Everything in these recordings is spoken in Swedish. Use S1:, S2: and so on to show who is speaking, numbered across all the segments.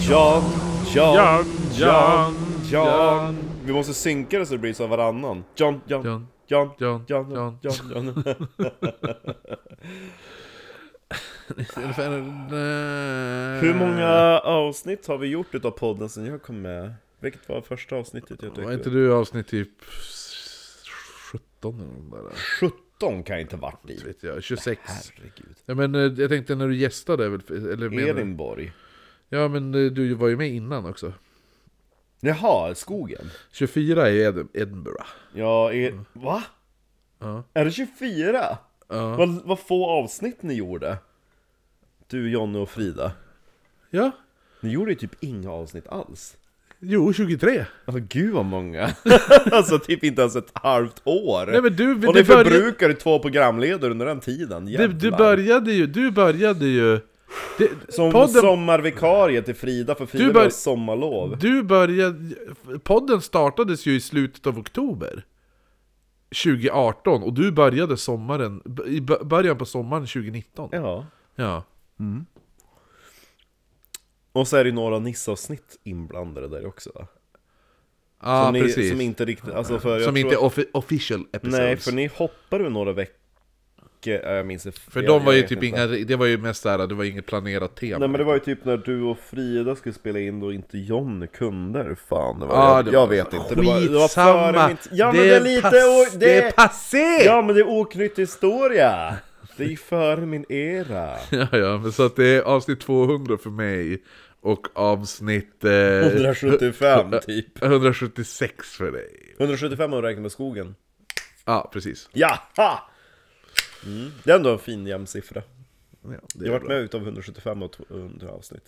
S1: John, John,
S2: John,
S1: John, John.
S2: John, John.
S1: Vi måste synka det så det blir så varannan. John, John, John,
S2: John,
S1: John,
S2: John,
S1: John, John.
S2: John.
S1: Hur många avsnitt har vi gjort utav podden sen jag kom med? Vilket var första avsnittet jag
S2: Var inte
S1: tyckte?
S2: du i avsnitt typ 17 eller något där?
S1: 17 kan jag inte varit i.
S2: Vet jag, 26.
S1: Herregud.
S2: Ja, men eh, jag tänkte när du gästade väl, eller menar du?
S1: Edinborg.
S2: Ja men eh, du var ju med innan också.
S1: Jaha, skogen.
S2: 24 är Ed- Edinburgh.
S1: Ja, är... va?
S2: Ja.
S1: Är det 24?
S2: Ja.
S1: Vad, vad få avsnitt ni gjorde. Du, Jonny och Frida.
S2: ja.
S1: Ni gjorde ju typ inga avsnitt alls.
S2: Jo, 23.
S1: Alltså gud vad många! alltså typ inte ens ett halvt år!
S2: Nej, men du-
S1: och
S2: det
S1: ni
S2: började-
S1: förbrukade två programledare under den tiden,
S2: Du,
S1: jävlar!
S2: du började ju, du började ju... Det,
S1: Som
S2: podden,
S1: sommarvikarie till Frida, för Frida
S2: Du
S1: bör...
S2: bör-
S1: har sommarlov
S2: Du började... Podden startades ju i slutet av oktober. 2018, och du började sommaren, b- i bö- början på sommaren 2019.
S1: Ja,
S2: Ja.
S1: och så är det ju några nissavsnitt inblandade där också va?
S2: Ja,
S1: som, ni,
S2: precis.
S1: som inte riktigt, alltså för jag
S2: Som inte
S1: tror...
S2: är offi- official episodes.
S1: Nej, för ni hoppar ju några veckor, Ja, jag minns inte
S2: För
S1: jag,
S2: de var
S1: jag
S2: ju
S1: vet
S2: typ
S1: inte.
S2: inga, det var ju mest såhär, det var inget planerat tema.
S1: Nej men det var ju typ när du och Frida skulle spela in då inte John kunde hur fan det var
S2: Ja,
S1: jag,
S2: det
S1: jag
S2: var-
S1: vet inte
S2: Skitsamma!
S1: det var före min t- Ja men det är lite,
S2: pass-
S1: o-
S2: det är passé!
S1: Ja men det är oknytt historia! Det är före min era!
S2: Ja, ja, men så att det är avsnitt 200 för mig och avsnitt eh,
S1: 175 typ
S2: 176 för dig.
S1: 175 om du räknar med skogen
S2: Ja, precis.
S1: Jaha! Mm. Det är ändå en fin jämn siffra
S2: Ja,
S1: Jag
S2: det är
S1: har varit
S2: bra.
S1: med utav 175 och 200 avsnitt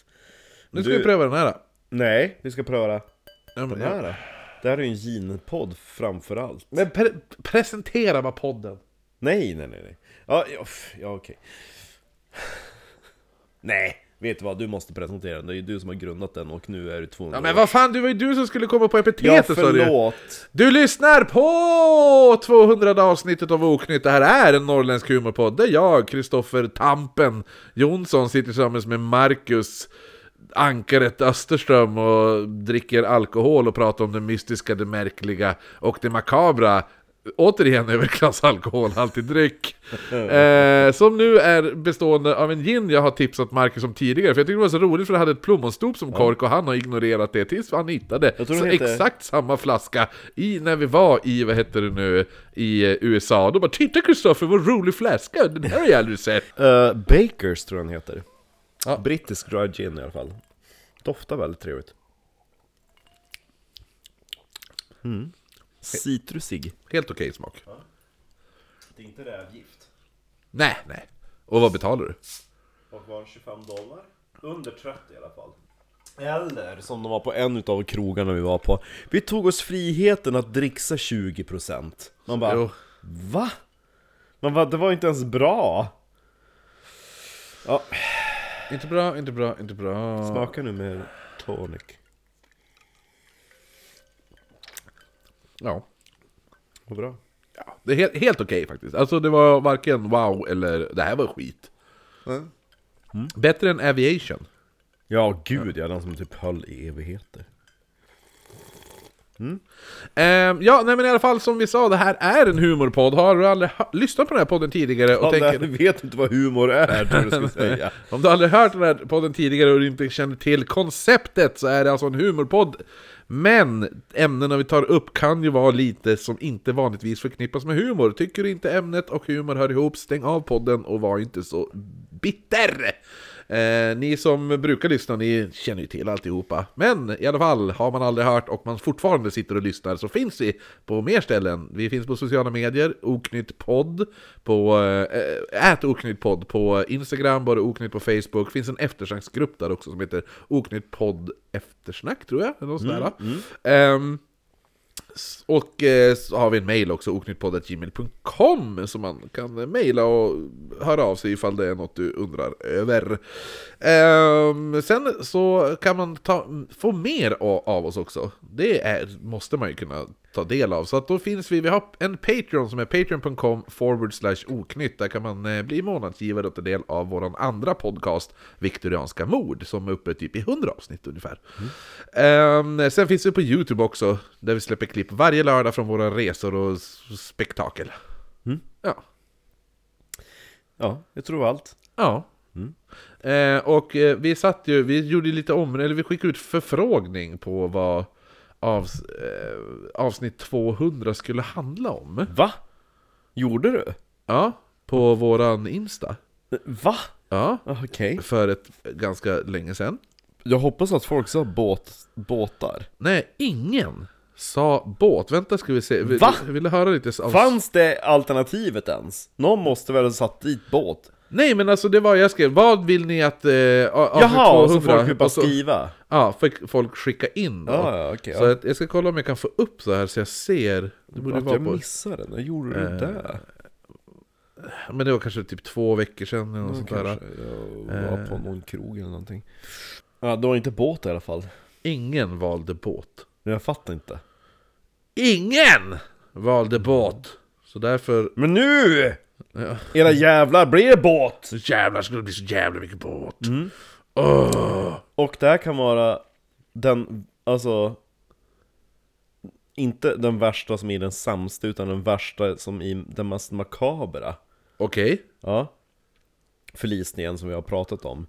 S2: Nu ska
S1: Du-
S2: vi pröva den här. då.
S1: Nej, vi ska pröva
S2: Ja, men,
S1: den här då. Det här är ju en gin-podd framförallt
S2: men pre- presentera bara podden.
S1: Nej, nej, nej, nej. Ja, ja, pff, ja okej. Nej, vet du vad? Du måste presentera den. Det är ju du som har grundat den och nu är du 200
S2: Ja, men
S1: år.
S2: vad fan, det var ju du som skulle komma på
S1: Ja,
S2: epitetet sa du.
S1: förlåt!
S2: Du lyssnar på 200 avsnittet av Oknytt. Det här är en norrländsk humorpodd där jag, Kristoffer Tampen Jonsson, sitter tillsammans med Marcus Ankaret Österström och dricker alkohol och pratar om det mystiska, det märkliga och det makabra. Återigen överklassalkohol, alltid dryck. Eh, som nu är bestående av en gin jag har tipsat Marcus om tidigare, för jag tyckte det var så roligt för det hade ett plommonstop som kork och han har ignorerat det tills han hittade
S1: Jag tror
S2: så
S1: den heter-
S2: exakt samma flaska i, när vi var i, vad heter det nu, i eh, USA. Då bara ”Titta Kristoffer, vad rolig flaska! Den här har jag aldrig sett!”
S1: Eh, Bakers tror jag den heter.
S2: Ja.
S1: Brittisk dry gin i alla fall. Doftar väldigt trevligt. Mm. Citrusig.
S2: Helt okej smak.
S1: Det är inte rävgift.
S2: Nej, nej. Och vad betalar du?
S1: Och var 25 dollar? Under 30 i alla fall. Eller som de var på en utav krogarna vi var på. Vi tog oss friheten att dricksa 20%. Man bara,
S2: Jo.
S1: va? Man bara, det var inte ens bra. Ja,
S2: Inte bra, inte bra, inte bra.
S1: smaka nu med tonic.
S2: Ja.
S1: Vad bra.
S2: ja. Det är helt, helt okej faktiskt. Alltså det var varken wow eller det här var skit. Mm. Bättre än Aviation.
S1: Ja, gud ja, den som typ höll i evigheter.
S2: Ehm, ja, nej men i alla fall som vi sa, det här är en humorpodd. Har du aldrig hö- lyssnat på den här podden tidigare och
S1: Ja,
S2: tänker...
S1: du vet inte vad humor är, tror jag du skulle säga.
S2: Om du aldrig hört den här podden tidigare och du inte känner till konceptet så är det alltså en humorpodd. Men ämnena vi tar upp kan ju vara lite som inte vanligtvis förknippas med humor. Tycker du inte ämnet och humor hör ihop, stäng av podden och var inte så bitter! Eh, ni som brukar lyssna, ni känner ju till alltihopa. Men i alla fall, har man aldrig hört och man fortfarande sitter och lyssnar så finns vi på mer ställen. Vi finns på sociala medier, Oknytt podd, på eh, ät Oknytt podd på Instagram, bara Oknytt på Facebook. finns en eftersnacksgrupp där också som heter Oknytt podd eftersnack tror jag. eller Något sånt där. Ehm, S- Och eh, så har vi en mail också, oknyttpodd.gmail.com som man kan eh, mejla och höra av sig ifall det är något du undrar över. Ehm, sen så kan man ta, få mer a- av oss också. Det är, måste man ju kunna ta del av. Så att då finns vi, vi har en Patreon som är patreon.com forward slash oknytt. Där kan man eh, bli månadsgivare och ta del av våran andra podcast, Viktorianska mord, som är uppe typ i 100 avsnitt ungefär. Ehm, sen finns vi på YouTube också, där vi släpper klipp varje lördag från våra resor och s- spektakel. Ja.
S1: Ja, jag tror det var allt.
S2: Ja. Eh, och eh, vi satt ju, vi gjorde lite om, eller vi skickade ut förfrågning på vad avs, eh, avsnitt 200 skulle handla om.
S1: Va? Gjorde du?
S2: Ja, på våran Insta.
S1: Va?
S2: Ja,
S1: Okej.
S2: för ett ganska länge sedan.
S1: Jag hoppas att folk sa båt, båtar.
S2: Nej, ingen sa båt. Vänta ska vi se. Vi,
S1: Va?
S2: vi ville höra lite. av-
S1: Fanns det alternativet ens? Någon måste väl ha satt dit båt?
S2: Nej men alltså det var, jag skrev, vad vill ni att eh, a- avsnitt
S1: Jaha, och
S2: 200?
S1: så folk vill bara
S2: och så-
S1: skriva.
S2: Ja, fick folk skicka in då.
S1: Ja, ja, okej,
S2: så
S1: ja.
S2: att jag ska kolla om jag kan få upp så här så jag ser. Det borde
S1: Att
S2: vara
S1: jag
S2: på...
S1: missade den, jag gjorde du det där?
S2: Men det var kanske typ två veckor sedan eller något sånt där.
S1: Mm, Kanske jag var på någon krog eller någonting. Ja, det var inte båt i alla fall.
S2: Ingen valde båt.
S1: Jag fattar inte.
S2: Ingen valde båt! Så därför...
S1: Men nu!
S2: Ja.
S1: Era jävlar blir det båt!
S2: Så jävlar skulle det bli så jävla mycket båt!
S1: Mm. Och det här kan vara den, alltså inte den värsta som i den sämsta utan den värsta som i den mest makabra
S2: Okej.
S1: ja, förlisningen som vi har pratat om.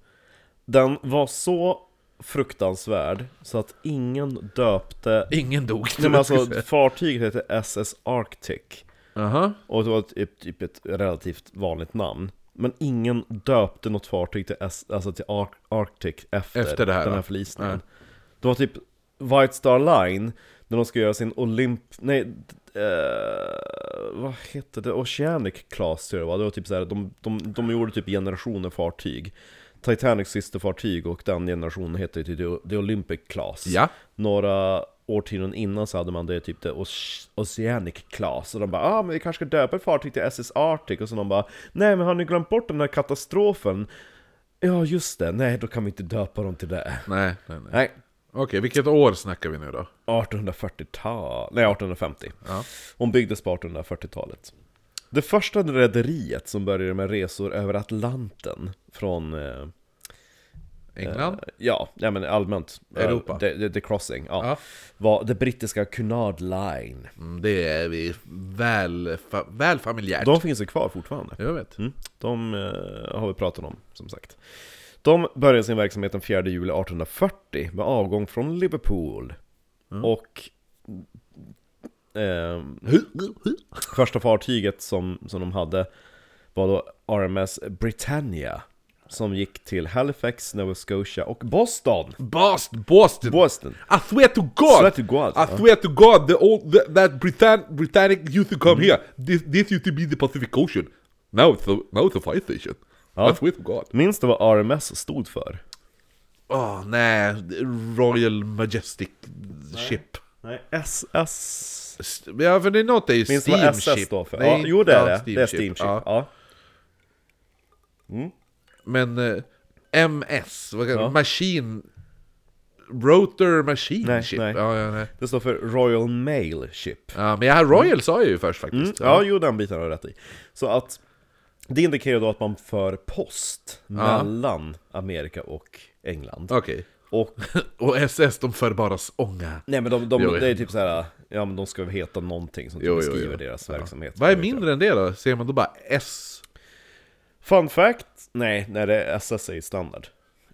S1: Den var så fruktansvärd så att ingen döpte...
S2: Ingen dog.
S1: Nej, men alltså, fartyget hette SS Arctic.
S2: Aha.
S1: Och det var typ, typ ett relativt vanligt namn. Men ingen döpte något fartyg till, S, alltså till Ar- Arctic efter,
S2: Efter det här,
S1: den här
S2: va?
S1: förlisningen.
S2: Ja.
S1: Det var typ White Star Line, när de ska göra sin Olymp... Nej, eh, vad hette det? Oceanic Class tror jag det var. Det var typ så här, de, de, de gjorde typ generationer fartyg. Titanics systerfartyg och den generationen hette ju typ The- The Olympic Class
S2: Ja.
S1: några årtionden innan så hade man det typ det Oce- Oceanic Class och de bara ah, men vi kanske ska döpa ett fartyg till SS Arctic och så de bara nej men har ni glömt bort den här katastrofen? Ja just det, nej då kan vi inte döpa dem till det.
S2: Nej, nej, nej.
S1: Nej,
S2: Okej, vilket år snackar vi nu då?
S1: 1840-tal, nej 1850.
S2: Ja.
S1: Hon byggdes på 1840-talet. Det första rederiet som började med resor över Atlanten från eh,
S2: England?
S1: Ja, ja men allmänt eh,
S2: Europa.
S1: The, the, the Crossing, ja,
S2: Ja.
S1: Var det brittiska Cunard Line
S2: Mm, det är vi väl, fa, väl familjärt.
S1: De finns ju kvar fortfarande
S2: Jag vet.
S1: Mm. De eh, har vi pratat om, som sagt. De började sin verksamhet den 4 juli 1840 med avgång från Liverpool. Och ehm, första fartyget som, som de hade var då RMS Britannia. Som gick till Halifax, Nova Scotia och Boston.
S2: Bast, Boston!
S1: Boston.
S2: I swear to God!
S1: Swear to God,
S2: I
S1: ja.
S2: swear to God, the old, the, that Britan Britannic used to
S1: Mm.
S2: come here. This, this used to be the Pacific Ocean. Now it's a, now it's a fire station. I swear to God.
S1: Minns du vad RMS stod för?
S2: Åh nej, Royal Majestic Ship.
S1: Nej, SS...
S2: S- Ja, för det är något det är ju
S1: Minns du vad SS
S2: Steamship.
S1: står för?
S2: Nej,
S1: ja, jo, det är
S2: ja,
S1: det. Det är
S2: Steamship,
S1: Steamship.
S2: ja.
S1: Ja.
S2: Men eh, MS, vad kan, Machine... Rotor Machine
S1: Nej,
S2: Ship.
S1: nej.
S2: Ja, ja, nej.
S1: Det står för Royal Mail Ship.
S2: ja, men jag, Royal sa jag ju först faktiskt.
S1: Ja, jo den biten har du rätt i. Så att det indikerar då att man för post mellan Amerika och England.
S2: Okej.
S1: Och
S2: Och SS, de för bara s- ånga.
S1: nej men de, de,
S2: Jo, jo.
S1: det är typ så här, ja men de ska väl heta någonting som typ
S2: Jo, jo,
S1: beskriver
S2: jo.
S1: deras verksamhet.
S2: Vad är mindre än det då? Ser man då bara S?
S1: Fun fact? Nej, nej det är SS är ju standard.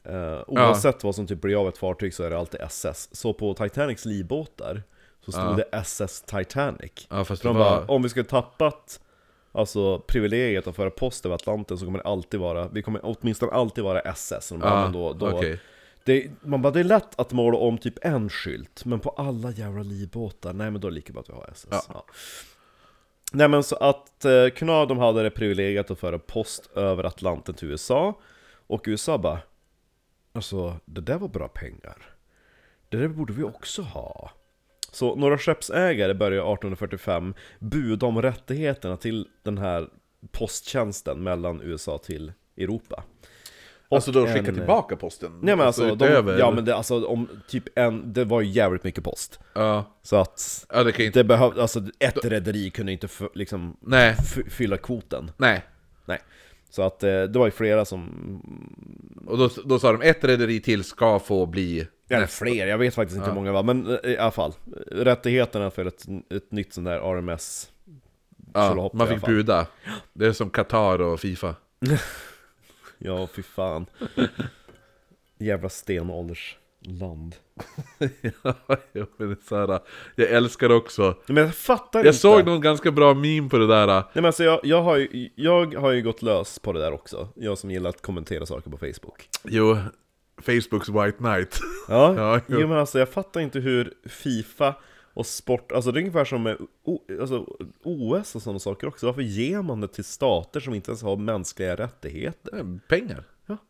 S1: Eh, oavsett vad som typ blir av ett fartyg så är det alltid SS. Så på Titanics livbåtar så stod det SS Titanic.
S2: Ja, fast
S1: För
S2: det
S1: de
S2: var...
S1: bara, om vi skulle tappat Alltså privilegiet att föra post över Atlanten så kommer det alltid vara, vi kommer åtminstone alltid vara SS. Så de bara,
S2: Ja,
S1: men då, då,
S2: Ah, okej.
S1: det, man bara, det är lätt att måla om typ en skylt, men på alla jävla livbåtar, nej men då är det lika bra att vi har SS.
S2: Ja.
S1: Ja. Nej men så att eh, Knarr, de hade det privilegiet att föra post över Atlanten till USA, och USA bara, alltså det där var bra pengar. Det där borde vi också ha. Så några skeppsägare började 1845 buda om rättigheterna till den här posttjänsten mellan USA till Europa. Och
S2: Alltså då skicka
S1: en-
S2: tillbaka posten?
S1: Nej men alltså, de,
S2: utöver...
S1: ja, men det, alltså om, typ en, det var ju jävligt mycket post.
S2: ja.
S1: Så att
S2: ja, det kan ju inte...
S1: det behövde, alltså ett rederi kunde inte f- liksom
S2: Nej,
S1: f- fylla kvoten.
S2: nej.
S1: Nej. Så att eh, det var ju flera som,
S2: Och då, då sa de ett rederi till ska få bli...
S1: eller fler, jag vet faktiskt inte hur många det var, men eh, i alla fall. Rättigheterna för ett, ett nytt sånt där RMS
S2: Ja,
S1: Tjolahopp i
S2: man
S1: alla
S2: fick
S1: fall.
S2: buda. Det är som Qatar och Fifa.
S1: Ja, fy fan. Jävla stenåldersland.
S2: ja, jo, men det är så här, jag älskar också.
S1: Men jag fattar
S2: Jag
S1: inte.
S2: såg någon ganska bra meme på det där.
S1: Nej men alltså jag, jag, har ju, jag har ju gått lös på det där också. Jag som gillar att kommentera saker på Facebook.
S2: Jo, Facebooks White Knight.
S1: Ja,
S2: Ja, jo.
S1: jo. men alltså jag fattar inte hur Fifa och sport, alltså det är ungefär som med O- alltså, OS och sådana saker också. Varför ger man det till stater som inte ens har mänskliga rättigheter?
S2: Eh, Pengar.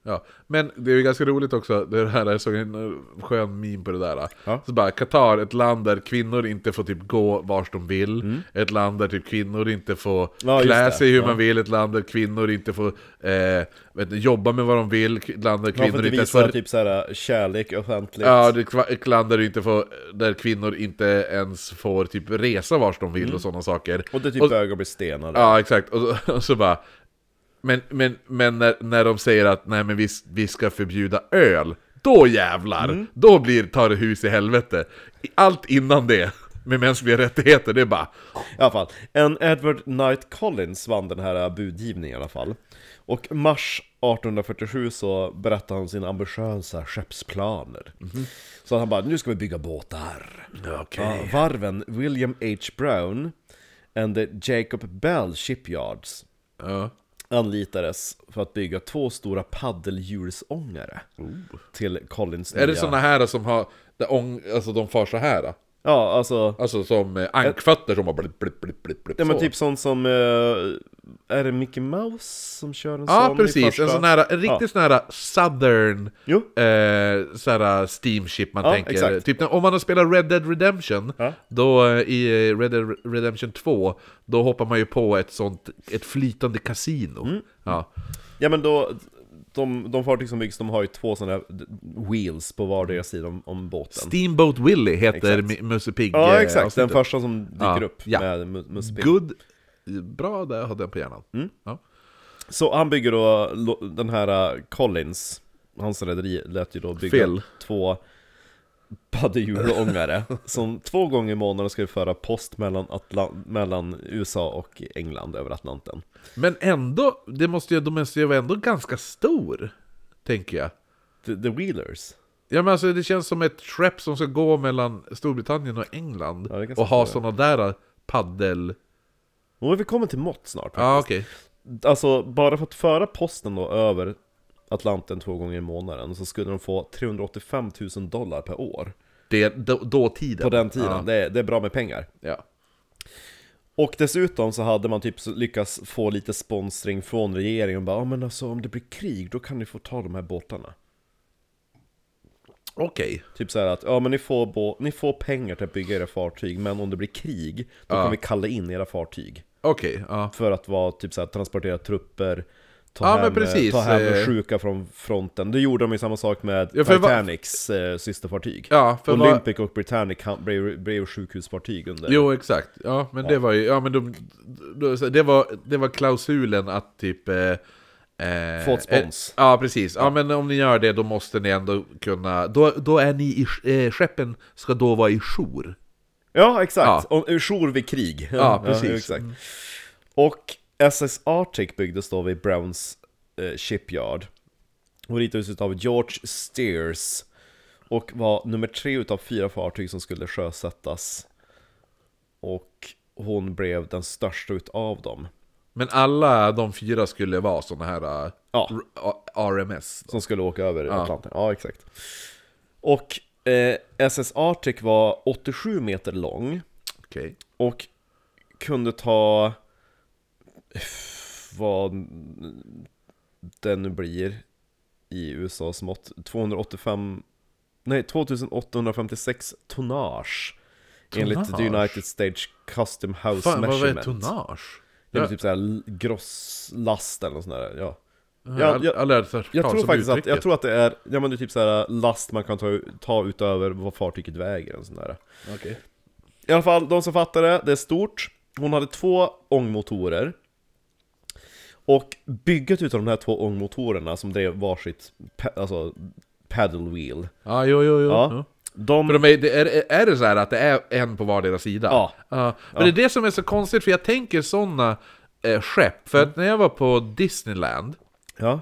S1: Ja.
S2: Men det är ju ganska roligt också, det här, jag såg en eh, skön meme på det där. eh.
S1: Ja.
S2: Så bara, Qatar, ett land där kvinnor inte får typ gå vars de vill. Ett land där typ kvinnor inte får
S1: Mm. Ja, just
S2: klä
S1: det.
S2: sig hur
S1: Ja.
S2: man vill. Ett land där kvinnor inte får eh, vet, du, jobba med vad de vill. Ett land där
S1: Man får
S2: kvinnor
S1: inte
S2: inte ens
S1: visa
S2: får
S1: typ såhär kärlek offentligt.
S2: Ja, det är kva- ett land där, du inte får, där kvinnor inte ens får typ resa vars de vill och sådana saker.
S1: Mm. Och det är typ
S2: Och-
S1: bögar blir stenade.
S2: Ja, exakt. Och, så- och så bara... Men, men, men när, när de säger att nej, men vi, vi ska förbjuda öl, då jävlar!
S1: Mm.
S2: Då blir, tar det hus i helvete. I- Allt innan det, med mänskliga rättigheter, det är bara...
S1: I alla fall. En Edward Knight Collins vann den här budgivningen i alla fall. Och mars 1847 så berättade han om sina ambitiösa skeppsplaner.
S2: Mhm.
S1: Så han bara, nu ska vi bygga båtar. Ja, varven William H. Brown and the Jacob Bell Shipyards
S2: Ja.
S1: anlitades för att bygga två stora paddelhjulsångare till Collins
S2: Oh. Är det
S1: nya-
S2: såna här som har... Där ång, alltså de far så här.
S1: Ja, alltså...
S2: Alltså som eh, ankfötter som bara blipp, blipp, blipp, blipp, blipp
S1: Ja men
S2: så.
S1: typ sånt som, eh, är det Mickey Mouse som kör en
S2: Ja,
S1: sån i
S2: precis.
S1: första?
S2: En sån här, en riktigt sån här southern
S1: Jo.
S2: eh, sån här steamship man
S1: Ja,
S2: tänker.
S1: exakt.
S2: Typ när, om man har spelat Red Dead Redemption,
S1: Ja.
S2: då eh, i eh, Red Dead Redemption 2, då hoppar man ju på ett sånt, ett flytande kasino.
S1: Mm.
S2: Ja.
S1: Ja men då, de, de fartyg som byggs de har ju två sådana här d- wheels på vardera sida om, om båten
S2: Steamboat Willie heter
S1: Exakt.
S2: Mi- Musse Pigg.
S1: Ja
S2: eh,
S1: exakt, den
S2: avsnittet.
S1: första som dyker
S2: Ja,
S1: upp
S2: ja.
S1: med mu- Musse Pigg.
S2: Good. Bra där, jag hade den på hjärnan.
S1: Mm.
S2: Ja.
S1: Så han bygger då lo- den här eh, Collins, hans rederi lät ju då bygga
S2: Fel.
S1: två paddehjulångare som två gånger i månaden skulle föra post mellan, Atlan- mellan USA och England över Atlanten.
S2: Men ändå, det måste ju, de måste ju vara ändå ganska stor, tänker jag.
S1: The, the Wheelers.
S2: Ja men alltså det känns som ett skepp som ska gå mellan Storbritannien och England
S1: Ja, det är ganska
S2: och ha
S1: stor,
S2: sådana där paddel...
S1: Och vi kommer till mått snart.
S2: Ja okej.
S1: Alltså, bara för att föra posten då över Atlanten två gånger i månaden så skulle de få 385 000 dollar per år.
S2: Det är då, dåtiden.
S1: På den tiden.
S2: Ja.
S1: Det, är, det är bra med pengar.
S2: ja.
S1: Och dessutom så hade man typ så- lyckats få lite sponsring från regeringen. Bara, ja men alltså om det blir krig då kan ni få ta de här båtarna.
S2: Okej.
S1: Typ så här att, ja men ni får, bå- ni får pengar till att bygga era fartyg, men om det blir krig, då kan vi kalla in era fartyg.
S2: Okej, ja.
S1: För att vara, typ så här, transportera trupper, ta
S2: Ja, men
S1: hem,
S2: precis.
S1: ta hem
S2: Eh.
S1: sjuka från fronten. Det gjorde de ju samma sak med
S2: Ja, för vad-
S1: Titanics eh, systerfartyg.
S2: Ja, för vad-
S1: Olympic och Britannic ha- blev, blev sjukhusfartyg under.
S2: Jo exakt. Ja men det var ju, ja men de, de, så det, var, det var klausulen att typ... Eh, eh,
S1: Få ett spons.
S2: Eh, ja precis. Ja men om ni gör det då måste ni ändå kunna, då, då är ni i, sk- eh, skeppen ska då vara i jour.
S1: Ja, exakt. Och ur jour vid krig.
S2: precis.
S1: exakt. Och SS Arctic byggdes då vid Browns eh, Shipyard. Och ritades av George Steers. Och var nummer tre utav fyra fartyg som skulle sjösättas. Och hon blev den största utav dem.
S2: Men alla de fyra skulle vara sådana här eh,
S1: Ja.
S2: R- A- RMS.
S1: Som skulle åka över Atlanten. Ja, exakt. Och eh, SS Arctic var 87 meter lång.
S2: Okej.
S1: Och kunde ta vad den nu blir i USAs mått, 285, nej 2856 tonnage Enligt the
S2: Tonnage?
S1: United States Custom House
S2: Fan, vad vad är
S1: Measurement.
S2: tonnage?
S1: Det är väl
S2: Jag,
S1: typ såhär l- grosslast eller något sånt där, ja.
S2: jag,
S1: jag-
S2: jag, jag, lärde mig
S1: Jag
S2: talas
S1: tror
S2: om
S1: faktiskt att,
S2: uttrycket.
S1: jag tror att det är, ja men det är typ såhär last man kan ta, ta utöver vad fartyget väger och sånt där.
S2: Okej.
S1: I alla fall, de som fattar det, det är stort. Hon hade två ångmotorer. Och bygget utav de här två ångmotorerna som drev varsitt, pa- alltså paddle wheel.
S2: Ja, jo, jo, jo.
S1: Ja.
S2: jo.
S1: De...
S2: För de är, det är, är det så här att det är en på vardera sida?
S1: Ja.
S2: men det är det som är så konstigt, för jag tänker sådana eh, skepp. För att när jag var på Disneyland,
S1: Ja. Mm.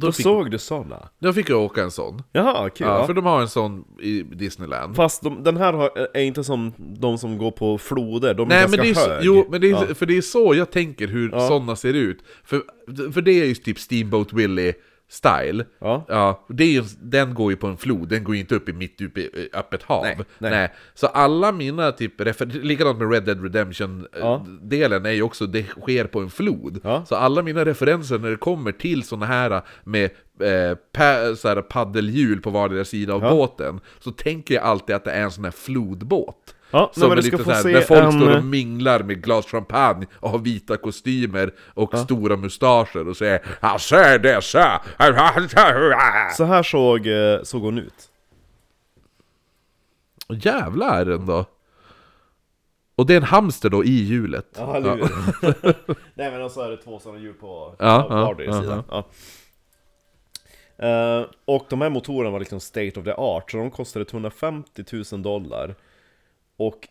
S1: Då,
S2: fick-
S1: såg du såna?
S2: då fick jag åka en sån.
S1: Jaha, kul.
S2: Ja,
S1: Ja,
S2: För de har en sån i Disneyland.
S1: Fast de, den här har, är inte som de som går på floder, de är
S2: Nej, men
S1: ganska
S2: det är, så-
S1: hög.
S2: jo, men det är,
S1: ja.
S2: för det är så jag tänker hur såna ser ut. För, för det är ju typ Steamboat Willie style.
S1: Ja.
S2: det är ju, den går ju på en flod, den går ju inte upp i mitt uppe i eh, öppet hav.
S1: Nej, nej.
S2: Så alla mina typ, refer- likadant med Red Dead
S1: Ja.
S2: Redemption-delen är ju också, det sker på en flod.
S1: Ja.
S2: Så alla mina referenser när det kommer till såna här med eh, pa- så här paddelhjul på vardera sida av båten, så tänker jag alltid att det är en sån här flodbåt.
S1: Ja,
S2: Som
S1: nej, men
S2: är
S1: du
S2: lite
S1: ska få
S2: såhär,
S1: se
S2: när folk
S1: en-
S2: står och minglar med glas champagne och har vita kostymer och stora mustascher och säger Han ser det så!
S1: Så här såg, eh, såg hon ut.
S2: Och Jävlar ändå! Och det är en hamster då i hjulet.
S1: Ja, eller hur? Nej men och så är det två sådana hjul på
S2: Ja,
S1: på
S2: ja,
S1: vardera
S2: ja,
S1: sida. Ja. Eh, och de här motorerna var liksom state of the art, så de kostade 150 000 dollar. Och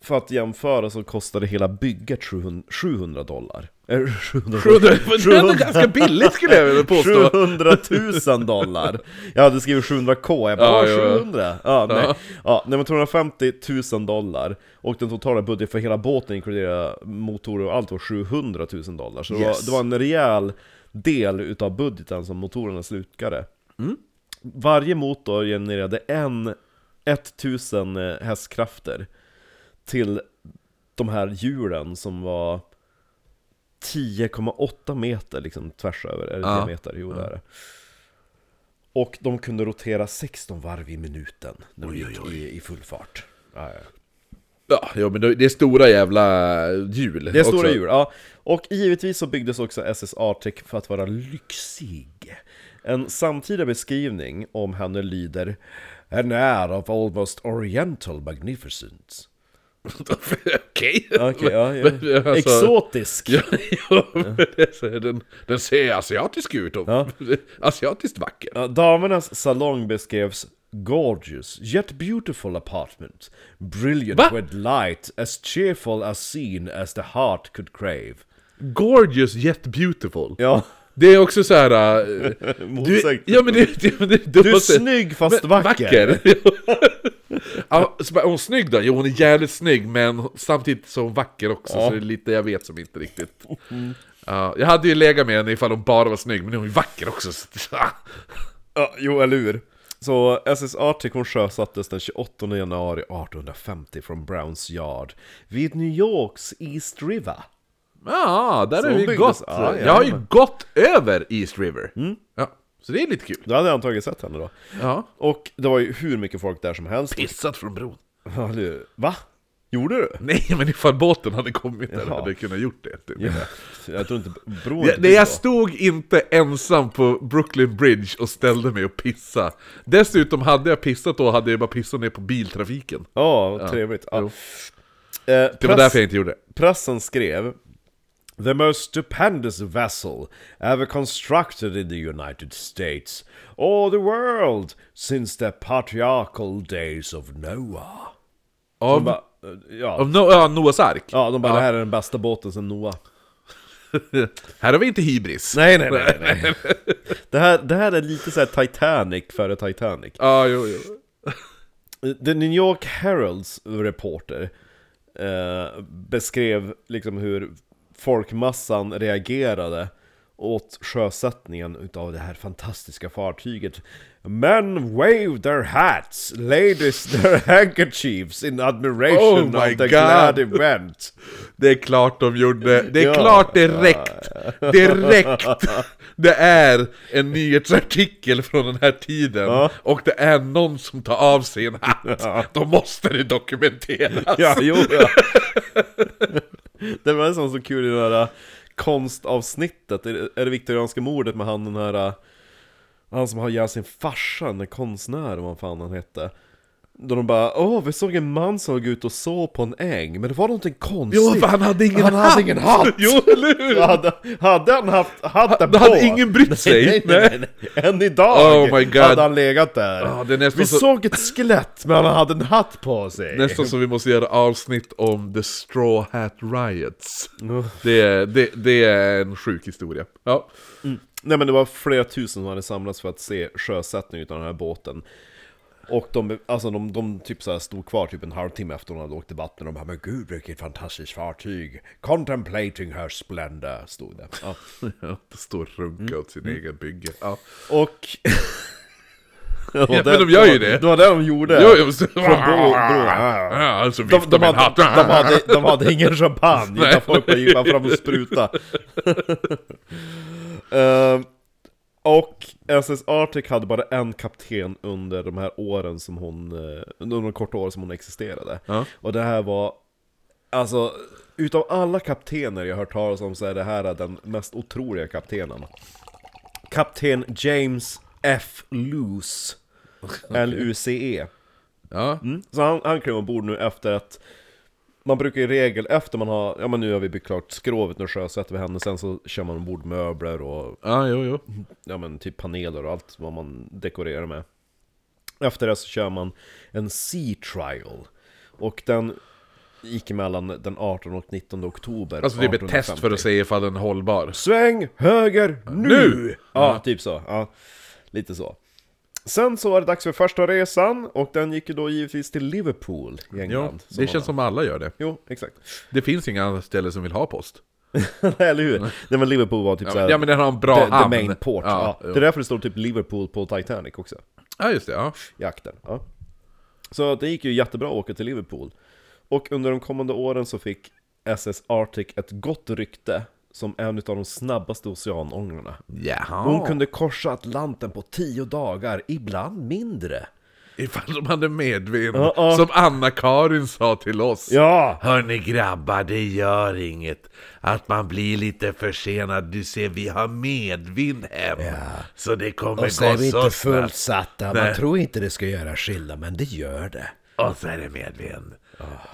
S1: för att jämföra så kostade hela bygget 700 700 dollar. Eh, 700
S2: Det är ändå ganska billigt skulle jag vilja påstå.
S1: 700 000 dollar! Jag hade skrivit 700k, jag bara
S2: Ja,
S1: "Åh,
S2: ja, ja."
S1: 700! Ja, nej. Ja, nej men 250 000 dollar Och den totala budgeten för hela båten inkluderar motorer och allt var 700 000 dollar Så det,
S2: Yes.
S1: var, det var en rejäl del utav budgeten som motorerna slukade
S2: Mm.
S1: Varje motor genererade en 1000 hästkrafter till de här hjulen som var 10,8 meter liksom tvärs över, eller
S2: Ja.
S1: diameter, jo det är det. Och de kunde rotera 16 varv i minuten när de gick I, i full fart. Ja, ja.
S2: Ja, ja, men det är stora jävla hjul.
S1: Det är stora
S2: också.
S1: djur, ja. Och givetvis så byggdes också SS Arctic för att vara lyxig. En samtida beskrivning om henne lyder An air of almost oriental magnificence.
S2: Okej.
S1: Okej, ja, ja.
S2: Men, men, alltså-
S1: Exotisk!
S2: Ja, ja, men det, så är den, den ser asiatisk ut och asiatiskt vacker.
S1: Ja, Damernas salong beskrevs Gorgeous, yet beautiful apartment Brilliant
S2: Va?
S1: with light, as cheerful as seen as the heart could crave
S2: Gorgeous yet beautiful.
S1: Ja,
S2: Det är också så här. äh, du,
S1: Motsägelsefullt.
S2: ja, men det, det, men det, det
S1: du är snygg fast vacker!
S2: ja, så bara, är hon snygg då? Jo, hon är jävligt snygg, men samtidigt så är hon vacker också. Så det är lite jag vet som inte riktigt... Ja, jag hade ju legat med henne ifall hon bara var snygg, men nu är hon ju vacker också. Så,
S1: Ja, jo, eller hur? Så SS Arctic hon sjösattes den 28 januari 1850 från Browns Yard vid New Yorks East River.
S2: ja, där
S1: Så
S2: är
S1: hon
S2: vi
S1: byggdes-
S2: gått.
S1: ja, Mm.
S2: jag har ju
S1: jajamän.
S2: gått över East River. Ja, så det är lite kul.
S1: Då hade jag antagligen sett henne då.
S2: Ja.
S1: Och det var ju hur mycket folk där som helst.
S2: Pissat från bron.
S1: Ja, eller hur? Va? Gjorde du?
S2: Nej, men ifall båten hade kommit där
S1: Ja.
S2: hade jag kunnat gjort det. Typ.
S1: Jag tror inte bron
S2: Jag, nej, jag stod inte ensam på Brooklyn Bridge och ställde mig och pissa. Dessutom hade jag pissat då hade jag bara pissat ner på biltrafiken.
S1: Ja, trevligt. Ja.
S2: jo.
S1: Eh,
S2: Det var
S1: press-
S2: därför jag inte gjorde det.
S1: Pressen skrev The most stupendous vessel ever constructed in the United States or the world since the patriarchal days of Noah. De
S2: Av,
S1: bara, eh, ja.
S2: av no, ja, Noahs ark.
S1: ja, de bara det här är den bästa båten sedan Noah.
S2: Här har vi inte hybris.
S1: Nej, nej, nej. nej. det, här, det här är lite så här Titanic före Titanic.
S2: Ja, jo, jo.
S1: The New York Heralds reporter eh, beskrev liksom hur folkmassan reagerade åt sjösättningen utav det här fantastiska fartyget Men wave their hats, ladies their handkerchiefs in
S2: Oh
S1: admiration
S2: my
S1: of the
S2: God.
S1: glad event.
S2: Det är klart de gjorde. Det är
S1: Ja.
S2: klart direkt. Direkt. Det är en nyhetsartikel från den här tiden. Och det är någon som tar av sig en hatt. Då måste det dokumenteras.
S1: Ja, jo ja. Det var en sån så kul i det här äh, konstavsnittet, är det- är det viktorianska mordet med han den här äh, Han som har ihjäl sin farsa, den där konstnären vad fan han hette Då de bara åh vi såg en man som såg ut och så på en äng, men det var någonting konstigt
S2: Jo, för han hade ingen
S1: Han
S2: hatt!
S1: hade ingen hatt.
S2: Jo, eller hur?
S1: Ja, hade, hade han haft hatten
S2: Då
S1: på?
S2: hade ingen brytt sig.
S1: Nej, nej, nej, nej. Än idag
S2: Oh my God.
S1: hade han legat där
S2: Ja, det är nästan
S1: Vi
S2: så-
S1: såg ett skelett, men han hade en hatt på sig
S2: Nästan som vi måste göra avsnitt om The Straw Hat Riots. Det är, det, det är en sjuk historia. Ja.
S1: Nej men det var flera tusen som hade samlats för att se sjösättningen utav den här båten Och de, alltså de, de typ så här stod kvar typ en halvtimme efter de hade åkt i vattnet och de bara 'Men gud vilket fantastiskt fartyg! Contemplating her splendor' stod det ja. Mm.
S2: Det står runka åt sin egen bygge. Ja.
S1: Och... ja,
S2: men de gör ju det.
S1: Det var det de gjorde!
S2: Jo, jag måste...
S1: Från Bro- Bro-
S2: Ja, alltså
S1: De,
S2: vifta
S1: de,
S2: min
S1: hade,
S2: hatt.
S1: de, hade, de hade ingen champagne, utan folk bara gick bara fram och spruta. Ehm, och SS Arctic hade bara en kapten under de här åren som hon, eh, under de korta åren som hon existerade.
S2: Ja.
S1: Och det här var, alltså, utav alla kaptener jag hört talas om så är det här den mest otroliga kaptenen. Kapten James F. Luce, L-U-C-E.
S2: Ja.
S1: Så han, han klev ombord nu efter att man brukar i regel, efter man har, ja men nu har vi byggt klart skrovet, nu sjösätter vi henne, sen så kör man ombord möbler och
S2: ja, jo, jo.
S1: ja men typ paneler och allt vad man dekorerar med. Efter det så kör man en sea trial. Och den gick emellan den 18 och 19 oktober
S2: Alltså typ ett test
S1: 1850.
S2: för att se ifall den är hållbar.
S1: Sväng höger nu!
S2: Nu!
S1: Ja, typ så. Ja, lite så. Sen så var det dags för första resan, och den gick ju då givetvis till Liverpool i
S2: Ja,
S1: England.
S2: det känns som alla gör det.
S1: Jo, exakt.
S2: Det finns inga andra ställen som vill ha post.
S1: Eller hur? Nej men Liverpool var typ såhär...
S2: Ja men den har en bra
S1: the, the
S2: hamn.
S1: main port. Ja,
S2: Ja,
S1: Det är
S2: jo.
S1: därför det står typ Liverpool på Titanic också.
S2: ja just det. Ja.
S1: I akten. Ja. Så det gick ju jättebra att åka till Liverpool. Och under de kommande åren så fick SS Arctic ett gott rykte som en av de snabbaste oceanångrarna.
S2: Jaha.
S1: Hon kunde korsa Atlanten på tio dagar, ibland mindre.
S2: Ifall de hade medvind.
S1: Ja, ja.
S2: Som Anna-Karin sa till oss.
S1: Ja!
S2: Hörni grabbar, det gör inget. Att man blir lite försenad. Du ser, vi har medvind hem. Så det kommer gå så snabbt.
S1: fullsatta, man tror inte det ska göra skillnad, men det gör det.
S2: Och så är det medvind.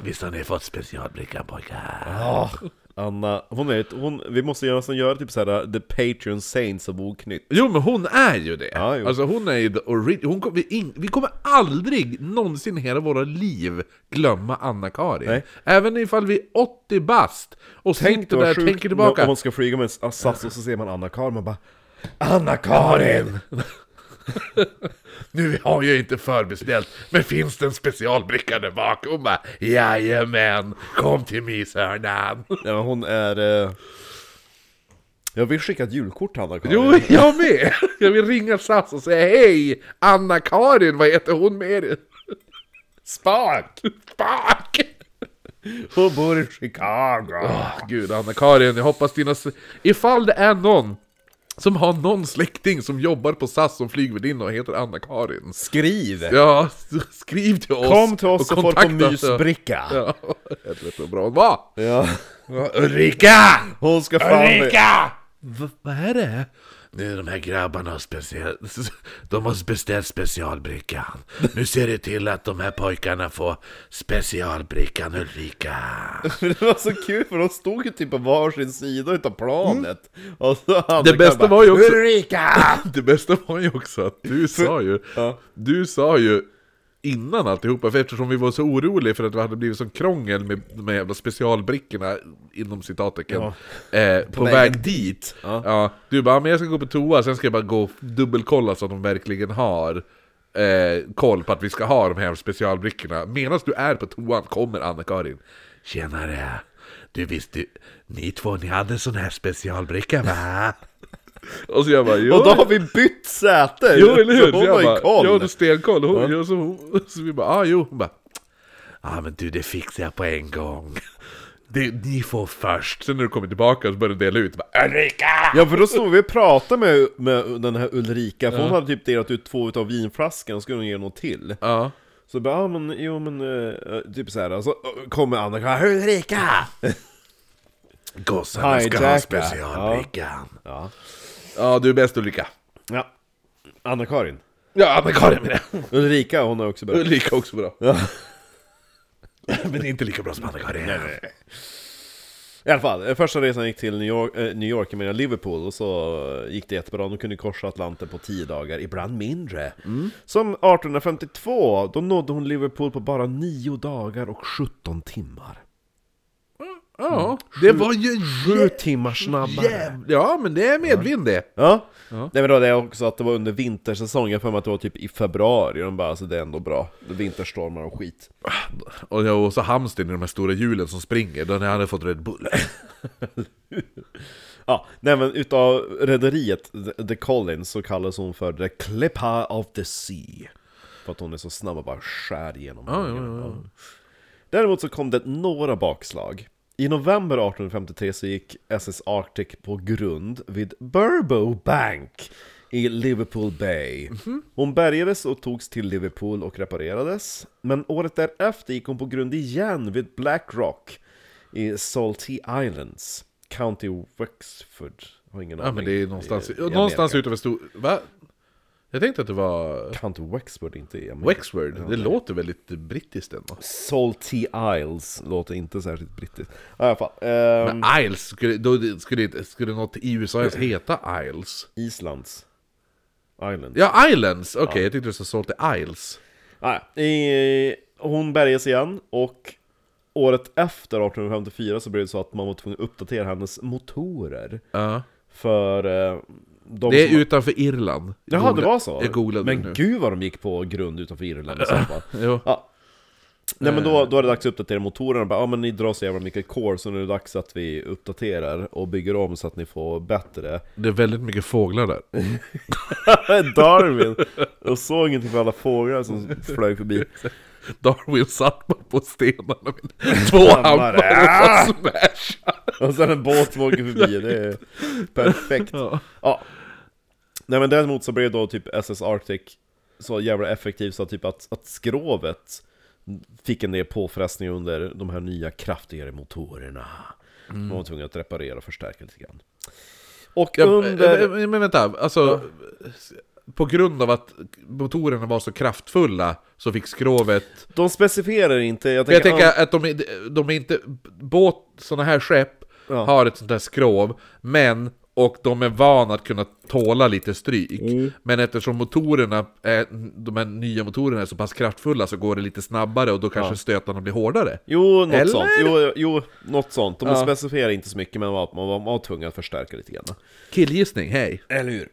S2: Visst har ni fått specialbrickan pojkar?
S1: Ah. Ja, Anna, hon är ett, hon, vi måste göra som gör typ såhär The Patreon Saints av Oknytt
S2: Jo men hon är ju det!
S1: Ja, jo.
S2: alltså hon är ju the ori- hon kom, vi, in, vi kommer aldrig någonsin i hela våra liv glömma Anna-Karin.
S1: Nej.
S2: Även ifall vi är 80 bast och sitter där och tänker tillbaka.
S1: om hon ska flyga med en SAS och så ser man Anna-Karin man bara Anna-Karin!
S2: Nu har jag inte förbeställt, men finns det en specialbricka där bak? Hon bara Jajamän, kom till myshörnan!
S1: Ja, men hon är... Eh... Jag vill skicka ett julkort till Anna-Karin
S2: Jo, jag med! Jag vill ringa SAS och säga Hej! Anna-Karin, vad heter hon mer?
S1: Spak!
S2: Fuck!
S1: Hon bor i Chicago!
S2: Ah, Gud, Anna-Karin, jag hoppas dina... s- Ifall det är någon som har någon släkting som jobbar på SAS som flygvärdinna och heter Anna-Karin.
S1: Skriv!
S2: Ja, s- skriv till oss
S1: Kom till oss och, får på
S2: kontakta oss.
S1: mysbricka!
S2: Ja, helvete vad bra hon var!
S1: Ja.
S2: Ja, Ulrika!
S1: Hon ska fan...
S2: Ulrika! V- vad är det? Nu de här grabbarna har speciell... De har beställt specialbrickan. Nu ser det till att de här pojkarna får specialbrickan Ulrika.
S1: Det var så kul för de stod ju typ på varsin sida utav planet och så hade
S2: Mm. Det bästa var ju också-
S1: Ulrika!
S2: Det bästa var ju också att du sa ju...
S1: Ja.
S2: Du sa ju innan alltihopa, för eftersom vi var så oroliga för att det hade blivit sån krångel med de här jävla specialbrickorna, inom citattecken, eh, på, väg,
S1: vägen
S2: dit. Ja. du bara, men jag ska gå på toa, sen ska jag bara gå och dubbelkolla så att de verkligen har eh, koll på att vi ska ha de här specialbrickorna. Medan du är på toan kommer Anna-Karin. Tjenare! Du visste, ni två, ni hade sån här specialbricka va? Och så jag bara jo,
S1: Och då har vi bytt säte!
S2: jo eller hur?
S1: Så
S2: Så
S1: hon har
S2: jag
S1: ju
S2: bara, jag
S1: koll!
S2: hade stenkoll. Hon,
S1: Ja.
S2: ja. så, hon, så vi bara, ah jo. Hon bara, ah men du det fixar jag på en gång. Det, ni får först. Sen när du kommer tillbaka så börjar du dela ut. Bara, Ulrika!
S1: Ja för då stod vi och pratade med, med den här Ulrika, för hon hade typ delat ut två utav vinflaskan, och skulle hon ge något till
S2: Ja.
S1: Så bara, ja men, jo men, eh, typ såhär, och så eh, kommer Anna och Ulrika!
S2: Gossarna ska ha
S1: Hijacka.
S2: specialbrickan.
S1: Ja,
S2: Ja, du är bäst Ulrika.
S1: ja. Anna-Karin
S2: Ja, Anna-Karin menar jag.
S1: Ulrika, hon har också börjat
S2: Ulrika också bra.
S1: Ja.
S2: Men inte lika bra som Anna-Karin.
S1: I alla fall, eh, första resan gick till New York, eh, New York jag menar Liverpool, och så eh, gick det jättebra. De kunde korsa Atlanten på 10 dagar, ibland mindre.
S2: Mm.
S1: Som 1852, då nådde hon Liverpool på bara 9 dagar och 17 timmar.
S2: Ja, det var ju
S1: 7
S2: jä-
S1: timmar snabbare!
S2: jävligt. Ja, men det är medvind det.
S1: Ja,
S2: Ja.
S1: Nej, men då det är också att det var under vintersäsong, jag har för mig att det var typ i februari, och de bara alltså det är ändå bra, vinterstormar och skit.
S2: Och, jag- och så hamstern i de här stora hjulen som springer, den hade fått Red Bull.
S1: Ja, nej men utav rederiet The- The Collins så kallas hon för The Clipper of the Sea. För att hon är så snabb och bara skär igenom.
S2: ja,
S1: henne. Däremot så kom det några bakslag. I november 1853 så gick SS Arctic på grund vid Burbo Bank i Liverpool Bay.
S2: Mhm.
S1: Hon bärgades och togs till Liverpool och reparerades. Men året därefter gick hon på grund igen vid Black Rock i Salty Islands, County Wexford. Jag Har ingen
S2: Ja,
S1: aning.
S2: men det är någonstans,
S1: I- i
S2: ja, någonstans
S1: Amerika.
S2: utöver stor... Va? Jag tänkte att det var
S1: County Wexford, inte i Amerika.
S2: Wexford. Det låter väldigt brittiskt ändå.
S1: Salty Isles låter inte särskilt brittiskt. Ja, I alla fall. ehm,
S2: Men Isles, skulle, då, skulle, inte- skulle något i USA ens heta Isles?
S1: Islands. Island.
S2: Ja, Islands! Okej, jag tyckte du sa Salty Isles.
S1: Ah, ja. eh, hon bärgas igen och året efter 1854 så blev det så att man var tvungen att uppdatera hennes motorer.
S2: Ja.
S1: För eh, de
S2: Det är
S1: som-
S2: utanför Irland. Jag
S1: Jaha, det
S2: googla-
S1: var så?
S2: Jag googlade
S1: Men
S2: nu.
S1: gud vad de gick på grund utanför Irland i så fall.
S2: Jo.
S1: Ja. Nej men då, då är det dags att uppdatera motorerna, bara, ja men ni drar så jävla mycket core så nu är det dags att vi uppdaterar och bygger om så att ni får bättre
S2: Det är väldigt mycket fåglar där.
S1: Darwin! Och såg ingenting för alla fåglar som flög förbi
S2: Darwin satt bara på stenarna med två hammare och
S1: Ah!
S2: bara smash.
S1: Och sen en båt som åker förbi, det är perfekt
S2: Ja.
S1: Ja. Nej men däremot så blev då typ SS Arctic så jävla effektiv så typ att, att skrovet fick en del påfrestningar under de här nya kraftigare motorerna. Man var tvungen att reparera och förstärka lite grann. Och
S2: Mm. Ja,
S1: under...
S2: eh, Men vänta, alltså... På grund av att motorerna var så kraftfulla så fick skrovet...
S1: de specificerar inte, jag
S2: För jag
S1: tänker...
S2: tänker att de, är- de är inte... Båt, sådana här skepp
S1: Ja.
S2: har ett sånt här skrov, men... Och de är vana att kunna tåla lite stryk.
S1: Mm.
S2: Men eftersom motorerna, är, de här nya motorerna är så pass kraftfulla så går det lite snabbare och då kanske stötarna blir hårdare.
S1: Jo, något
S2: Eller?
S1: sånt. Jo, jo, något sånt. De
S2: Ja.
S1: specificerar inte så mycket, men man var, man var, man var tvungen att förstärka lite grann.
S2: Killgissning, hej!
S1: Eller hur?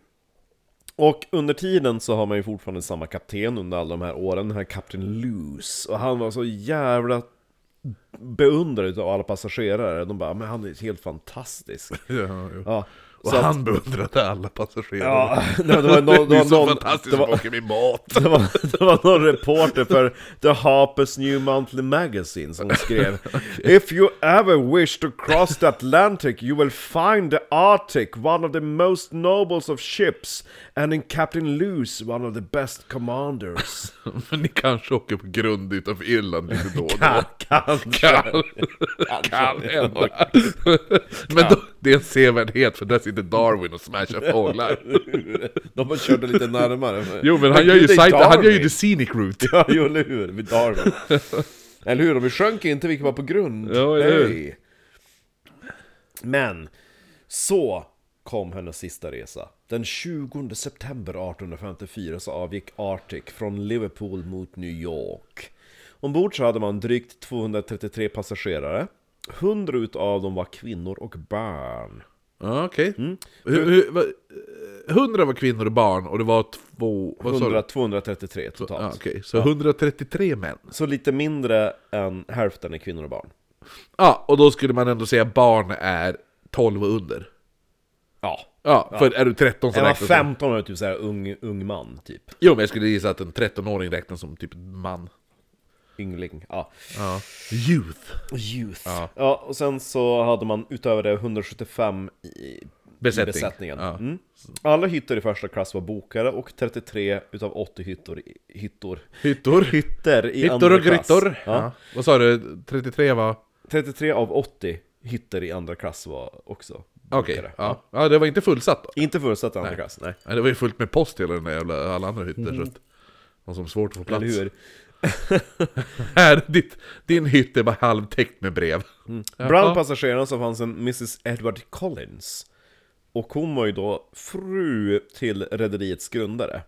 S1: Och under tiden så har man ju fortfarande samma kapten under alla de här åren, den här kapten Luce. Och han var så jävla beundrad av alla passagerare. De bara, men han är helt fantastisk.
S2: Ja, jo.
S1: Ja.
S2: Och
S1: Så att-
S2: han beundrade alla passagerare.
S1: Ja, nej, det var någon,
S2: det
S1: det
S2: är
S1: var
S2: så
S1: någon,
S2: fantastiskt
S1: det
S2: att
S1: var,
S2: åka med båt.
S1: det, var, det var någon reporter för The Harper's New Monthly Magazine som skrev If you ever wish to cross the Atlantic you will find the Arctic one of the most nobles of ships and in Captain Luce one of the best commanders.
S2: Men ni kanske åker på grund utanför Irland lite då och då.
S1: Ka- Kanske.
S2: Kan, kan hända. Men då, det är en sevärdhet för där sitter Darwin och smashar fåglar.
S1: De bara körde lite närmare.
S2: Jo men han gör ju,
S1: det är
S2: sight, han gör ju
S1: Darwin.
S2: the scenic route.
S1: Ja, jo, eller hur? Vid Darwin. eller hur? Och vi sjönk inte, vilket var på grund.
S2: Ja, eller hur?
S1: Nej. Men, så kom hennes sista resa. Den 20 september 1854 så avgick Arctic från Liverpool mot New York. Ombord så hade man drygt 233 passagerare. 100 utav dem var kvinnor och barn.
S2: Ja, Okej. Hur- hur- vad- eh, 100 var kvinnor och barn och det var två... Vad sa du?
S1: 100, 233 totalt.
S2: Ja, okej. Så 133 män.
S1: Så lite mindre än hälften är kvinnor och barn.
S2: Ja, och då skulle man ändå säga barn är 12 och under.
S1: Ja,
S2: Ja, för är du 13 så
S1: Jag var
S2: räknas det.
S1: 15 och typ såhär ung, ung man, typ.
S2: Jo, men jag skulle gissa att en 13-åring räknas som typ man.
S1: Yngling, ja.
S2: Ja. Youth.
S1: Youth.
S2: Ja.
S1: Ja. och sen så hade man utöver det 175 i
S2: Besättning.
S1: besättningen.
S2: Ja.
S1: Mm. Alla hyttor i första klass var bokade och 33 utav 80 hyttor, i- hyttor,
S2: Hyttor.
S1: hyttor i
S2: Hyttor
S1: andra
S2: och gryttor.
S1: klass.
S2: Ja.
S1: Ja.
S2: Vad sa du? 33 var...
S1: 33 av 80 hyttor i andra klass var också
S2: Okej.
S1: bokade.
S2: Ja. ja, det var inte fullsatt då.
S1: Inte förutsatt andra klass, nej.
S2: Ja, det var ju fullt med post hela den där jävla, alla andra hytter. Så att, någon som svårt att få plats.
S1: Mm. Eller hur?
S2: Här, ditt, din hytt är bara halvtäckt med brev.
S1: Bland passagerarna så fanns en Mrs Edward Collins Och hon var ju då fru till rederiets grundare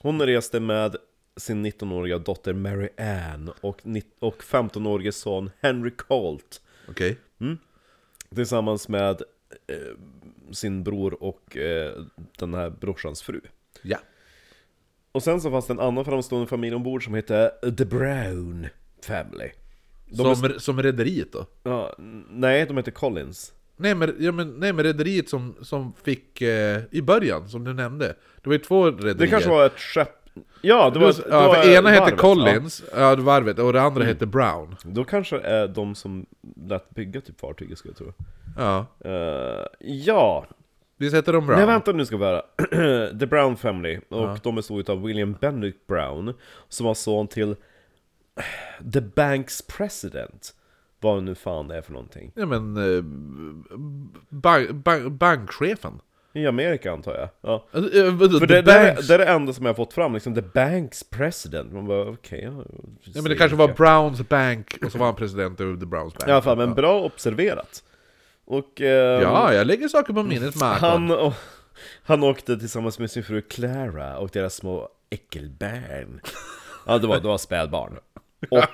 S1: Hon reste med sin 19-åriga dotter Mary Ann och, nitt- och 15-årige son Henry Colt
S2: Okej.
S1: Tillsammans med eh, sin bror och eh, den här brorsans fru
S2: Ja.
S1: Och sen så fanns det en annan framstående familj ombord som hette The Brown Family
S2: som, som rederiet då?
S1: ja, n- Nej, de hette Collins
S2: Nej men, ja, men, nej, men rederiet som, som fick eh, i början, som du nämnde. Det var ju två rederier.
S1: Det kanske var ett skepp... Ja, det var...
S2: ja,
S1: det var
S2: för ena hette
S1: varvet, Mm.
S2: Collins, ja. det varvet, och det andra hette Brown.
S1: Ja. Då kanske det är de som lät bygga typ fartyget skulle jag tro.
S2: Ja.
S1: Eh, ja,
S2: Visst hette de Brown?
S1: nej vänta nu ska vi höra. The Brown Family, och de bestod utav William Benedict Brown, som var son till The Banks President. Vad nu fan det är för någonting.
S2: Ja men... Eh, bank, bank, bankchefen?
S1: I Amerika antar jag. Ja.
S2: Alltså, eh, vadå,
S1: För
S2: the
S1: det, det, är,
S2: banks-
S1: det är det enda som jag har fått fram, liksom The Banks President. Man bara okej...
S2: Ja men det kanske var Browns bank, och så var han president över the Browns bank.
S1: I alla fall, men bra observerat. Och... ehm,
S2: Ja, jag lägger saker på minnet Marco.
S1: Han, och, han åkte tillsammans med sin fru Clara och deras små äckelbarn. Ja, det var, det var spädbarn. Och...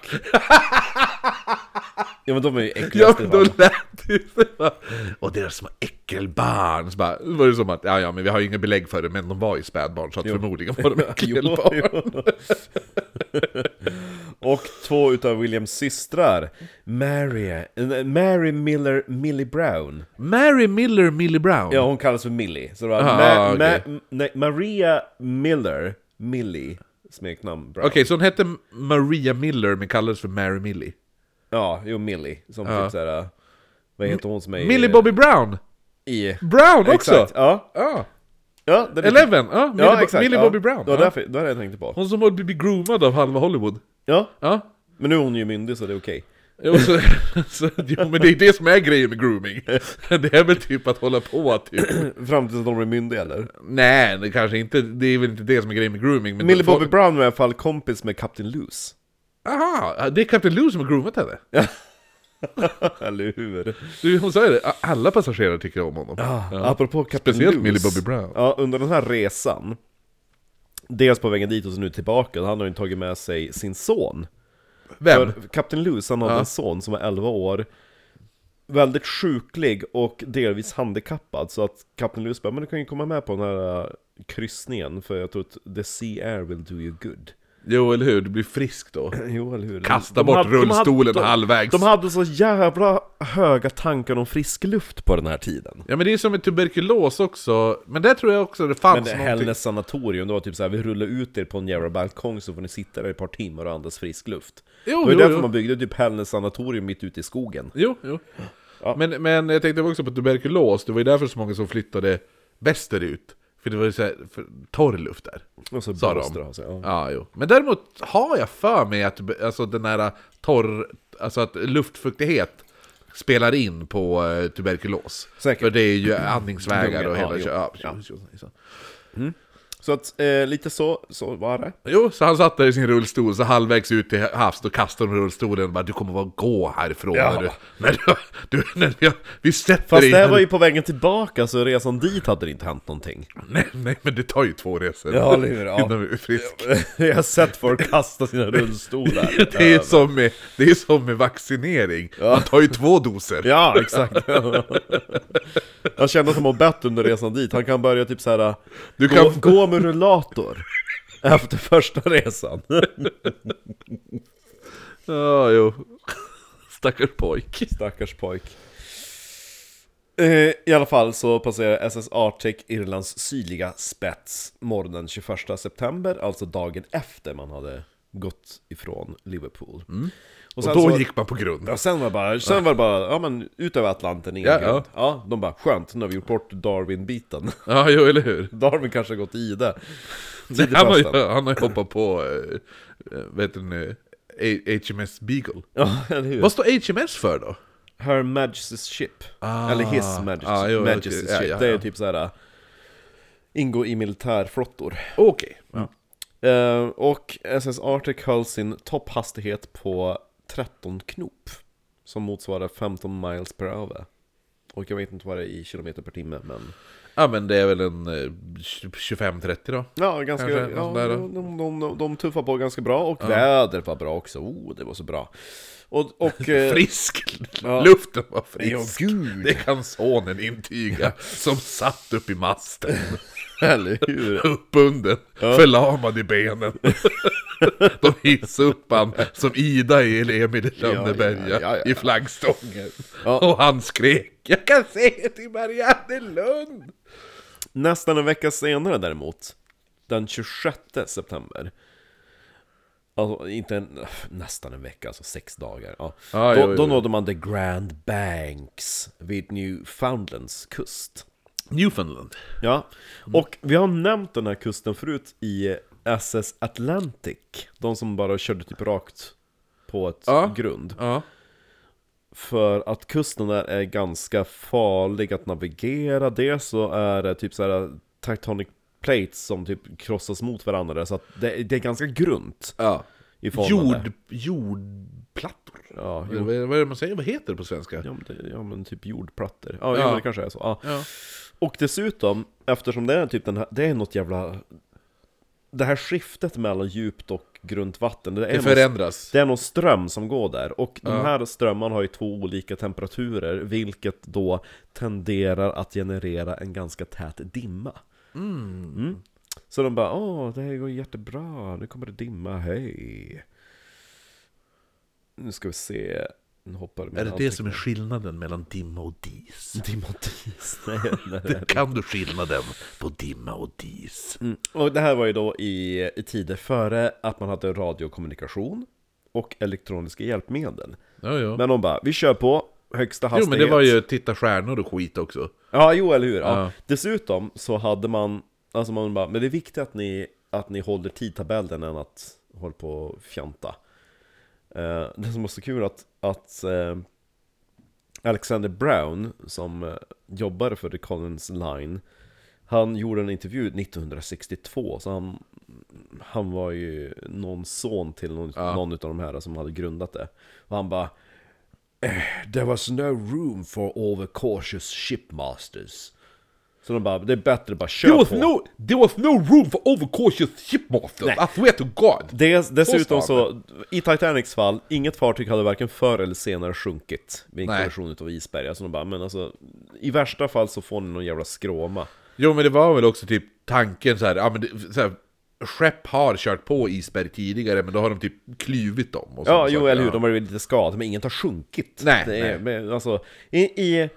S1: Ja men de är ju
S2: Ja
S1: äckligaste
S2: men då
S1: ja,
S2: lät det ju så bara, Och deras små äckelbarn. Så bara, då var det som att, ja ja men vi har ju inga belägg för det, men de var ju spädbarn så att förmodligen var de äckelbarn.
S1: Och två utav Williams systrar, Mary, eh, Mary Miller Millie Brown.
S2: Mary Miller Millie Brown.
S1: Ja hon kallas för Millie. Så det var
S2: Ah,
S1: Ma-
S2: okej.
S1: Ma- nej, Maria Miller, Millie, smeknamn Brown.
S2: Okej, så hon hette Maria Miller men kallades för Mary Millie.
S1: Ja, jo Millie. Som typ såhär, vad heter hon som är i-
S2: Millie Bobby Brown!
S1: i...
S2: Brown också!
S1: Eh, Exakt, ja.
S2: Ja.
S1: ja det är lite-
S2: Eleven! Ja, Millie, Bo- Millie
S1: ja.
S2: Bobby Brown.
S1: Det var
S2: Ja.
S1: därför, det var det jag tänkte på.
S2: Hon som har blivit groomad av halva Hollywood.
S1: Ja,
S2: Ja.
S1: men nu är hon ju myndig så det är okej.
S2: Jo, så, så, jo men det är det som är grejen med grooming. Det är väl typ att hålla på att typ...
S1: Fram tills att de blir myndiga eller?
S2: Nej, det kanske inte, det är väl inte det som är grejen med grooming. Men
S1: Millie
S2: folk-
S1: Bobby Brown var i alla fall kompis med Captain Loose.
S2: Aha, det är Captain Lou som har groomat henne.
S1: eller hur?
S2: Du, hon sa ju det, alla passagerare tycker om honom.
S1: Ja. Apropå Captain
S2: Speciellt
S1: Luce.
S2: Millie Bobby Brown.
S1: Ja, under den här resan, dels på vägen dit och så nu tillbaka, han har ju tagit med sig sin son.
S2: Vem?
S1: För Kapten Lewis, han hade en son som var 11 år Väldigt sjuklig och delvis handikappad Så att Kapten Lewis bara, men du kan ju komma med på den här äh, kryssningen För jag tror att the sea air will do you good
S2: Jo, eller hur? Du blir frisk då.
S1: Jo, eller hur?
S2: Kasta bort rullstolen halvvägs.
S1: De hade så jävla höga tankar om frisk luft på den här tiden
S2: Ja, men det är som med tuberkulos också. Men där tror jag också det fanns
S1: Men det
S2: Alltså, någonting.
S1: Hellnes sanatorium, det var typ såhär, vi rullar ut er på en jävla balkong så får ni sitta där i ett par timmar och andas frisk luft
S2: Jo,
S1: Det var ju
S2: jo,
S1: därför
S2: jo.
S1: man byggde typ Hellnes sanatorium mitt ute i skogen
S2: Jo, jo.
S1: Ja.
S2: Men, men jag tänkte också på tuberkulos. Det var ju därför så många som flyttade västerut. För det var ju så här, för torr luft där.
S1: Och så
S2: Sa de.
S1: blåste det av sig, ja.
S2: Ja, jo. Men däremot har jag för mig att tub- alltså, den här torr, alltså att luftfuktighet spelar in på eh, tuberkulos.
S1: Säkert.
S2: För det är ju andningsvägar och
S1: Lungor,
S2: hela
S1: ja,
S2: kö- ja,
S1: jo.
S2: precis, så.
S1: Så att eh, lite så, så var det.
S2: Jo, så han satt där i sin rullstol, så halvvägs ut till havs, då kastade de rullstolen och bara Du kommer bara gå härifrån
S1: Ja.
S2: när du, när du, du när vi, vi sätter
S1: Fast
S2: dig
S1: det här
S2: här."
S1: var ju på vägen tillbaka så resan dit hade det inte hänt någonting.
S2: nej, nej, men det tar ju två resor
S1: Ja, eller hur, ja.
S2: innan vi är friska
S1: Jag har sett folk kasta sina rullstolar.
S2: Det är ju som med, det är som med vaccinering, man tar ju två doser
S1: Ja, exakt. Jag kände att han mår bättre under resan dit. Han kan börja typ så här.
S2: Du
S1: gå,
S2: kan-
S1: gå med rullator. Efter första resan.
S2: Ja, jo. Stackars pojk.
S1: Stackars pojk. Eh, I alla fall så passerar SS Arctic Irlands sydliga spets morgonen 21 september, alltså dagen efter man hade gått ifrån Liverpool. Och,
S2: Mm. Och
S1: sen
S2: då
S1: så,
S2: gick man på grund.
S1: ja, sen var det bara, sen var det bara, ja men ut över Atlanten, ingen
S2: Ja,
S1: ja, ja. ja, de bara, skönt, nu har vi gjort bort Darwin-biten.
S2: Ja, jo, eller hur?
S1: Darwin kanske har gått i det.
S2: Det,
S1: Tidigt
S2: han,
S1: på
S2: har,
S1: hösten.
S2: ju- han har ju hoppat på, äh, vet du nu, A- HMS Beagle.
S1: Ja, eller hur?
S2: Vad står HMS för då?
S1: Her Majesty's Ship. Eller His Majesty's,
S2: Ah, jo,
S1: Majesty's
S2: okej. Ja,
S1: Ship.
S2: ja,
S1: det är
S2: ja.
S1: typ så här. ingå i militärflottor.
S2: Okej.
S1: Eh, och SS Arctic höll sin topphastighet på 13 knop. Som motsvarar 15 miles per hour. Och jag vet inte vad det är i kilometer per timme, men...
S2: Ja, men det är väl en eh, 25-30 då.
S1: Ja, ganska,
S2: Kanske,
S1: ja,
S2: något där då.
S1: de, de, de, de tuffar på ganska bra, och vädret var bra också. Oh, det var så bra. Och... och eh,
S2: Frisk!
S1: Ja.
S2: Luften var
S1: Ja,
S2: frisk.
S1: gud!
S2: Det kan sonen intyga, som satt upp i masten,
S1: Eller hur?
S2: uppbunden, förlamad i benen. De hissade upp han som Ida i Emil i Lönneberga
S1: ja, ja, ja.
S2: i flaggstången.
S1: Ja.
S2: Och han skrek ”Jag kan se till Marianne Lund!”
S1: Nästan en vecka senare däremot, den 26 september, alltså inte en, nästan en vecka, alltså sex dagar, ja. då,
S2: Ja, Ah, jo, jo,
S1: då
S2: jo.
S1: nådde man the Grand Banks vid Newfoundlands kust.
S2: Newfoundland.
S1: Ja,
S2: Mm.
S1: och vi har nämnt den här kusten förut i SS Atlantic, de som bara körde typ rakt på ett
S2: Ja.
S1: grund.
S2: Ja.
S1: För att kusten där är ganska farlig att navigera. Dels så är det typ så här tectonic plates som typ krossas mot varandra. Så att det, det är ganska grunt
S2: ja.
S1: i formen där.
S2: Jord, jordplattor?
S1: Ja,
S2: Eller
S1: jord,
S2: Vad, är- vad är det man säger? Vad heter det på svenska?
S1: ja, men det, ja, men typ jordplattor. Ja, ja.
S2: Ja.
S1: men det kanske är så. Ja.
S2: Ja.
S1: Och dessutom, eftersom det är typ den här, det är något jävla... Det här skiftet mellan djupt och grunt vatten, det är,
S2: Det
S1: någon,
S2: förändras.
S1: det är någon ström som går där. Och de här strömmarna har ju två olika temperaturer, vilket då tenderar att generera en ganska tät dimma. Mm. Så de bara åh, det här går jättebra, nu kommer det dimma, hej. Nu ska vi se, nu hoppar
S2: Är det det som är skillnaden mellan dimma och dis?
S1: Dimma och dis, nej, nej, nej.
S2: Kan du skillnaden på dimma och dis?
S1: Mm. Och det här var ju då i, i tider före att man hade radiokommunikation och elektroniska hjälpmedel.
S2: Ja, ja.
S1: Men de bara, vi kör på högsta
S2: jo,
S1: hastighet.
S2: men det var ju titta stjärnor och skit också.
S1: Ja, jo eller hur. Ja.
S2: Ja.
S1: Dessutom så hade man, alltså man bara, men det är viktigt att ni, att ni håller tidtabellen än att hålla på och fjanta. Eh, det som var så kul att, att eh, Alexander Brown, som eh, jobbade för The Collins Line, han gjorde en intervju 1962, så han, han var ju någon son till någon, någon av de här som hade grundat det. Och han bara "Eh, There was no room for overcautious shipmasters. Så de bara, det är bättre att bara köra på.
S2: there was no room for overcautious shipmasters, I swear to God!
S1: Dess, dessutom
S2: Så
S1: så, i Titanics fall, inget fartyg hade varken förr eller senare sjunkit vid en
S2: Nej.
S1: kollision utav isberg. Alltså de bara, men alltså, i värsta fall så får ni någon jävla skråma.
S2: Jo, men det var väl också typ tanken så här, ja men det, så här, skepp har kört på isberg tidigare, men då har de typ kluvit dem. Och såna
S1: Ja, jo
S2: saker.
S1: eller hur, de har blivit lite skadade, men inget har sjunkit.
S2: Nej,
S1: det är,
S2: nej.
S1: Men, alltså, i, i,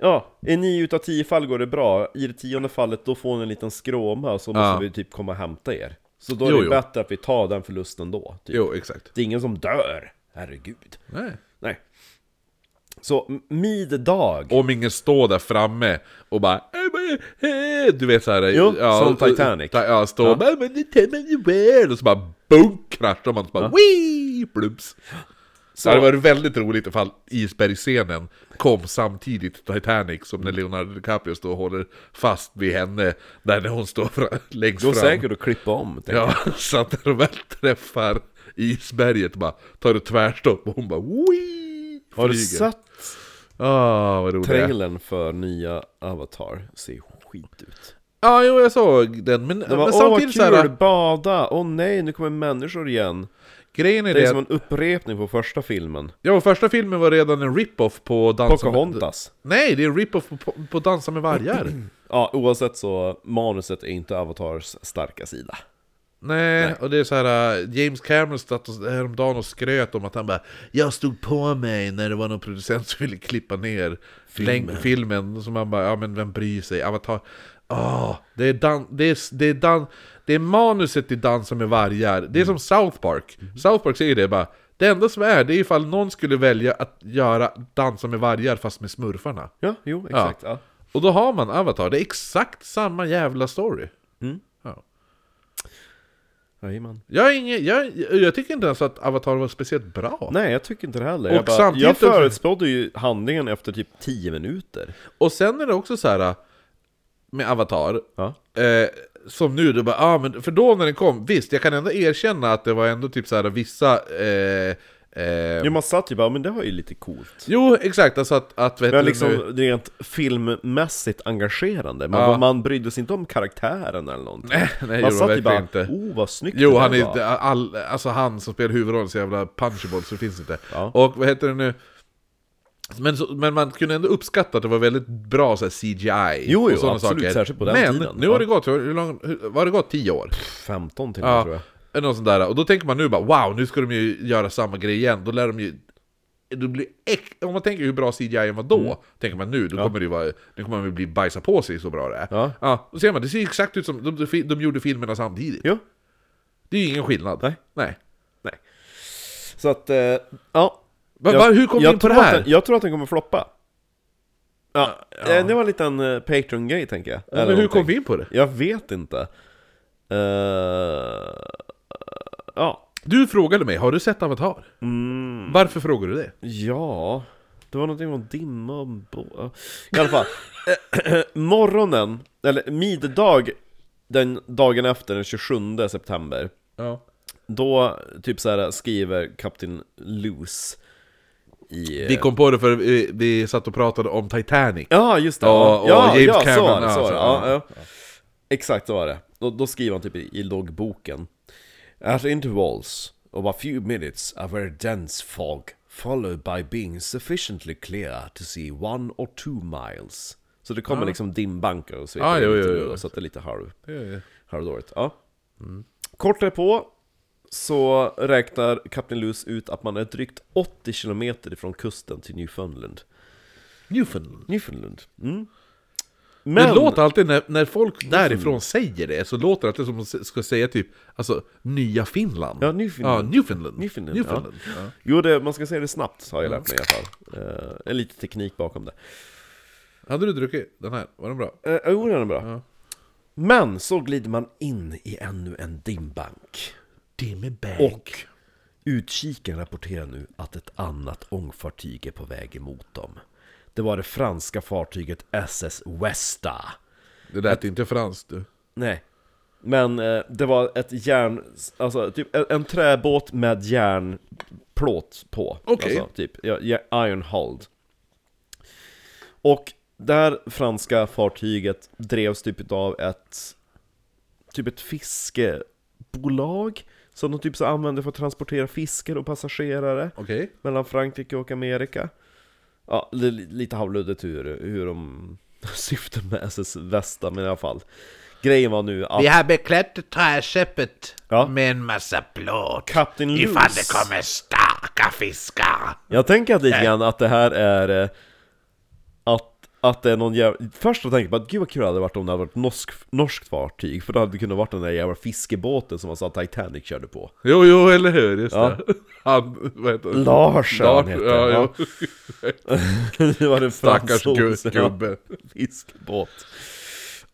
S1: ja, i nio utav tio fall går det bra, i det tionde fallet då får ni en liten skråma, så måste vi typ komma och hämta er. Så då är
S2: Jo,
S1: det
S2: jo.
S1: bättre att vi tar den förlusten då. Typ.
S2: Jo, exakt.
S1: Det är ingen som dör, herregud.
S2: Nej.
S1: Nej. Så, m- middag.
S2: Om ingen står där framme och bara "Eh, men, eh", Du vet såhär
S1: Jo, som Titanic.
S2: Ja, står och bara "Äh, "Men det tämmer ju väl", Och så bara bunk kraschar man så bara wii plumps
S1: Så-
S2: Så. Det var väldigt roligt ifall isbergsscenen kom samtidigt Titanic som när Leonardo DiCaprio står och håller fast vid henne där när hon står fra, längst
S1: Gå
S2: fram.
S1: säkert och klippa om. tänker
S2: Ja, så att när de väl träffar isberget bara tar det tvärstopp och hon bara wii
S1: jag. Har du
S2: flyger.
S1: sett
S2: Ah, vad roligt.
S1: trailern för nya Avatar? Ser skit ut.
S2: Ja, jo, jag såg den, men,
S1: Det var
S2: men
S1: åh
S2: samtidigt
S1: kul,
S2: så här, äh,
S1: bada, åh nej nu kommer människor igen.
S2: grejen är
S1: Det
S2: det,
S1: är
S2: att-
S1: som en upprepning på första filmen.
S2: ja, första filmen var redan en rip-off på Dansa med...
S1: Pocahontas.
S2: Nej, det är en rip-off på, på Dansa med vargar.
S1: Ja, oavsett så, manuset är inte Avatars starka sida.
S2: Nej,
S1: Nej.
S2: och det är så här äh, James Cameron satt och- häromdagen och skröt om att han bara Jag stod på mig när det var någon producent som ville klippa ner filmen, filmen Som han bara, ja men vem bryr sig? Avatar Åh, det är dan, det är, det är dan, det är manuset i Dansa med vargar Det är som South Park South Park säger det bara Det enda som är, det är ifall någon skulle välja att göra Dansa med vargar fast med smurfarna
S1: Ja, jo, exakt. Ja.
S2: Och då har man Avatar, det är exakt samma jävla story ja.
S1: Jajamän.
S2: Jag, är ingen, jag, jag tycker inte ens att Avatar var speciellt bra.
S1: Nej, jag tycker inte det heller.
S2: Och
S1: jag, bara,
S2: samtidigt-
S1: jag förutspådde ju handlingen efter typ 10 minuter.
S2: Och sen är det också så här äh, med Avatar,
S1: Ja.
S2: eh, som nu, då bara, ah, men, för då när den kom, visst, jag kan ändå erkänna att det var ändå typ så här vissa... Eh, eh,
S1: Jo, man satt ju bara, "Ja, men det var ju lite coolt.
S2: jo, exakt, alltså att... att vet
S1: Men
S2: du
S1: liksom
S2: nu-
S1: rent filmmässigt engagerande, man,
S2: Ja.
S1: man brydde sig inte om karaktären eller någonting.
S2: Nej, nej,
S1: man
S2: gjorde man
S1: satt ju
S2: verkligen
S1: bara,
S2: inte.
S1: oh vad snyggt
S2: Jo,
S1: det
S2: han
S1: där
S2: är
S1: var."
S2: inte, all, alltså han som spelar huvudrollen så jävla punchable så det finns inte.
S1: Ja.
S2: Och vad heter det nu? Men, så, men man kunde ändå uppskatta att det var väldigt bra så här, CGI
S1: Jo, jo,
S2: och sådana
S1: absolut,
S2: saker.
S1: särskilt på den
S2: men
S1: tiden.
S2: nu
S1: Ja.
S2: har det gått, hur hur lång, hur, var det gått? 10 år?
S1: 15 till och med tror
S2: Ja,
S1: jag.
S2: något sånt där. Och då tänker man nu bara wow, nu ska de ju göra samma grej igen. Då lär de ju... Då blir äck, om man tänker hur bra CGI var
S1: Mm.
S2: då, tänker man nu, då kommer det ju vara, nu kommer man ju bli bajsa på sig så bra det är.
S1: Ja.
S2: ja då ser man, det ser ju exakt ut som, de, de, de gjorde filmerna samtidigt.
S1: Jo,
S2: Det är ju ingen skillnad.
S1: Nej.
S2: Nej.
S1: nej. Så att, eh, ja.
S2: Va,
S1: Jag-
S2: va, hur kom vi
S1: jag
S2: in på det
S1: tror att
S2: här?
S1: Den, jag tror att den kommer floppa. Ja, eh, det var en liten eh, Patreon-grej tänker jag.
S2: Ja,
S1: Eller
S2: men hur kom
S1: någonting.
S2: vi in på det?
S1: Jag vet inte. Eh, ja.
S2: Du frågade mig, har du sett Avatar?
S1: Mm.
S2: Varför frågar du det?
S1: Ja, det var någonting om dimma och bo... ja. I alla fall, Eh, morgonen, eller middag den dagen efter, den 27 september
S2: Ja.
S1: Då typ så här skriver Kapten Loose i... eh,
S2: Vi kom på det för vi, vi satt och pratade om Titanic.
S1: Ja, just det!
S2: Ja, och
S1: ja,
S2: James
S1: ja, så
S2: Cameron,
S1: var det, så var det.
S2: alltså,
S1: Ja, ja. Exakt så var det. Då, då skriver han typ i, i loggboken At intervals of a few minutes of a dense fog followed by being sufficiently clear to see one or two miles. Så det kommer liksom dimbankar och sveper
S2: Ah,
S1: in
S2: jo,
S1: lite
S2: jo,
S1: nu
S2: jo.
S1: då, så att det är lite halv,
S2: Ja. Mm.
S1: halvdåligt. Ja. Kort därpå så räknar Kapten Luce ut att man är drygt 80 kilometer ifrån kusten till Newfoundland.
S2: Newfoundland.
S1: Newfoundland. Mm.
S2: det låter alltid när, när folk därifrån säger det, så låter det alltid som att de ska säga typ alltså, Nya Finland.
S1: Ja, Newfoundland.
S2: Ja, Newfoundland.
S1: Newfoundland, Jo, det, man ska säga det snabbt har jag lärt mig i alla fall. Eh, lite teknik bakom det.
S2: Hade du druckit den här? Var den bra?
S1: Eh, Jo, den är bra. Men så glider man in i ännu en dimbank.
S2: Dimmerberg.
S1: Och utkiken rapporterar nu att ett annat ångfartyg är på väg emot dem. Det var det franska fartyget SS Westa.
S2: Det lät inte franskt du.
S1: Nej. Men eh, det var ett järn... Alltså typ en, en träbåt med järnplåt på.
S2: Okej.
S1: Alltså, typ ja, ja, iron hulled. Och det här franska fartyget drevs typ av ett... Typ ett fiskebolag. Som de typ så använde för att transportera fiskar och passagerare
S2: Okej.
S1: mellan Frankrike och Amerika. Ja, li- li- lite halvluddigt hur, hur de syften med SS Västa, men i alla fall. Grejen var nu att
S3: har beklätt träskeppet
S1: Ja.
S3: med en massa plåt.
S1: Kapten Loose...
S3: starka fiskar.
S1: Jag tänker att lite grann att det här är... eh, Att, att det är någon jävla... Först så tänkte jag bara, gud vad kul det hade varit om det hade varit norsk, norskt fartyg, för då hade det kunnat varit den där jävla fiskebåten som man sa Titanic körde på.
S2: Jo, jo, eller hur? Just det. Han, vad heter han?
S1: Larsen
S2: Lars-
S1: heter
S2: ja,
S1: han, ja.
S2: jo.
S1: det var en
S2: Stackars gu-
S1: fransos, ja.
S2: gubbe.
S1: Fiskbåt.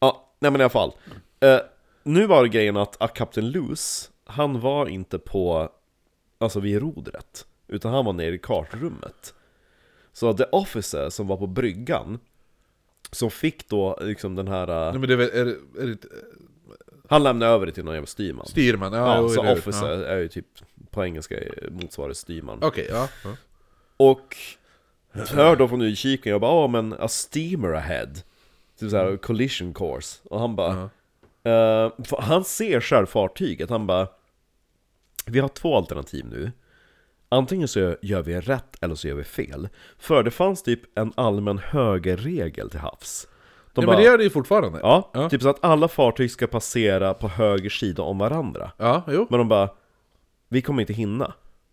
S1: Ja, nej men i alla fall. Eh, nu var grejen att, att Kapten Loose, han var inte på, alltså vid rodret, utan han var nere i kartrummet. Så The Officer som var på bryggan, som fick då liksom den här, eh,
S2: Nej, men det är, väl- är, det- är det inte...
S1: han lämnade över det till någon jävla styrman.
S2: Styrman? Ja,
S1: Ja,
S2: jo, eller
S1: så
S2: hur?
S1: Officer är ju typ, på engelska eh, motsvarar styrman.
S2: Ja. Okej, ja. ja.
S1: Och hör då från utkiken, jag bara ah men a steamer ahead Typ såhär collision course Och han bara eh, för Han ser själv fartyget, han bara Vi har två alternativ nu Antingen så gör vi rätt eller så gör vi fel För det fanns typ en allmän högerregel till havs De
S2: ja,
S1: bara,
S2: men det gör det ju fortfarande.
S1: ja,
S2: Ja.
S1: typ så att alla fartyg ska passera på höger sida om varandra.
S2: Ja, jo.
S1: Men de bara, vi kommer inte hinna.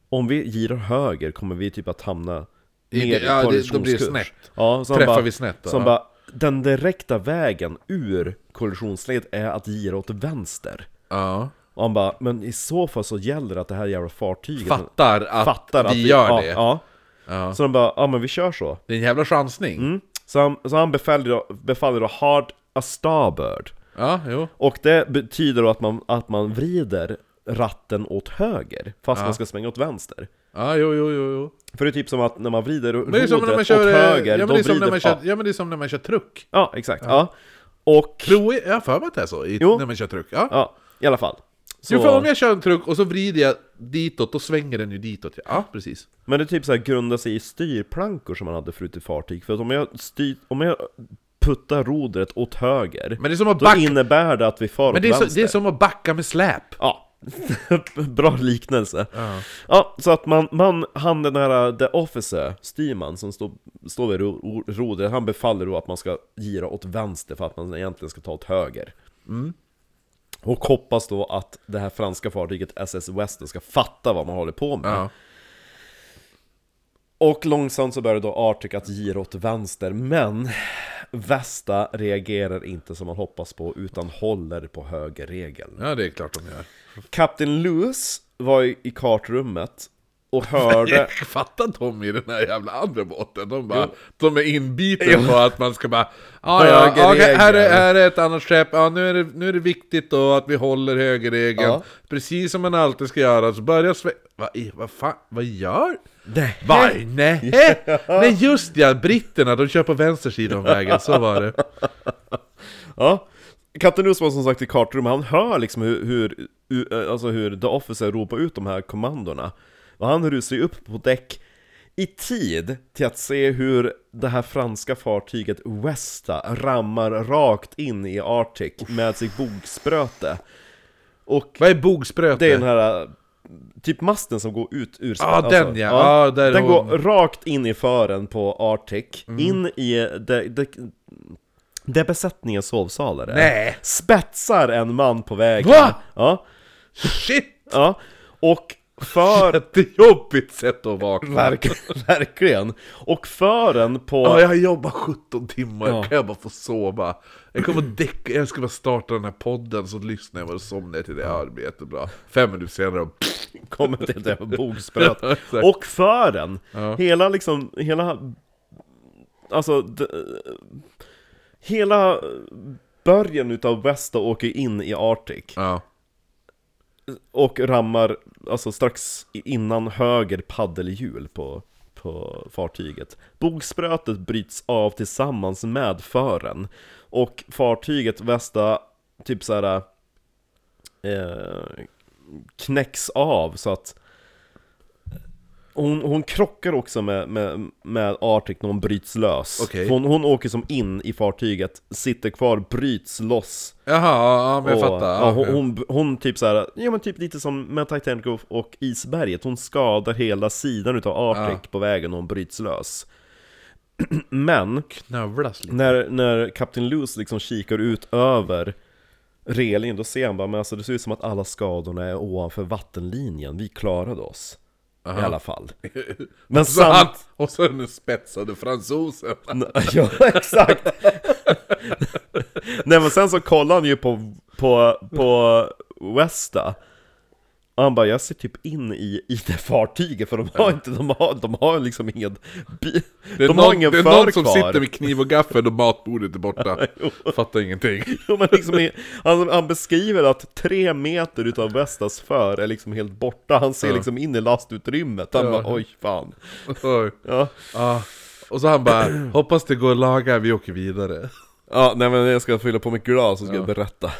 S1: Om vi girar höger kommer vi typ att hamna
S2: I
S1: ner i
S2: det- ja, det- då blir det
S1: kollisionskurs.
S2: snett.
S1: Ja, så han
S2: Träffar
S1: bara,
S2: vi snett då,
S1: Som
S2: ja.
S1: bara, den direkta vägen ur kollisionsledet är att gira åt vänster.
S2: Ja.
S1: Och han bara, men i så fall så gäller det att det här jävla fartyget
S2: Fattar att
S1: fattar
S2: vi
S1: att
S2: gör
S1: ja,
S2: det.
S1: Ja. Så de bara, ja men vi kör så.
S2: Det är en jävla chansning.
S1: Mm. Så han, så han befaller, då, befaller då hard a starboard.
S2: Ja, jo.
S1: Och det betyder då att man, att man vrider ratten åt höger, fast man ska svänga åt vänster.
S2: Ja, jo, jo, jo, jo.
S1: För det är typ som att när man vrider
S2: Men det är
S1: rodret
S2: som när man
S1: åt
S2: kör... eh,
S1: höger,
S2: ja,
S1: då
S2: men det är som
S1: vrider...
S2: när man kör,
S1: ja,
S2: ja, men det är som när man kör truck.
S1: ja, exakt. Ja. Och...
S2: Tror jag, jag har för mig att det är så, i,
S1: Jo.
S2: när man kör truck. Ja.
S1: Ja, i alla fall. Så,
S2: Jo, för om jag kör en truck och så vrider jag ditåt, då svänger den ju ditåt. Ja, ja precis.
S1: Men det typ så här grundar sig i styrplankor som man hade förut i fartyg. För att om jag, styr, om jag puttar rodret åt höger,
S2: Men det är som att
S1: då
S2: backa...
S1: innebär det att vi far
S2: Men
S1: åt
S2: det är, så,
S1: vänster.
S2: det är som att backa med släp.
S1: Ja, bra liknelse. Ja, så att man, man, han den här, uh, the officer, styrman som står står vid ro- ro- rodret, han befaller då att man ska gira åt vänster för att man egentligen ska ta åt höger. Och hoppas då att det här franska fartyget SS Western ska fatta vad man håller på med.
S2: Ja.
S1: Och långsamt så börjar då Arctic att gira åt vänster, men Vesta reagerar inte som man hoppas på, utan håller på höger regel.
S2: ja, det är klart de gör.
S1: Kapten Lewis var i, i kartrummet och hörde...
S2: Jag fattar de i den här jävla andra båten, de, bara, de är inbiten på att man ska bara ah, ja,
S1: Högerregeln.
S2: okej, här, är, här är ett annat skepp, ja, nu, är det, nu är det viktigt då att vi håller högerregeln
S1: Ja.
S2: Precis som man alltid ska göra, så börjar sve... Vad vad fan, vad gör?
S1: Nej.
S2: Va, nej, nej just ja, britterna, de kör på vänster sida om vägen, så var det
S1: Ja. Kapten Lewis var som sagt i kartrummet, han hör liksom hur, hur, hur, alltså hur The Officer ropar ut de här kommandona. Och han rusar ju upp på däck i tid till att se hur det här franska fartyget Westa rammar rakt in i Arctic med sitt bogspröte. Och
S2: Vad är bogspröte?
S1: Det är den här, typ masten som går ut ur
S2: Eh.
S1: alltså.
S2: Ja, den ja. Ja, där är
S1: den
S2: hon. Mm.
S1: går rakt in i fören på Arctic, in i det, det, det besättningens sovsalar är.
S2: Nej.
S1: Spetsar en man på vägen.
S2: Va?
S1: Ja,
S2: Shit!
S1: ja. Och för...
S2: Jättejobbigt sätt att vakna!
S1: Verk- Verkligen. Och fören på...
S2: Ja, jag har jobbat 17 timmar,
S1: Ja.
S2: kan jag bara få sova? Jag kommer att däcka, jag ska bara starta den här podden, så lyssnar jag bara och somnar till det, ja det blir jättebra Fem minuter senare,
S1: kommer till det här bogspröt.
S2: Ja, exakt.
S1: och fören, hela liksom, hela... Alltså... D- hela början utav Westa åker in i Arctic.
S2: ja,
S1: Och rammar, alltså strax innan höger paddelhjul på, på fartyget. Bogsprötet bryts av tillsammans med fören. Och fartyget Västa, typ såhär... Eh, knäcks av så att... Hon, hon krockar också med, med, med Arctic när hon bryts lös.
S2: Okej.
S1: Hon, hon åker som in i fartyget, sitter kvar, bryts loss.
S2: jaha, ja, men jag
S1: Och,
S2: fattar
S1: ja,
S2: ja,
S1: hon, hon, hon typ såhär, ja men typ lite som med Titanic och, och isberget, hon skadar hela sidan utav Arctic på vägen och hon bryts lös. men,
S2: Knövlas lite
S1: när, när Kapten Lewis liksom kikar ut över relingen, då ser han bara, men alltså det ser ut som att alla skadorna är ovanför vattenlinjen, vi klarade oss. I alla fall. Men
S2: så han,
S1: samt...
S2: Och så den spetsade fransosen!
S1: Ja, exakt! Nej men sen så kollar han ju på, på, på Westa och han bara, jag ser typ in i, i det fartyget för de har inte, de har, de har liksom ingen bi-
S2: Det är,
S1: De har
S2: någon,
S1: ingen
S2: det är
S1: för
S2: någon som
S1: kvar.
S2: sitter med kniv och gaffel och matbordet är borta Fattar ingenting
S1: Jo, men liksom i, han, han beskriver att tre meter utav Westas för är liksom helt borta, han ser liksom in i lastutrymmet, han bara oj fan.
S2: Oj.
S1: Ja.
S2: Ja. Och så han bara, hoppas det går att laga, vi åker vidare
S1: Ja, nej men jag ska fylla på mitt glas och ska
S2: Ja.
S1: berätta.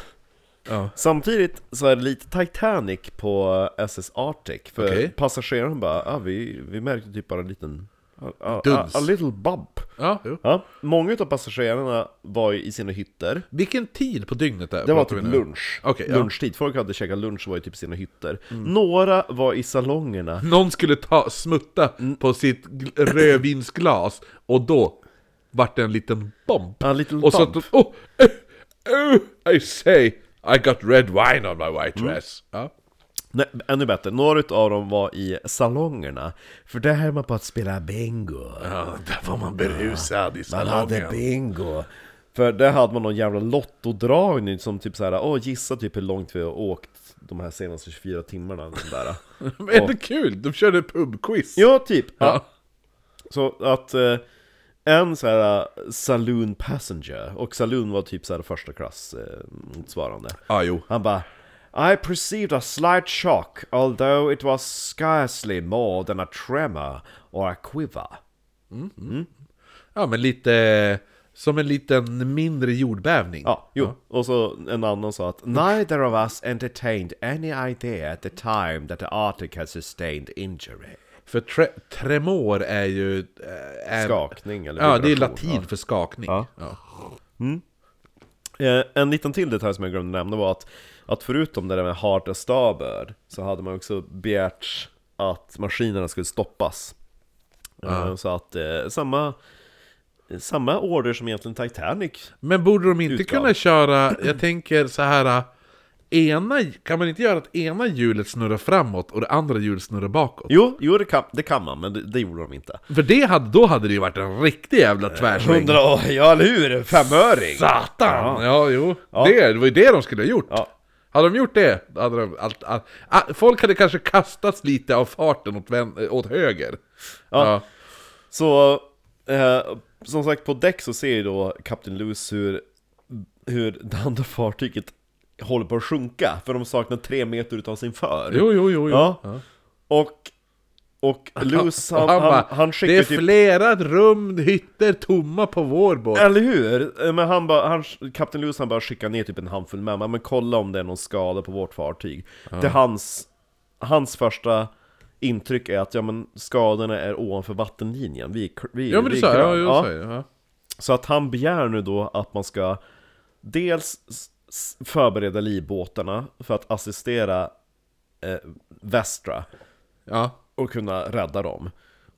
S2: Ja.
S1: Samtidigt så är det lite Titanic på SS Arctic, för
S2: Okej.
S1: passageraren bara ah, vi, vi märkte typ bara en liten... A, a, a,
S2: Duns.
S1: a little bump.
S2: Ja, jo.
S1: Ja, många av passagerarna var ju i sina hytter.
S2: Vilken tid på dygnet är
S1: Det var
S2: pratar
S1: typ
S2: vi nu?
S1: lunch.
S2: Okej, ja. Mm.
S1: Lunchtid. Folk hade käkat lunch och var i typ sina hytter. Några var i salongerna. Mm.
S2: Någon skulle ta, smutta på sitt gl- rödvinsglas och då vart det en liten bomb.
S1: Ja, en liten
S2: Och så att
S1: bump.
S2: oh, eh, eh, I say, I got red wine on my white
S1: Mm.
S2: dress. Ja.
S1: Nej, ännu bättre, några av dem var i salongerna. För där höll man på att spela bingo.
S2: ja, där var man berusad i
S1: Man hade
S2: salongen.
S1: bingo. För där hade man någon jävla lottodragning som typ såhär, åh gissa typ hur långt vi har åkt de här senaste 24 timmarna. den Där.
S2: Men det är kul, de körde pubquiz.
S1: ja, typ. Ja.
S2: Ja.
S1: Så att eh, en så här eh, saloon passenger, och saloon var typ så här första klass eh, motsvarande.
S2: Ah, jo.
S1: Han bara I perceived a slight shock, although it was scarcely more than a tremor or a quiver.
S2: ja, men lite som en liten mindre jordbävning.
S1: Ja, jo. Och så en annan sa att Neither of us entertained any idea at the time that the Arctic had sustained injury.
S2: För tre, tremor är ju... eh,
S1: Ehm,
S2: Är,
S1: Skakning eller
S2: Ja, det är
S1: vibration,
S2: latin för skakning.
S1: Ja.
S2: Ja.
S1: Eh, En liten till detalj som jag glömde nämna var att, att förutom det där med hard och starboard så hade man också begärt att maskinerna skulle stoppas. Eh, Så att eh, samma, samma order som egentligen Titanic.
S2: Men borde de inte
S1: Utgav.
S2: kunna köra, jag tänker så här eh, ena, kan man inte göra att ena hjulet snurrar framåt och det andra hjulet snurrar bakåt?
S1: Jo, jo det, kan, det kan man, men det, det gjorde de inte.
S2: För det hade, då hade det ju varit en riktig jävla tvärsväng.
S1: Eh, Hundra, ja eller hur? Femöring!
S2: Satan! Ja, jo. Det, det var ju det de skulle ha gjort.
S1: Ja.
S2: Hade de gjort det, då hade de allt, allt, ah, folk hade kanske kastats lite av farten åt, vän, eh, åt höger.
S1: Ja.
S2: Ja.
S1: Så, eh, som sagt på däck så ser ju då Kapten Lewis hur, hur det andra fartyget håller på att sjunka, för de saknar tre meter utav sin för.
S2: Jo, jo, jo. jo.
S1: Ja. Och, och Lewis han, han, han,
S2: bara,
S1: skickar
S2: Det är
S1: typ...
S2: flera rum, hytter tomma på vår båt.
S1: Eller hur? Eh, Men han bara, han, Kapten Lewis han bara skickar ner typ en handfull män, men kolla om det är någon skada på vårt fartyg. Det är hans, hans första intryck är att ja men skadorna är ovanför vattenlinjen, vi, är kr- vi,
S2: Ja men
S1: vi
S2: du
S1: är
S2: sa
S1: grön.
S2: ja, jag sa ju, ja.
S1: Så att han begär nu då att man ska dels s- s- förbereda livbåtarna för att assistera eh, Västra
S2: ja.
S1: och kunna rädda dem.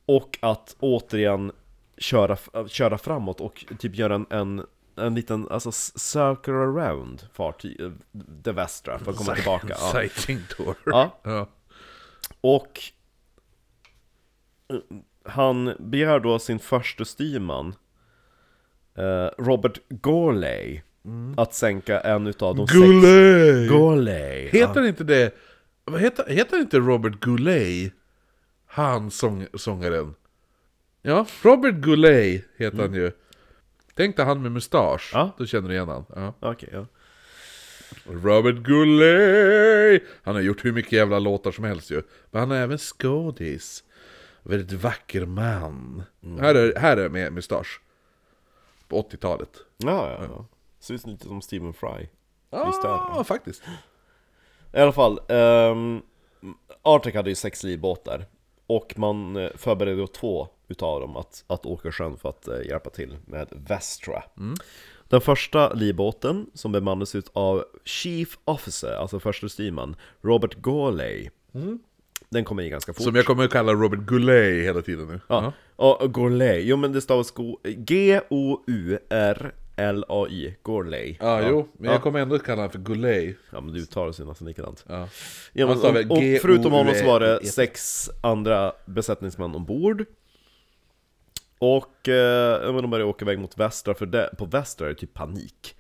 S1: Och att återigen köra, f- äh, köra framåt och typ göra en, en, en liten alltså, s- circle around fartyg, eh, det västra, för att komma tillbaka. Ja.
S2: Sighting tour.
S1: Ja.
S2: Ja.
S1: Och eh, han begär då sin första styrman, eh, Robert Gourlay, att sänka en utav de sex...
S2: Goulet!
S1: Gourlay!
S2: Heter inte det... Vad heter, heter inte Robert Goulet? Han sång, sångaren. Ja, Robert Goulet heter han ju. Tänk dig han med mustasch.
S1: Mm. Ja.
S2: Då känner du igen han. Ja.
S1: Okej, ja.
S2: Robert Goulet! Han har gjort hur mycket jävla låtar som helst ju. Men han är även skådis. Väldigt vacker man. Här, är, här är med mustasch. På 80-talet.
S1: Ja, ja, ja. Ser ut lite som Stephen Fry. Visst är han.
S2: Ja, faktiskt.
S1: I alla fall, um, Arctic hade ju sex livbåtar Och man eh, förberedde då två utav dem att, att åka sjön för att eh, hjälpa till med Vestra
S2: Mm.
S1: Den första livbåten som bemannades ut av Chief Officer, alltså första styrman, Robert Gourlay Den kom in ganska fort
S2: Mm. Som jag kommer att kalla Robert Goulet hela tiden nu.
S1: Ja, och och Gourlay, jo men det stavas go- G-O-U-R-L-A-Y, Gourlay
S2: Ja, jo, men jag kommer ändå kalla honom för Goulet.
S1: Ja men du uttalar sig nästan likadant
S2: Ja.
S1: Ja, men,
S2: Han sa väl
S1: och, och
S2: G-O-U-E.
S1: förutom honom så var
S2: E
S1: det sex andra besättningsmän ombord Och eh, ja, men de började åka iväg mot västra, för det, på västra är det typ panik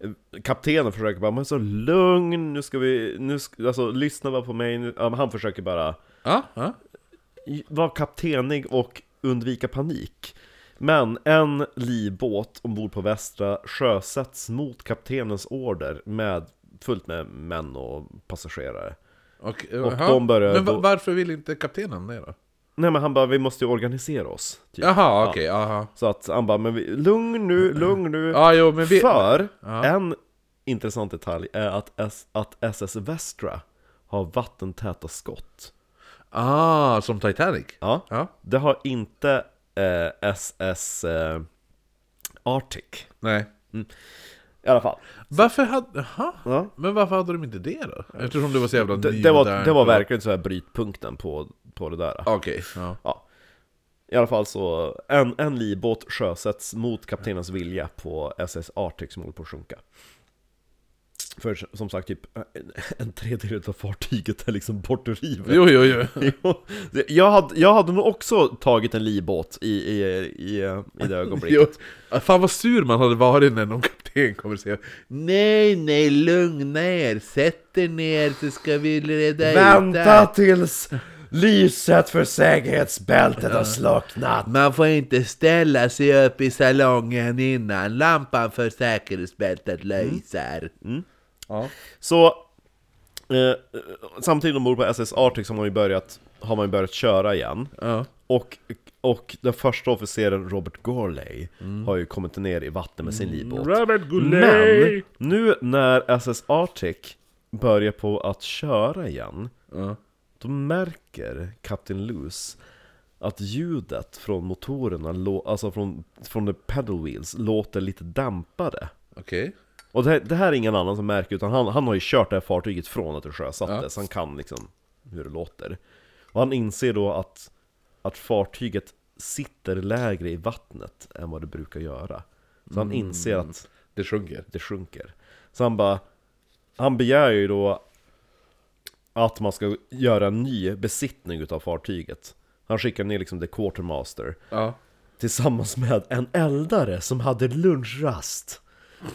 S1: Eh, Kaptenen försöker bara, men så lugn, nu ska vi, nu ska, alltså lyssna bara på mig nu. Ja, men Han försöker bara
S2: Ja, ja.
S1: vara kaptenig och undvika panik men en livbåt ombord på Västra sjösätts mot kaptenens order med fullt med män och passagerare.
S2: Och, eh,
S1: de börjar
S2: men va-
S1: då-
S2: varför vill inte kaptenen det då?
S1: Nej men han bara, vi måste ju organisera oss. Typ.
S2: Jaha, okej, aha.
S1: Så att han bara, men vi, lugn nu, lugn nu.
S2: Ja, jo, men vi...
S1: För
S2: Ja.
S1: en intressant detalj är att, S, att SS Västra har vattentäta skott.
S2: Ah, som Titanic?
S1: Ja.
S2: Ja.
S1: Det har inte eh, SS eh, Arctic.
S2: Nej.
S1: I alla fall.
S2: Varför hade... Aha.
S1: Ja.
S2: Men varför hade de inte det då? Eftersom det var så jävla
S1: Det, det,
S2: nymodernt
S1: var, det var
S2: och-
S1: verkligen så här brytpunkten på, på det där.
S2: Okej, ja.
S1: Ja. I alla fall så, en, en livbåt sjösätts mot kaptenens vilja på SS Arctic som håller på att sjunka. För som sagt, typ en, en tredjedel av fartyget är liksom bort ur livet.
S2: Jo, jo, jo.
S1: Jo, det- jag, hade, jag hade nog också tagit en livbåt i, i, i, i det
S2: jo.
S1: ögonblicket.
S2: Fan vad sur man hade varit när någon kapten kommer och säger Nej, nej, lugna er, sätt er ner så ska vi reda ut det här."
S1: tills lyset för säkerhetsbältet har slocknat.
S2: Man får inte ställa sig upp i salongen innan lampan för säkerhetsbältet lyser. Ja.
S1: Så eh, samtidigt ombord på SS Arctic så har man ju börjat, har man ju börjat köra igen.
S2: Ja.
S1: Och, och den första officeren Robert Gourlay har ju kommit ner i vatten med sin livbåt.
S2: Robert
S1: Men nu när SS Arctic börjar på att köra igen
S2: Ja.
S1: Då märker Captain Loose att ljudet från motorerna, lå- alltså från, från the pedal wheels, låter lite dämpade.
S2: Okej.
S1: Och det här, det här är ingen annan som märker, utan han, han har ju kört det här fartyget från att det sjösattes. Han kan liksom hur det låter. Och han inser då att, att fartyget sitter lägre i vattnet än vad det brukar göra. Så han inser att
S2: Det sjunker.
S1: det sjunker. Så han bara, han begär ju då att man ska göra en ny besittning utav fartyget. Han skickar ner liksom the quartermaster
S2: Ja.
S1: tillsammans med en eldare som hade lunchrast.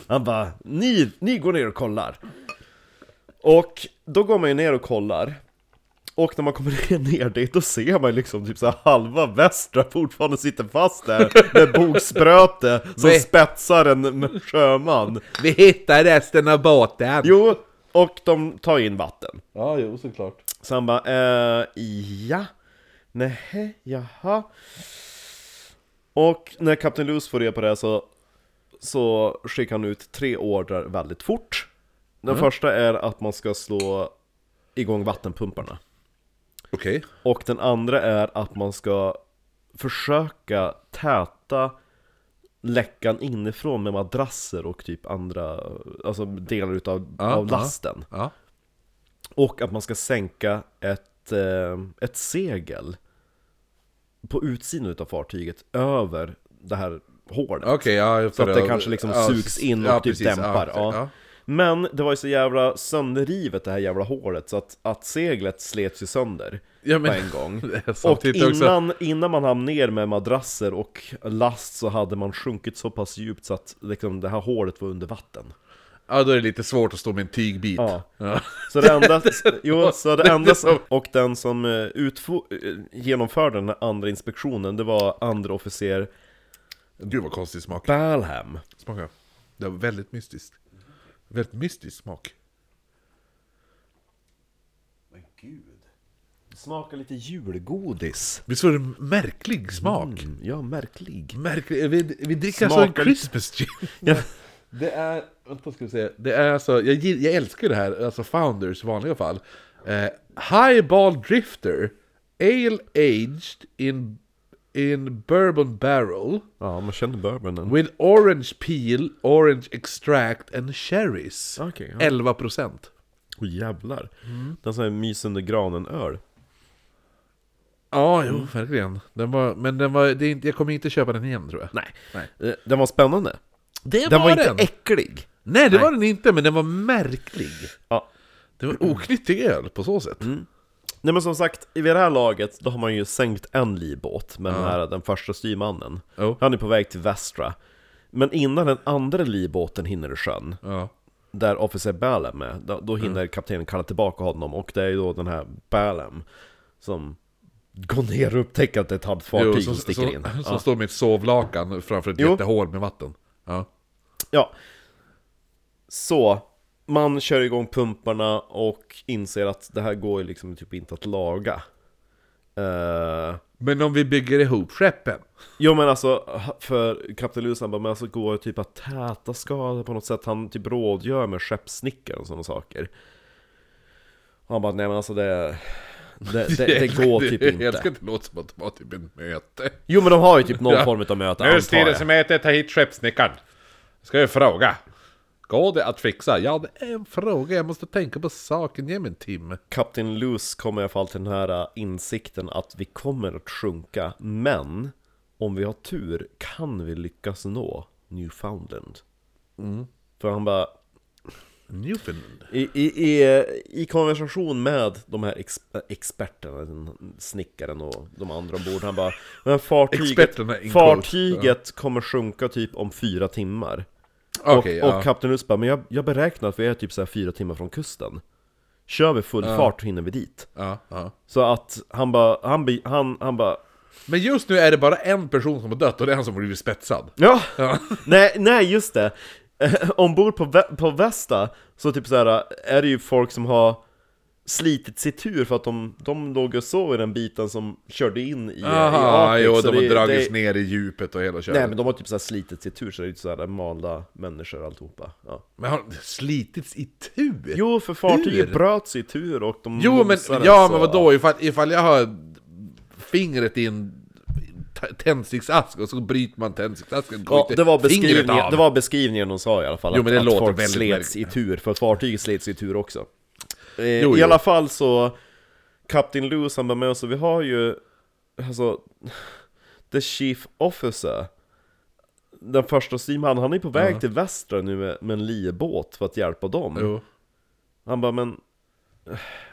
S1: Han bara, ni, ni går ner och kollar. Och då går man ju ner och kollar. Och när man kommer ner dit, då ser man ju liksom typ så här halva västra fortfarande sitter fast där med bogspröte som
S2: Nej.
S1: spetsar en sjöman.
S2: Vi hittar resten av båten!
S1: Jo, och de tar in vatten.
S2: Ja, jo såklart.
S1: Så han bara, eh, ja, nej, jaha. Och när Kapten Luz får reda på det här så, så skickar han ut tre ordrar väldigt fort.
S2: Mm.
S1: Den första är att man ska slå igång vattenpumparna.
S2: Okej.
S1: Och den andra är att man ska försöka täta läckan inifrån med madrasser och typ andra, alltså delar utav
S2: Ja,
S1: av
S2: ja.
S1: lasten.
S2: Ja.
S1: Och att man ska sänka ett, eh, ett segel på utsidan av fartyget över det här hålet.
S2: Okej, ja.
S1: Så
S2: för
S1: att det kanske liksom
S2: ja,
S1: sugs in och
S2: ja,
S1: typ
S2: precis,
S1: dämpar.
S2: Ja,
S1: Ja,
S2: ja.
S1: Men det var ju så jävla sönderrivet det här jävla hålet så att, att seglet slets ju sönder
S2: Ja, men-
S1: på en gång.
S2: Det är
S1: Och
S2: samtidigt också-
S1: innan, innan man hamnade ner med madrasser och last så hade man sjunkit så pass djupt så att liksom, det här hålet var under vatten.
S2: Ja, då är det lite svårt att stå med en tygbit.
S1: Ja.
S2: Ja.
S1: Så det enda, jo, så det enda som,
S2: som-
S1: och den som eh, utfo, eh, genomförde den här andra inspektionen, det var andra officer
S2: Gud vad konstig smak.
S1: Balham.
S2: Smaka. Det var väldigt mystiskt. Väldigt mystisk smak.
S1: Men gud. Det smakar lite julgodis.
S2: Visst var det en märklig smak?
S1: Mm, ja, märklig.
S2: Märklig. Vi, vi dricker alltså
S1: Smakar
S2: en Christmas gin.
S1: Ja.
S2: Det är, vänta ska vi se. Det är alltså, jag, gill- jag älskar det här, alltså Founders i vanliga fall. Eh, Highball Drifter, Ale Aged in, in Bourbon Barrel
S1: Ja, man känner bourbonen.
S2: with Orange Peel, Orange Extract and Cherries.
S1: Okej, ja.
S2: 11%.
S1: Åh jävlar. Det är sån här mys under granen-öl.
S2: Ja, jo, Mm, verkligen. Den var, men den var, det är inte, jag kommer inte köpa den igen tror jag.
S1: Nej.
S2: Nej.
S1: Eh, Den var spännande.
S2: Det
S1: Den var, inte äcklig.
S2: Nej, det var den inte, men den var märklig.
S1: Ja.
S2: Det
S1: Mm.
S2: var en oknyttig öl på så sätt.
S1: Nej men som sagt, vid det här laget då har man ju sänkt en livbåt med den, här, den första styrmannen.
S2: Jo.
S1: Han är på väg till västra. Men innan den andra livbåten hinner i sjön,
S2: Ja.
S1: där officer Balam är, då,
S2: Mm.
S1: då hinner kaptenen kalla tillbaka honom. Och det är ju då den här Balam som går ner och upptäcker att det är ett
S2: Jo,
S1: halvfartyg som, sticker in.
S2: Som,
S1: ja.
S2: står med ett sovlakan framför ett
S1: Jo.
S2: jättehål med vatten. Ja.
S1: ja. Så, man kör igång pumparna och inser att det här går ju liksom typ inte att laga. Eh,
S2: Men om vi bygger ihop skeppen?
S1: Jo men alltså, för Kapten Lewis han bara, men alltså går typ att täta skador på något sätt, han typ rådgör med skeppssnickaren och sådana saker. Och han bara, nej men alltså det, det, det, det går typ
S2: Jag
S1: inte.
S2: älskar att det låter som att det var typ ett möte.
S1: Jo men de har ju typ någon
S2: Ja.
S1: form av möte antar jag.
S2: ta hit skeppsnickaren. Ska jag fråga. Går det att fixa? Ja, det är en fråga. Jag måste tänka på saken. Ge mig en timme.
S1: Kapten Luce kommer i alla fall till den här äh, insikten att vi kommer att sjunka, men om vi har tur kan vi lyckas nå Newfoundland. Mm. För han bara,
S2: Newfoundland.
S1: i, i, i, i konversation med de här ex, experterna, den snickaren och de andra ombord, han bara Men fartyget,
S2: Experterna är inkomt."
S1: fartyget kommer sjunka typ om fyra timmar.
S2: Okej,
S1: och,
S2: ja.
S1: och kapten Luce bara, men jag, jag beräknar att vi är typ så här fyra timmar från kusten. Kör vi full fart hinner vi dit.
S2: ja, ja.
S1: Så att han bara, han, bi- han, han bara
S2: Men just nu är det bara en person som har dött och det är han som har blivit spetsad.
S1: Ja! nej, nej just det! Eh, Ombord på, Vä- på Västa så typ så här är det ju folk som har slitit sig tur för att de, de låg och sov i den biten som körde in i, i
S2: Aha,
S1: Arctic,
S2: jo,
S1: så
S2: de har
S1: det-
S2: dragits
S1: det-
S2: ner i djupet och hela köret.
S1: Nej men de har typ så här slitit sig tur så det är ju såhär malda människor alltihopa ja.
S2: Men har de slitits i tur?
S1: Jo för fartyget
S2: Tur?
S1: bröt sig i tur och de
S2: Jo men,
S1: mosades
S2: ja
S1: och-
S2: men vadå, ifall, ifall jag har fingret i en t- tändsticksask och så bryter man tändsticksasken går
S1: Ja,
S2: inte
S1: det, var
S2: fingret
S1: beskrivningen,
S2: av.
S1: det var beskrivningen de sa i alla fall,
S2: Jo,
S1: att,
S2: men det
S1: att
S2: låter
S1: folk
S2: väldigt
S1: slets i tur, för att fartyget slets i tur också. Eh, I
S2: jo.
S1: alla fall så, Kapten Lewis han var med oss och vi har ju, alltså, the chief officer, den första simmannen, han är på väg till västra nu med, med en liebåt för att hjälpa dem.
S2: Jo.
S1: Han bara, men...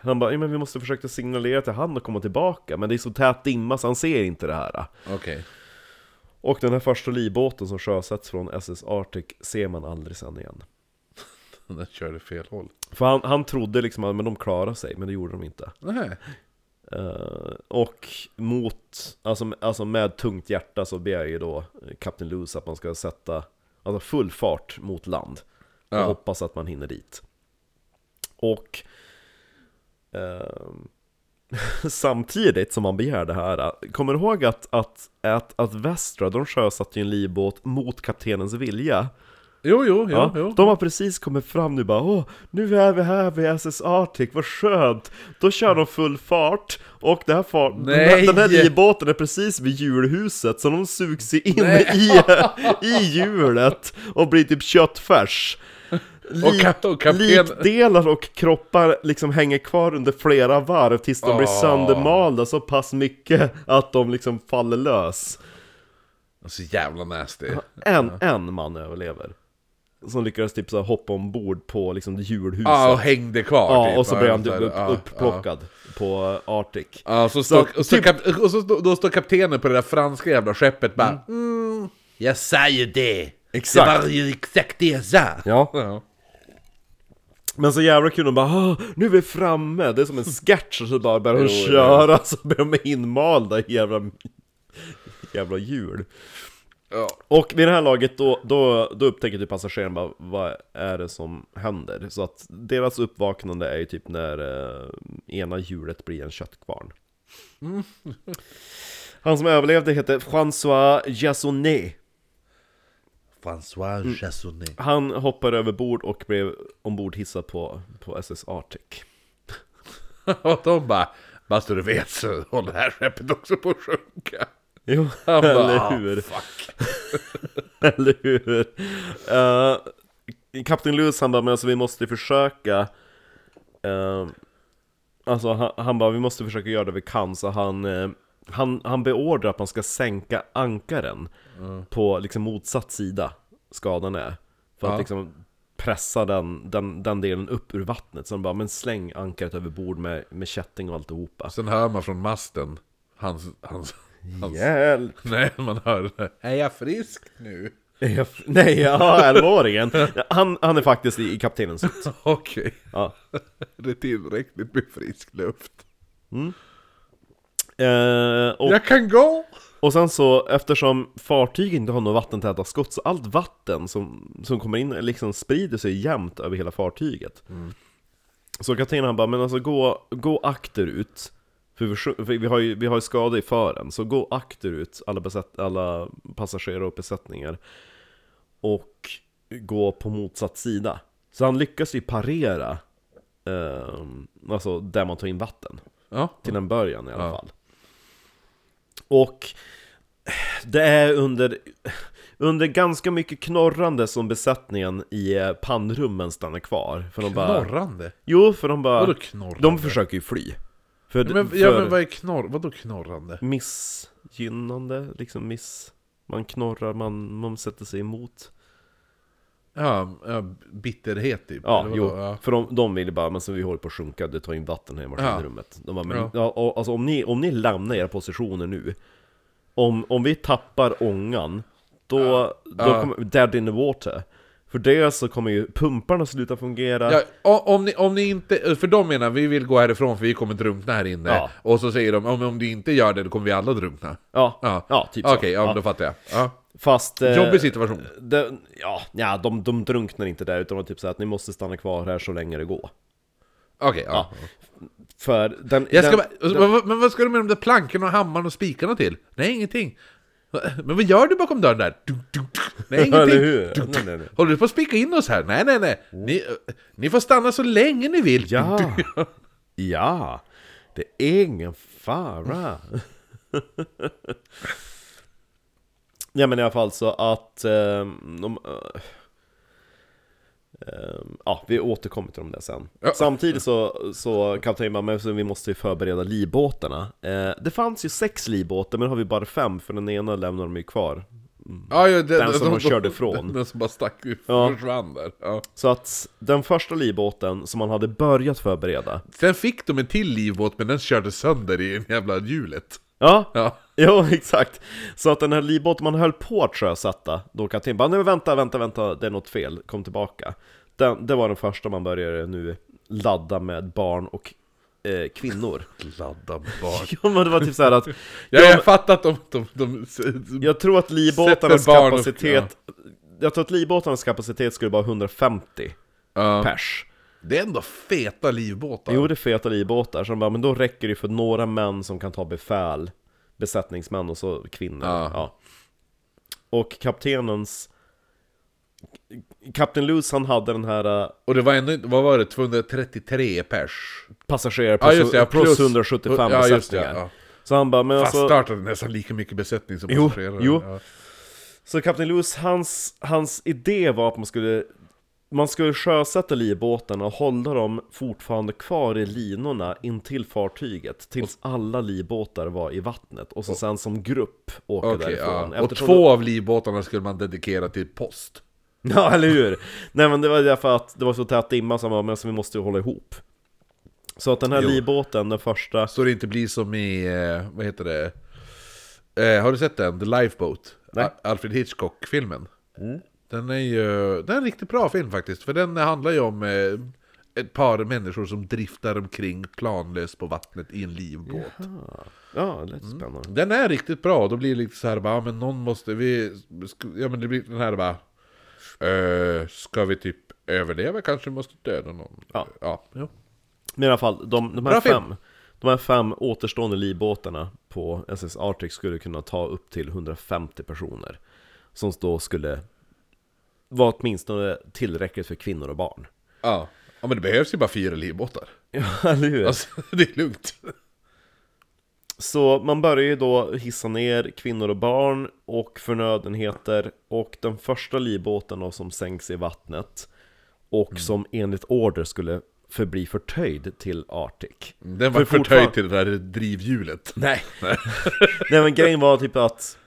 S1: Han bara, ja, men vi måste försöka signalera till han att komma tillbaka, men det är så tät dimma så han ser inte det här.
S2: Okej.
S1: Och den här första livbåten som sjösätts från SS Arctic ser man aldrig sen igen.
S2: Den körde fel håll.
S1: För han, han trodde liksom att men de klarar sig, men det gjorde de inte.
S2: Nej.
S1: Eh, och mot, alltså, alltså med tungt hjärta så ber jag ju då eh, Kapten Lewis att man ska sätta alltså full fart mot land. Och
S2: Ja.
S1: hoppas att man hinner dit. Och ehm, samtidigt som man begär det här, eh, kommer du ihåg att, att, att, att Västra, de sjösatte ju en livbåt mot kaptenens vilja.
S2: Jo, jo, jo,
S1: Ja,
S2: jo.
S1: De har precis kommit fram nu bara Åh, nu är vi här vid SS Arctic, vad skönt! Då kör de full fart, och det här fart, den här,
S2: Nej!
S1: den här livbåten är precis vid julhuset, så de sugs sig in
S2: Nej.
S1: i, i hjulet och blir typ köttfärs.
S2: Och kap- och kapten-
S1: Likdelar och kroppar liksom hänger kvar under flera varv tills de blir
S2: Åh.
S1: söndermalda så pass mycket att de liksom faller lös.
S2: Så jävla nasty.
S1: En, en man överlever. Som lyckades typ så här hoppa ombord på liksom julhuset.
S2: Ja, och hängde kvar
S1: ja,
S2: typ.
S1: och så blev han typ
S2: här,
S1: upp,
S2: ja, Ja.
S1: upplockad på Arctic.
S2: Ja, så står,
S1: Så,
S2: och så
S1: typ-
S2: kap, och så, då står kaptenen på det där franska jävla skeppet bara mm.
S3: Jag sa ju det!
S1: Exakt.
S3: Det var ju exakt det jag sa!
S1: Ja.
S2: ja.
S1: Men så jävla kul, de bara "Ah, nu är vi framme, det är som en sketch och så bara börjar de
S2: Jo, jo.
S1: köra så blir de inmalda i jävla, jävla hjul.
S2: Ja.
S1: Och vid det här laget då, då, då upptäcker typ passageraren bara vad är det som händer? Så att deras uppvaknande är ju typ när eh, ena hjulet blir en köttkvarn. Han som överlevde heter François Jasonnet. Mm.
S3: François Chassonet.
S1: Han hoppade över bord och blev ombord hissad på, på SS Arctic.
S2: Och de bara, bara så du vet så håller det här skeppet också på att sjunka.
S1: Jo,
S2: Han bara,
S1: eller
S2: "Ah,
S1: hur? eller hur? Eh, Kapten Lewis han bara, men alltså vi måste försöka eh, Alltså han, han bara, vi måste försöka göra det vi kan så han eh, han, han beordrar att man ska sänka ankaren
S2: Mm.
S1: på liksom motsatt sida skadan är För att
S2: Ja.
S1: liksom pressa den, den, den delen upp ur vattnet Så han bara, men släng ankaret över bord med, med kätting och alltihopa
S2: Sen hör man från masten, hans, hans, hans
S1: Hjälp!
S2: nej man hör det. där, Är jag frisk nu?
S1: Är jag f- Nej, ja, elvaåringen. Han, han är faktiskt i, i kaptenens hytt.
S2: Okej,
S1: Ja.
S2: det är tillräckligt med frisk luft.
S1: Eh, och,
S2: Jag kan gå!
S1: och sen så, eftersom fartyg inte har några vattentäta skott, så allt vatten som, som kommer in liksom sprider sig jämnt över hela fartyget. Så kaptenen han bara, men alltså gå, gå akterut. För vi, sjö- för vi har ju, vi har ju skada i fören, så gå akterut, alla, besätt, alla passagerare och besättningar. Och gå på motsatt sida. Så han lyckas ju parera, ehm, alltså där man tar in vatten.
S2: Ja,
S1: Till en början i alla
S2: Ja.
S1: fall. Och det är under under ganska mycket knorrande som besättningen i eh, pannrummen stannar kvar. För de bara...
S2: Knorrande?
S1: Jo, för de bara...
S2: Vadå knorrande?
S1: De försöker ju fly. För,
S2: Ja men,
S1: för
S2: ja, men vad är knorr? Vadå knorrande?
S1: missgynnande, liksom miss... Man knorrar, man, man sätter sig emot.
S2: Ja, ja bitterhet typ.
S1: Ja,
S2: eller vadå?
S1: jo.
S2: Ja.
S1: För de, de ville bara, men så vi håller på att sjunka, du tar in vatten här i maskinrummet. De bara, men, ja.
S2: Ja.
S1: och, alltså, om, ni, om ni lämnar era positioner nu, om, om vi tappar ångan, då, då
S2: Ja.
S1: kommer dead in the water. För det så kommer ju pumparna sluta fungera.
S2: Ja, o- om, ni, om ni inte, för de menar vi vill gå härifrån för vi kommer drunkna här inne.
S1: Ja.
S2: Och så säger de om, om du inte gör det då kommer vi alla drunkna.
S1: Ja, ja.
S2: Ja,
S1: typ
S2: Okej,
S1: så.
S2: ja, men då fattar jag. Ja.
S1: Fast... eh,
S2: Jobbig situation.
S1: Det, ja, ja de, de drunknar inte där utan de typ såhär att ni måste stanna kvar här så länge det går.
S2: Okej, ja.
S1: För den...
S2: Jag ska
S1: den,
S2: bara, men vad- Men vad ska du med de där plankorna och hammarna och spikarna till? Nej, ingenting. Men vad gör du bakom dörren där? Dunk, dunk, dunk. Nej,
S1: Eller
S2: ingenting.
S1: hur?
S2: Dunk,
S1: Nej, nej, nej.
S2: Håller du på att spika in oss här? Nej, nej, nej. Ni, eh, ni får stanna så länge ni vill.
S1: Ja! ja! Det är ingen fara! ja men i alla fall så att... ehm, de, eh, ehm, ja, vi återkommer till dem där sen.
S2: Ja.
S1: Samtidigt så, så kapten bara, men så vi måste ju förbereda livbåtarna. Eh, det fanns ju sex livbåtar, men nu har vi bara fem, för den ena lämnar de ju kvar.
S2: Ja, ja, det-
S1: Den som
S2: de-
S1: de körde
S2: de-
S1: ifrån.
S2: Den, den som bara stack ut,
S1: Ja.
S2: försvann där. Ja.
S1: Så att den första livbåten som man hade börjat förbereda
S2: Sen fick de en till livbåt, men den körde sönder i en jävla hjulet.
S1: Ja,
S2: Ja.
S1: Jo, exakt. Så att den här livbåten man höll på att sjösätta, då kapten bara nej men vänta, vänta, vänta, det är något fel, kom tillbaka. Den, det var den första man började nu ladda med barn och eh, kvinnor.
S2: Ladda barn.
S1: ja, men det var typ så här att
S2: Ja,
S1: Ja,
S2: jag fattar att de... de, de,
S1: jag tror att livbåtarnas
S2: Sätter barn och-
S1: kapacitet, jag tror att livbåtarnas kapacitet skulle vara 150
S2: Ja.
S1: pers.
S2: det är ändå feta livbåtar.
S1: Jo, det är feta livbåtar, så de bara, men då räcker det ju för några män som kan ta befäl, besättningsmän och så kvinnor.
S2: Ja.
S1: Ja. Och kaptenens... Kapten Luz han hade den här eh,
S2: Och det var ändå inte- vad var det, 233 pers?
S1: passagerare
S2: Ja, just det, ja,
S1: plus, plus
S2: plus-
S1: 175
S2: ja, just det,
S1: besättningar.
S2: ja.
S1: Så han bara, men
S2: Fast
S1: alltså...
S2: startade nästan lika mycket besättning som
S1: Jo,
S2: passagerare.
S1: jo.
S2: Ja.
S1: Så kapten Lewis, hans, hans idé var att man skulle man skulle sjösätta livbåtarna och hålla dem fortfarande kvar i linorna in till fartyget tills alla livbåtar var i vattnet och så sen som grupp åka
S2: Okej,
S1: därifrån.
S2: ja. Och
S1: Eftersom
S2: två av livbåtarna skulle man dedikera till post.
S1: det- Ja, eller hur? Nej men det var därför att det var så tät dimma som men så vi måste ju hålla ihop. Så att den här
S2: Jo.
S1: livbåten, den första...
S2: Så det inte blir som i, eh, vad heter det? Eh, har du sett den? The Lifeboat?
S1: Nej.
S2: A- Alfred Hitchcock-filmen. Den är ju, den är en riktigt bra film faktiskt. För den handlar ju om eh, ett par människor som driftar omkring planlöst på vattnet i en livbåt.
S1: Ja, det lät
S2: Mm.
S1: spännande.
S2: Den är riktigt bra, då blir det lite så här bara, ja, men någon måste, vi, sk- ja men det blir den här bara, eh, ska vi typ överleva kanske vi måste döda någon?
S1: Ja.
S2: ja. jo.
S1: Men i alla fall, de, de, här
S2: Bra film.
S1: fem, de här fem återstående livbåtarna på SS Arctic skulle kunna ta upp till 150 personer. Som då skulle vara åtminstone tillräckligt för kvinnor och barn.
S2: ja. Ja men det behövs ju bara fyra livbåtar.
S1: Ja, eller hur?
S2: Alltså det är lugnt.
S1: Så man börjar ju då hissa ner kvinnor och barn och förnödenheter och den första livbåten då som sänks i vattnet och
S2: Mm.
S1: som enligt order skulle förbli förtöjd till Arctic.
S2: Mm, Den var
S1: För
S2: förtöjd
S1: fortfar-
S2: till det där drivhjulet.
S1: Nej. Nej men grejen var typ att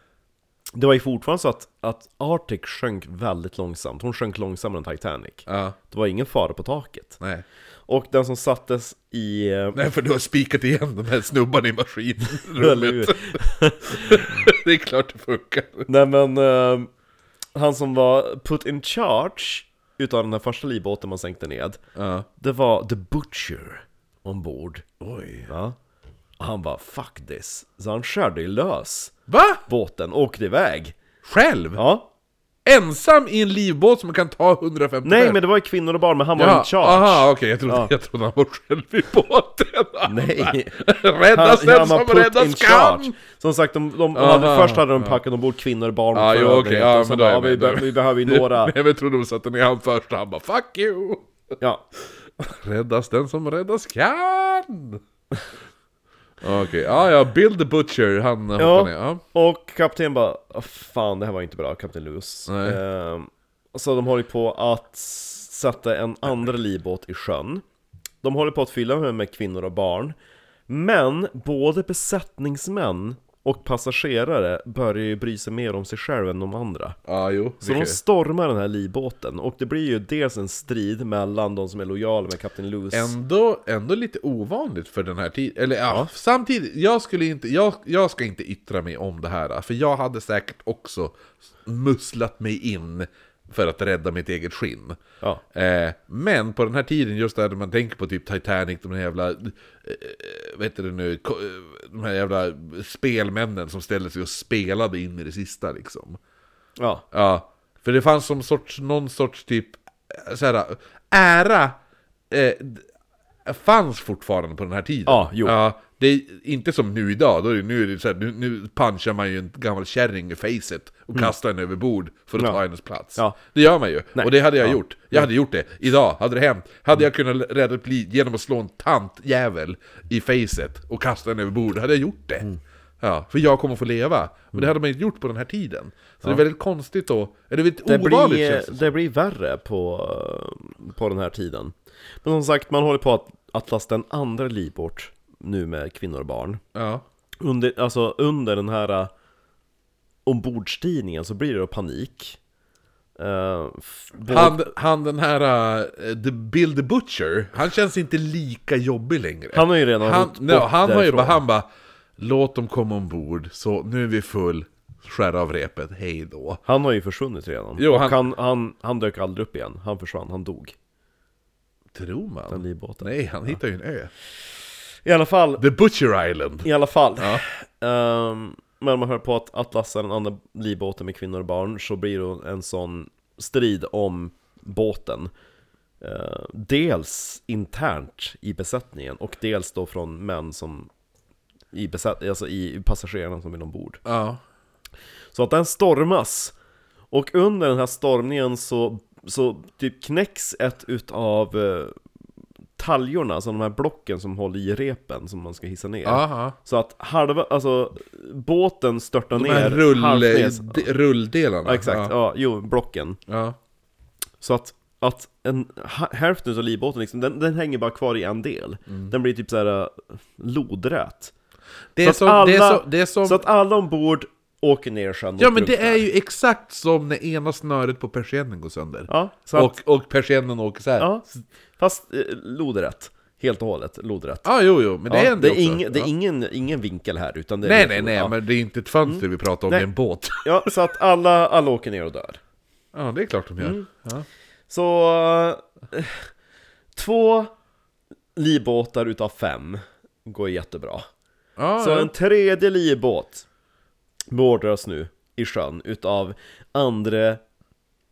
S1: det var ju fortfarande så att, att Arctic sjönk väldigt långsamt. Hon sjönk långsammare än Titanic.
S2: Ja,
S1: Det var ingen fara på taket.
S2: nej.
S1: Och den som sattes i... eh,
S2: Nej för du har spikat igen den här snubban i
S1: eller hur?
S2: maskinrummet. det är klart det funkar.
S1: Nej men, eh, han som var put in charge utav den här första livbåten man sänkte ned,
S2: Ja.
S1: det var the butcher ombord.
S2: Oj.
S1: Ja. Och han var 'fuck this' Så han körde ju lös
S2: Va?
S1: båten och åkte iväg.
S2: Själv?
S1: Ja,
S2: Ensam i en livbåt som kan ta 150
S1: Nej
S2: pers?
S1: men det var ju kvinnor och barn, men han var in charge
S2: Aha, okej, jag, trodde,
S1: Ja.
S2: jag trodde han var själv i båten.
S1: Nej!
S2: räddas den
S1: var
S2: som
S1: put in
S2: räddas
S1: charge.
S2: kan!
S1: Som sagt, de, de
S2: Aha.
S1: hade, först hade de packat ombord kvinnor, barn och
S2: Ja, jo,
S1: förnödenheter,
S2: okej, ja,
S1: och sen
S2: men då är
S1: bara,
S2: jag
S1: vi,
S2: med, då är jag
S1: be- vi behöver ju några...
S2: Nej, men jag trodde de satte ner han först och han bara 'fuck you'
S1: Ja.
S2: Räddas den som räddas kan! Okej, ja ja, Bill the Butcher, han hoppar
S1: Ja.
S2: ner. Ja.
S1: Och kapten bara, "Åh, fan det här var inte bra, kapten Lewis.
S2: Nej.
S1: Ehm, så de håller på att sätta en andra livbåt i sjön. De håller på att fylla den med kvinnor och barn. Men både besättningsmän och passagerare börjar ju bry sig mer om sig själva än de andra.
S2: ja, jo.
S1: Så de stormar den här livbåten och det blir ju dels en strid mellan de som är lojala med kapten Lewis.
S2: Ändå, ändå lite ovanligt för den här tiden. Eller ja, samtidigt, jag, skulle inte, jag, jag ska inte yttra mig om det här. För jag hade säkert också musslat mig in för att rädda mitt eget skinn.
S1: Ja.
S2: Eh, men på den här tiden, just där man tänker på typ Titanic, de här jävla... Eh, vad heter det nu? Ko- eh, De här jävla spelmännen som ställde sig och spelade in i det sista liksom.
S1: Ja.
S2: Ja, för det fanns som sorts, någon sorts typ eh, så här, ära eh, d- fanns fortfarande på den här tiden.
S1: Ja, jo.
S2: Ja, det är inte som nu idag, då är det, nu, är det så här, nu, nu punchar man ju en gammal kärring i facet och kastar henne över bord för att
S1: Mm. Ja.
S2: ta hennes plats.
S1: Ja.
S2: Det gör man ju,
S1: Nej.
S2: och det hade jag
S1: Ja. Mm.
S2: gjort. Jag hade gjort det, idag hade det hänt. Hade jag kunnat rädda ett liv genom att slå en tantjävel i facet och kasta henne över bord, hade jag gjort det.
S1: Mm.
S2: Ja, för jag kommer få leva. Men det hade man inte gjort på den här tiden. Så det är väldigt konstigt då. Eller väldigt
S1: Det
S2: ovanligt
S1: blir, eh,
S2: känns det. som.
S1: det blir värre på, eh, på den här tiden. Men som sagt, man håller på att, att lasta en andra livbåt nu med kvinnor och barn.
S2: Ja.
S1: Under, alltså under den här eh, ombordstigningen så blir det då panik. Eh, f- både-
S2: Han, han den här, eh, the Bill the Butcher, han känns inte lika jobbig längre.
S1: han har ju redan
S2: han,
S1: gått
S2: nej,
S1: bort
S2: han har ju
S1: därifrån.
S2: bara, han bara, låt dem komma ombord, så nu är vi full, skär av repet, hej då.
S1: han har ju försvunnit redan.
S2: Jo,
S1: och
S2: han-
S1: han... Han, han, dök aldrig upp igen. Han försvann, han dog.
S2: Tror
S1: Den
S2: man?
S1: livbåten.
S2: Nej, han hittar ju en ö.
S1: I alla fall,
S2: The Butcher Island.
S1: I alla fall.
S2: Ja.
S1: Ehm, men man hör på att Atlassa, den andra livbåten med kvinnor och barn, så blir det en sån strid om båten. Eh, dels internt i besättningen och dels då från män som i, besätt, alltså i passagerarna som vill ombord.
S2: Ja.
S1: Så att den stormas. Och under den här stormningen så, så typ knäcks ett utav eh, taljorna, alltså de här blocken som håller i repen som man ska hissa ner.
S2: Aha.
S1: Så att halva, alltså båten störtar
S2: De
S1: ner
S2: här rull, eh,
S1: halvt ner.
S2: de, rulldelarna.
S1: Ja, exakt, ja.
S2: Ja.
S1: jo, blocken.
S2: Ja.
S1: Så att, att en, ha- hälften av livbåten liksom, den, den hänger bara kvar i en del.
S2: Mm.
S1: Den blir typ såhär äh, lodrät.
S2: Det, är
S1: Så
S2: som,
S1: att
S2: det, är
S1: alla-
S2: som, det är som...
S1: Så att alla ombord åker ner i sjön och
S2: ja, men det
S1: drunknar.
S2: är ju exakt som när ena snöret på persiennen går sönder.
S1: Ja, så att,
S2: och, och persiennen åker så här. Ja,
S1: ja, fast eh, lodrätt. Helt och hållet lodrätt.
S2: ah, jo, jo, men det
S1: Ja,
S2: händer ju också.
S1: ing- det är
S2: ja.
S1: ingen, ingen vinkel här utan det är
S2: Nej, nej,
S1: liksom-
S2: nej,
S1: ja. Mm.
S2: men det är inte ett fönster vi pratar om, det är en båt.
S1: ja, så att alla, alla åker ner och dör.
S2: Ja, det är klart de gör.
S1: Mm.
S2: Ja.
S1: Så... eh, Två livbåtar utav fem går jättebra.
S2: Ja,
S1: Så
S2: ja.
S1: en tredje livbåt beordras nu i sjön utav andre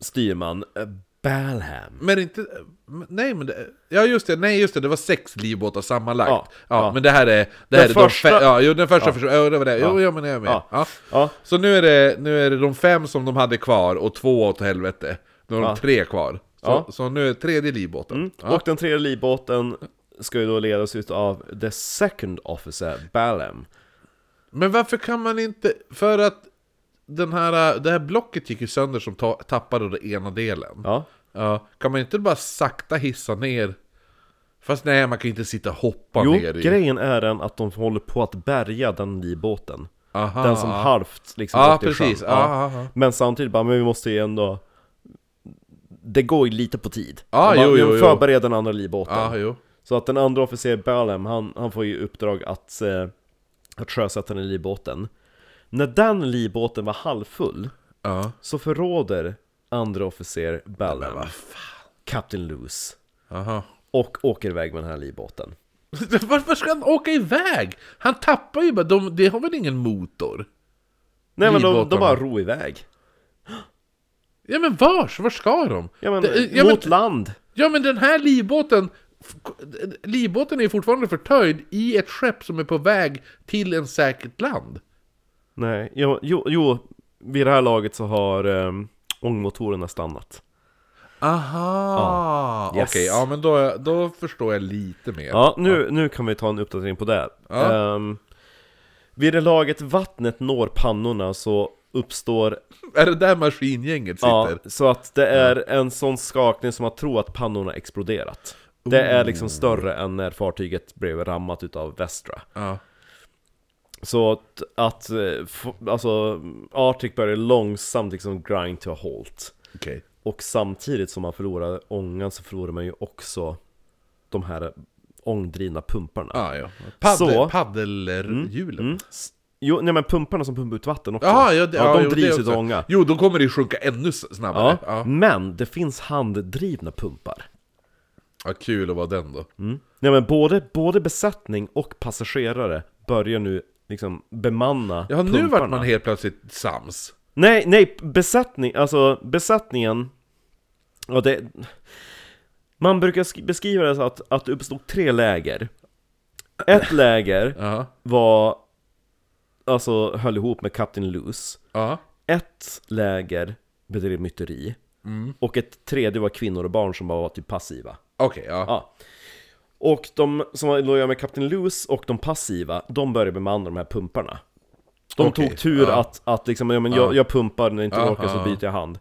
S1: styrman eh, Balham.
S2: Men inte... men- Nej, men det, ja, just det, nej, just det, det var sex livbåtar sammanlagt. Ja,
S1: Ja, ja.
S2: men det här är... Det här är
S1: första-
S2: de fe- ja, jo, den första ja. försvann. Ja, det var det. Jo, ja, men jag är med.
S1: Ja.
S2: Ja.
S1: Ja,
S2: Så nu är, det, nu är det de fem som de hade kvar och två åt helvete. Nu har de
S1: Ja.
S2: tre kvar. Så,
S1: Ja. Mm.
S2: så nu är tredje livbåten. Ja.
S1: och den tredje livbåten ska ju då ledas utav the second officer Balham.
S2: Men varför kan man inte... För att den här, det här blocket gick ju sönder som ta, tappade den ena delen.
S1: Ja.
S2: Ja, Kan man inte bara sakta hissa ner? Fast nej, man kan ju inte sitta och hoppa
S1: Jo,
S2: ner i...
S1: grejen är den att de håller på att bärga den livbåten.
S2: Aha.
S1: Den som halvt liksom
S2: Ja,
S1: åkte i sjön.
S2: Ah, precis. Ah, Ja, ja, ja.
S1: Men samtidigt bara, men vi måste ju ändå Det går ju lite på tid
S2: Ja,
S1: Man bara,
S2: Ah, jo,
S1: vi
S2: jo, jo.
S1: förbereder den andra livbåten
S2: Ja, jo.
S1: Så att den andra officer Balem, han, han får ju uppdrag att, eh, att sjösätta den i livbåten När den livbåten var halvfull
S2: Ja.
S1: Så förråder andra officer Balem Captain Loose
S2: Aha.
S1: Och åker iväg med den här livbåten
S2: Varför ska han åka iväg? Han tappar ju bara... De, de har väl ingen motor?
S1: Nej men de, de
S2: Livbåtarna.
S1: bara ro iväg
S2: Ja men vars? Var ska de?
S1: Ja men,
S2: Det- ja,
S1: mot
S2: men,
S1: land!
S2: ja men den här livbåten, f- k- livbåten är ju fortfarande förtöjd i ett skepp som är på väg till en säkert land.
S1: Nej, jo, jo, jo vid det här laget så har eh, ångmotorerna ehm, stannat
S2: Aha!
S1: Ja. Yes.
S2: Okej, ja men då, då förstår jag lite mer.
S1: Ja, nu, nu kan vi ta en uppdatering på det.
S2: Ja.
S1: Ehm, vid det laget vattnet når pannorna så uppstår
S2: Är det där maskingänget
S1: ja,
S2: sitter?
S1: så att det är en sån skakning som att tro att pannorna exploderat. Det är liksom större än när fartyget blev rammat utav Västra.
S2: Ja.
S1: Så att, att eh, f- alltså, Arctic börjar långsamt liksom grind to a halt.
S2: Okej.
S1: Och samtidigt som man förlorar ångan så förlorar man ju också de här ångdrivna pumparna.
S2: Ah, ja.
S1: Så-
S2: Paddel, paddelhjulen.
S1: Mm. S- Jo, nej men pumparna som pumpar ut vatten också.
S2: Jaha, ja, det, ja,
S1: de
S2: jo, det
S1: drivs
S2: också.
S1: utav ånga.
S2: Jo, då kommer det ju sjunka ännu s-
S1: Ja.
S2: snabbare. Ja.
S1: Men det finns handdrivna pumpar.
S2: Ja, kul att vara den då.
S1: Mm. Nej men både, både besättning och passagerare börjar nu liksom bemanna
S2: Ja, nu
S1: pumparna.
S2: vart man helt plötsligt sams.
S1: Nej, nej, besättning, alltså besättningen ja, det, Man brukar sk- beskriva det så att, att det uppstod tre läger Ett läger
S2: Ja,
S1: var Alltså höll ihop med Captain Loose
S2: ja,
S1: Ett läger bedrev myteri Och ett tredje var kvinnor och barn som bara var typ passiva
S2: okej, ja.
S1: Ja. Och de som var lojala med Kapten Loose och de passiva, de började bemanna de här pumparna. De
S2: Okej,
S1: tog tur
S2: ja.
S1: att, att liksom, ja, men jag, jag pumpar, när jag inte
S2: Ja,
S1: orkar så
S2: ja,
S1: byter jag hand.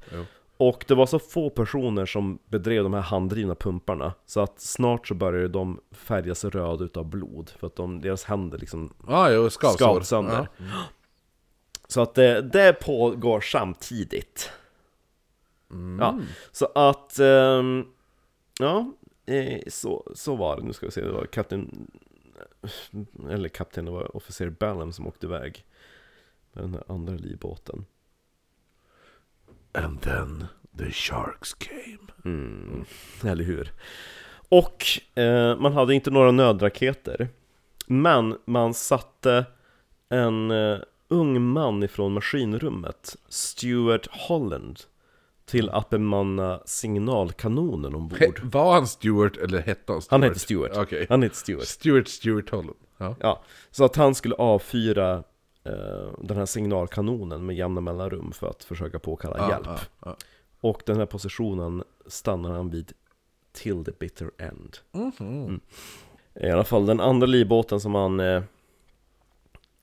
S1: Och det var så få personer som bedrev de här handdrivna pumparna, så att snart så började de färgas röda utav blod, för att de, deras händer liksom
S2: Ja, jo, skavsår.
S1: skavt sönder. Så att det, det pågår samtidigt. Ja, så att... ehm, ja, eh, så, så var det. Nu ska vi se, det var kapten... Eller kapten, det var officer Ballum som åkte iväg. Med den här andra livbåten.
S2: And then the sharks came.
S1: Eller hur? Och eh, man hade inte några nödraketer. Men man satte en eh, ung man ifrån maskinrummet, Stuart Holland, till att bemanna signalkanonen ombord.
S2: He- Var han Stewart eller hette han Stewart?
S1: Han heter Stuart.
S2: Okej.
S1: Han heter Stuart.
S2: Stewart, Stewart Holland. Ja.
S1: Ja, så att han skulle avfyra eh, den här signalkanonen med jämna mellanrum för att försöka påkalla
S2: Ja,
S1: hjälp.
S2: ja, ja.
S1: Och den här positionen stannar han vid till the bitter end.
S2: Mhm.
S1: Mm. I alla fall den andra livbåten som han... Eh,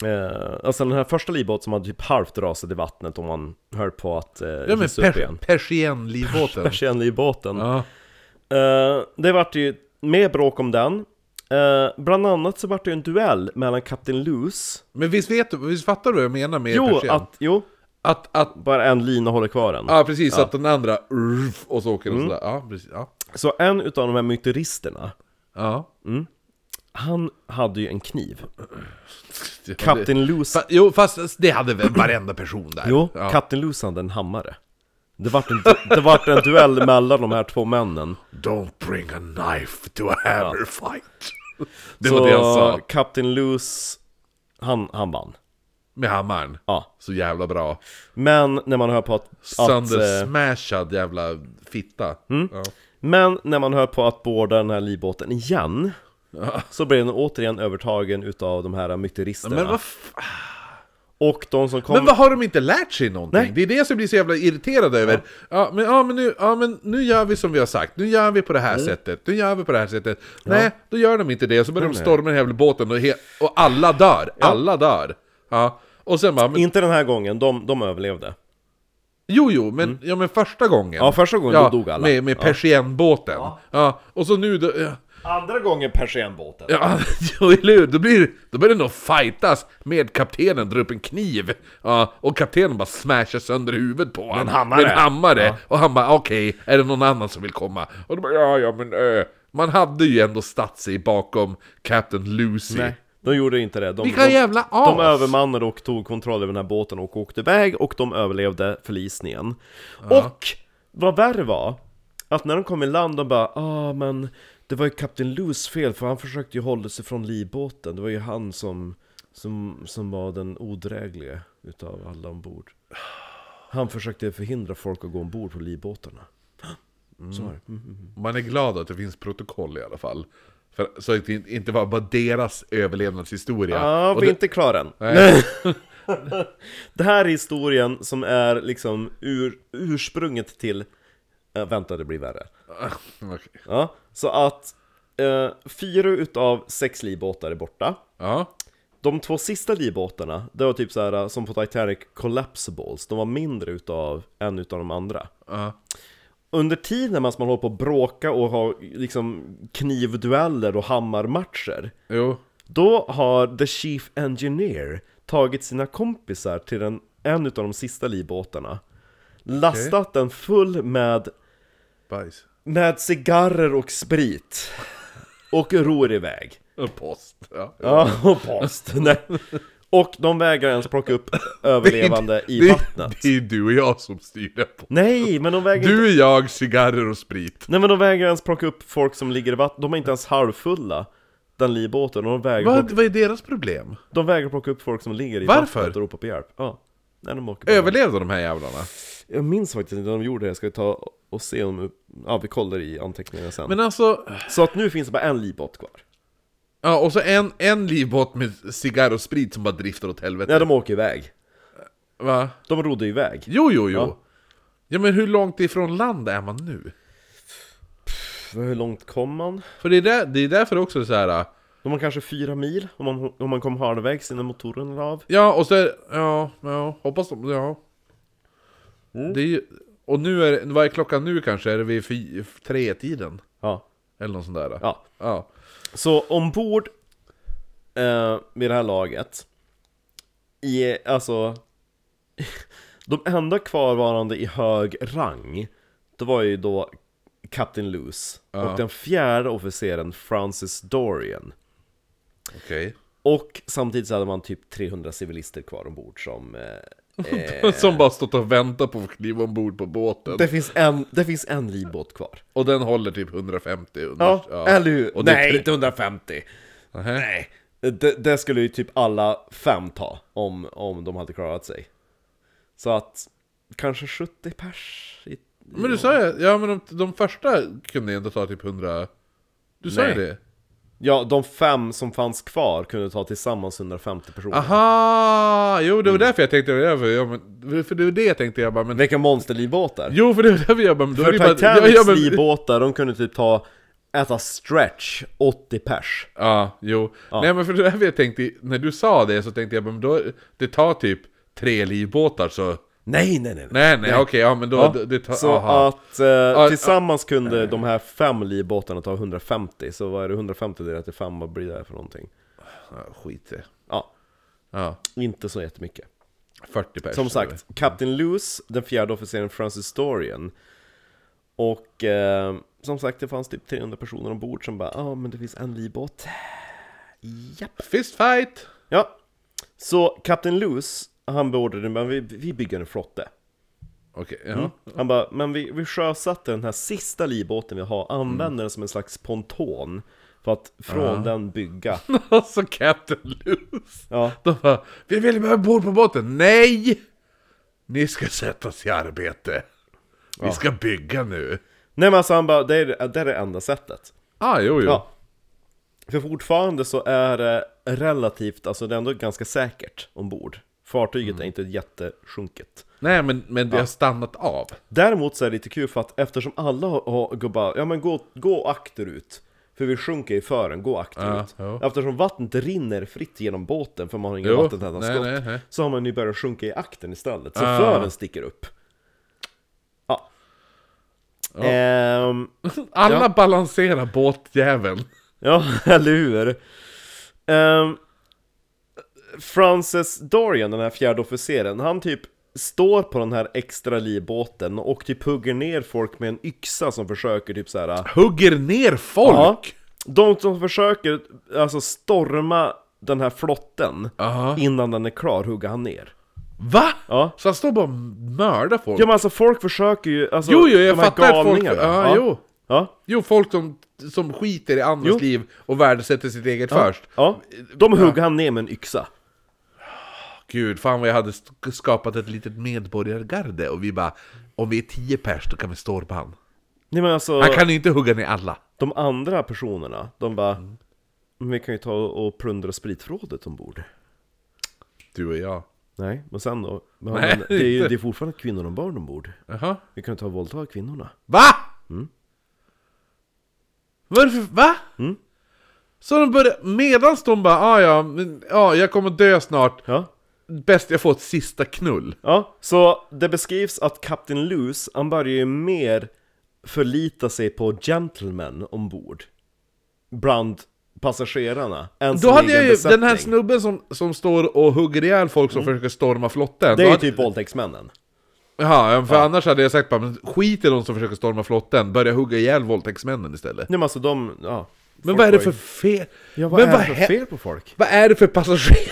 S1: eh, alltså den här första livbåten som hade typ halvt rasat i vattnet om man höll på att eh,
S2: Ja, men
S1: hissa upp
S2: per-
S1: igen.
S2: persiennlivbåten.
S1: Persiennlivbåten.
S2: Ja.
S1: Eh, det vart ju mer bråk om den. Eh, bland annat så vart det ju en duell mellan Kapten Loose
S2: Men visst, vet, du- visst fattar du vad jag menar med
S1: Jo,
S2: persien?
S1: att, jo,
S2: att, att
S1: bara en lina håller kvar den.
S2: Ja Mm. precis, så att den andra urf, och så åker den sådär. Ja, precis. Ja.
S1: Så en utav de här myteristerna,
S2: ja.
S1: han hade ju en kniv.
S2: Det-
S1: Kapten Loose
S2: Fa, jo, fast det hade väl varenda person där?
S1: Jo,
S2: ja.
S1: Kapten Lusan den hammare. Det vart en, det vart en duell mellan de här två männen.
S2: Don't bring a knife to a hammer fight. Det
S1: så
S2: var det han sa.
S1: Kapten Lus, han, han vann.
S2: Med hammaren.
S1: Ja.
S2: Så jävla bra. Men
S1: Men när man hör på att... att eh, Mm.
S2: Söndersmashad jävla fitta. Ja.
S1: men när man hör på att båda den här livbåten igen, så blir den återigen övertagen utav de här myteristerna.
S2: Men, vad f-
S1: Och de som kom...
S2: men vad har de inte lärt sig någonting?
S1: Nej.
S2: Det är det som jag blir så jävla irriterad över. Ja, men, ja, men, nu, ja, men nu gör vi som vi har sagt, nu gör vi på det här
S1: Mm.
S2: sättet, nu gör vi på det här sättet. Nej, då gör de inte det, så börjar de storma den här jävla båten och, he- och alla dör. Alla dör. Ja. Och sen bara, men,
S1: Inte den här gången, de, de överlevde.
S2: jo jo, men, ja, men första gången.
S1: Mm. Ja, första gången
S2: Ja,
S1: då dog alla.
S2: Med, med persiennbåten. Ja. Och så nu då... Ja,
S1: Andra gången persiennbåten.
S2: ja, jo, eller hur? Då, blir, då börjar det nog fightas med kaptenen, drar upp en kniv. Ja, och kaptenen bara smashar sönder huvudet på honom.
S1: hammare.
S2: Med en hammare. Och han bara, okej, är det någon annan som vill komma? Och då bara, ja, ja, men ö. Man hade ju ändå statt sig bakom Captain Lucy.
S1: Nej, de gjorde inte det. De,
S2: Vilka
S1: de,
S2: jävla as!
S1: De övermannade och tog kontroll över den här båten och åkte iväg och de överlevde förlisningen. Och vad värre var, att när de kom i land de bara ah men det var ju Kapten Lous fel för han försökte ju hålla sig från livbåten. Det var ju han som, som, som var den odräglige utav alla ombord. Han försökte förhindra folk att gå ombord på livbåtarna. Så var det. Mm.
S2: Man är glad att det finns protokoll i alla fall. För, så att det inte var bara deras överlevnadshistoria.
S1: Ja,
S2: Och
S1: vi är
S2: det-
S1: inte klara än.
S2: Nej.
S1: Det här är historien som är liksom ur, ursprunget till Eh, vänta, det blir värre.
S2: Okej.
S1: Ja, så att eh, fyra utav sex livbåtar är borta.
S2: Ja.
S1: De två sista livbåtarna, det var typ så här som på Titanic collapsibles, de var mindre utav en utav de andra.
S2: Ja.
S1: Under tiden man man håller på att bråka och har liksom knivdueller och hammarmatcher,
S2: Jo.
S1: då har the chief engineer tagit sina kompisar till den, en utav de sista livbåtarna, lastat den full med
S2: Bajs.
S1: med cigarrer och sprit Och ror iväg
S2: Och post. Ja.
S1: Ja, och post Nej. Och de vägrar ens plocka upp överlevande i
S2: Det-
S1: vattnet
S2: Det är du och jag som styr det på.
S1: Nej, men de vägrar inte
S2: Du, jag, cigarrer och sprit.
S1: Nej men de vägrar ens plocka upp folk som ligger i vattnet De är inte ens halvfulla Den livbåten, och de vägrar,
S2: Vad,
S1: plocka,
S2: vad är deras problem?
S1: de vägrar plocka upp folk som ligger i
S2: Varför?
S1: vattnet och ropar på hjälp Ja, när de åker på
S2: Överlevde de här jävlarna?
S1: Jag minns faktiskt inte när de gjorde det, jag ska ta och se om Ja, vi kollar i anteckningarna sen
S2: Men alltså...
S1: Så att nu finns det bara en livbåt kvar
S2: Ja, och så en, en livbåt med cigarr och sprit som bara drifter åt helvete.
S1: Nej, de åker iväg
S2: Va?
S1: De rodde iväg
S2: Jo, jo, jo.
S1: Ja.
S2: Ja. men hur långt ifrån land är man nu?
S1: Hur långt kom man?
S2: För det är, där, det är därför också så här.
S1: De var kanske fyra mil om man, om man kom halvvägs innan motorn la av.
S2: Ja, och så är, ja, ja, hoppas de, ja.
S1: Mm.
S2: Det är ju, och nu är det- vad är klockan nu kanske? Är det vid fy, tre tiden?
S1: Ja.
S2: Eller något sånt där.
S1: ja.
S2: ja.
S1: Så ombord eh, vid det här laget, i, alltså, de enda kvarvarande i hög rang, det var ju då Captain Luce och den fjärde officeren Francis Dorian.
S2: Okej.
S1: Och samtidigt så hade man typ 300 civilister kvar ombord som eh,
S2: Som bara stått och väntat på att få kliva ombord på båten.
S1: det, finns en, det finns en livbåt kvar.
S2: Och den håller typ 150 under.
S1: Ja, eller hur?
S2: Och det är
S1: Nej,
S2: tre-
S1: inte 150.
S2: Nähä.
S1: Nej, det, det skulle ju typ alla fem ta om, om de hade klarat sig. Så att kanske 70 pers. I,
S2: Men du sa ju, ja men de, de första kunde ju ändå ta typ 100 Du sa ju
S1: Nej.
S2: det?
S1: ja, de fem som fanns kvar kunde ta tillsammans 150 personer.
S2: Aha! Jo det var
S1: Mm.
S2: därför jag tänkte, ja, för, ja, men, för det var det jag tänkte, jag bara men
S1: Vilka monsterlivbåtar!
S2: Jo för det var därför jag bara, men då är
S1: För
S2: det ju bara,
S1: Titanics
S2: ja, ja, men,
S1: livbåtar, de kunde typ ta, äta stretch, 80 pers.
S2: ja, jo Nej men för det var därför jag tänkte, när du sa det så tänkte jag bara, men då, det tar typ tre livbåtar så
S1: Nej, nej, nej! nej.
S2: Nej nej okej, ja men då,
S1: Ja,
S2: det, det tar,
S1: så
S2: aha.
S1: att eh,
S2: ja.
S1: tillsammans kunde de här fem livbåtarna ta 150, så vad är det 150 delat till fem vad blir det här för någonting?
S2: Ja, skit i det.
S1: Ja,
S2: Ja,
S1: inte så jättemycket.
S2: 40 pers
S1: Som sagt, Captain Luce, den fjärde officeren Francis Dorian Och eh, som sagt, det fanns typ 300 personer ombord som bara Ja, ah, men det finns en livbåt Japp.
S2: Fist fight!
S1: Ja, så Captain Luce, han beordrade men vi, vi bygger en flotte
S2: Okej, ja
S1: Han bara, men vi, vi sjösatte den här sista livbåten vi har, använder den som en slags ponton För att från den bygga
S2: Alltså Captain Loose!
S1: Ja.
S2: De bara, vi vill vara ombord på båten! Nej! Ni ska sättas i arbete! Vi ska bygga nu!
S1: Nej men alltså han bara, det är det, det, är det enda sättet
S2: Ah, jo, jo.
S1: Ja. För fortfarande så är det relativt, alltså det är ändå ganska säkert ombord. Fartyget är inte jättesjunket.
S2: Nej, men, men det har stannat av.
S1: Däremot så är det lite kul för att eftersom alla har- har, går bara, ja men gå, gå akterut. För vi sjunker i fören, gå akterut.
S2: Ja,
S1: Eftersom vattnet rinner fritt genom båten för man har inga
S2: Jo,
S1: vattentäta
S2: nej,
S1: skott.
S2: nej, nej.
S1: Så har man ju börjat sjunka i akten istället. Så
S2: Ah.
S1: fören sticker upp. Ja. Ehm,
S2: Alla balanserar båtjäveln.
S1: Ja, eller hur? Ehm, Frances Dorian, den här fjärde officeren, han typ står på den här extra livbåten och typ hugger ner folk med en yxa som försöker typ så här.
S2: Hugger ner folk!
S1: De som försöker alltså storma den här flotten
S2: Aha.
S1: innan den är klar hugger han ner.
S2: Va?
S1: Ja.
S2: Så han står bara och mördar folk?
S1: Ja men alltså folk försöker ju, alltså
S2: Jo, jo, jag
S1: de här
S2: fattar att folk-
S1: galningarna,
S2: ja, jo.
S1: Ja.
S2: Jo, folk som, som skiter i andras
S1: Jo.
S2: liv och värdesätter sitt eget först.
S1: ja, de hugger han ner med en yxa.
S2: Gud, fan vad jag hade sk- skapat ett litet medborgargarde och vi bara Om vi är tio pers då kan vi storma han
S1: Nej men alltså...
S2: Han kan ju inte hugga ner alla
S1: De andra personerna, de bara
S2: Mm.
S1: Men vi kan ju ta och plundra spritförrådet ombord
S2: Du och jag
S1: Nej, men sen då? Men,
S2: Nej,
S1: men, det, är ju,
S2: inte.
S1: det är fortfarande kvinnor och barn ombord.
S2: Jaha.
S1: Vi kan ju ta och våldta kvinnorna.
S2: Va?
S1: Mm.
S2: Varför? Va?
S1: Mm.
S2: Så de börjar, medans de bara ah, ja, men, ja, jag kommer dö snart.
S1: Ja.
S2: Bäst jag får ett sista knull.
S1: Ja, så det beskrivs att Kapten Luce, han börjar ju mer förlita sig på gentlemen ombord. Bland passagerarna. Än
S2: Då
S1: sin
S2: hade
S1: egen
S2: jag ju
S1: besättning.
S2: den här snubben som, som står och hugger ihjäl folk som försöker storma flotten.
S1: Mm. Det är
S2: Då
S1: ju
S2: hade-
S1: typ våldtäktsmännen.
S2: Jaha, ja, för annars hade jag sagt bara men skit i de som försöker storma flotten, börja hugga ihjäl våldtäktsmännen istället.
S1: Nej men alltså de, ja.
S2: Men
S1: Folk
S2: vad är det
S1: var
S2: för
S1: ju-
S2: fel?
S1: Ja, vad
S2: men
S1: är det för
S2: hä-
S1: fel på folk?
S2: Vad är det för passagerare?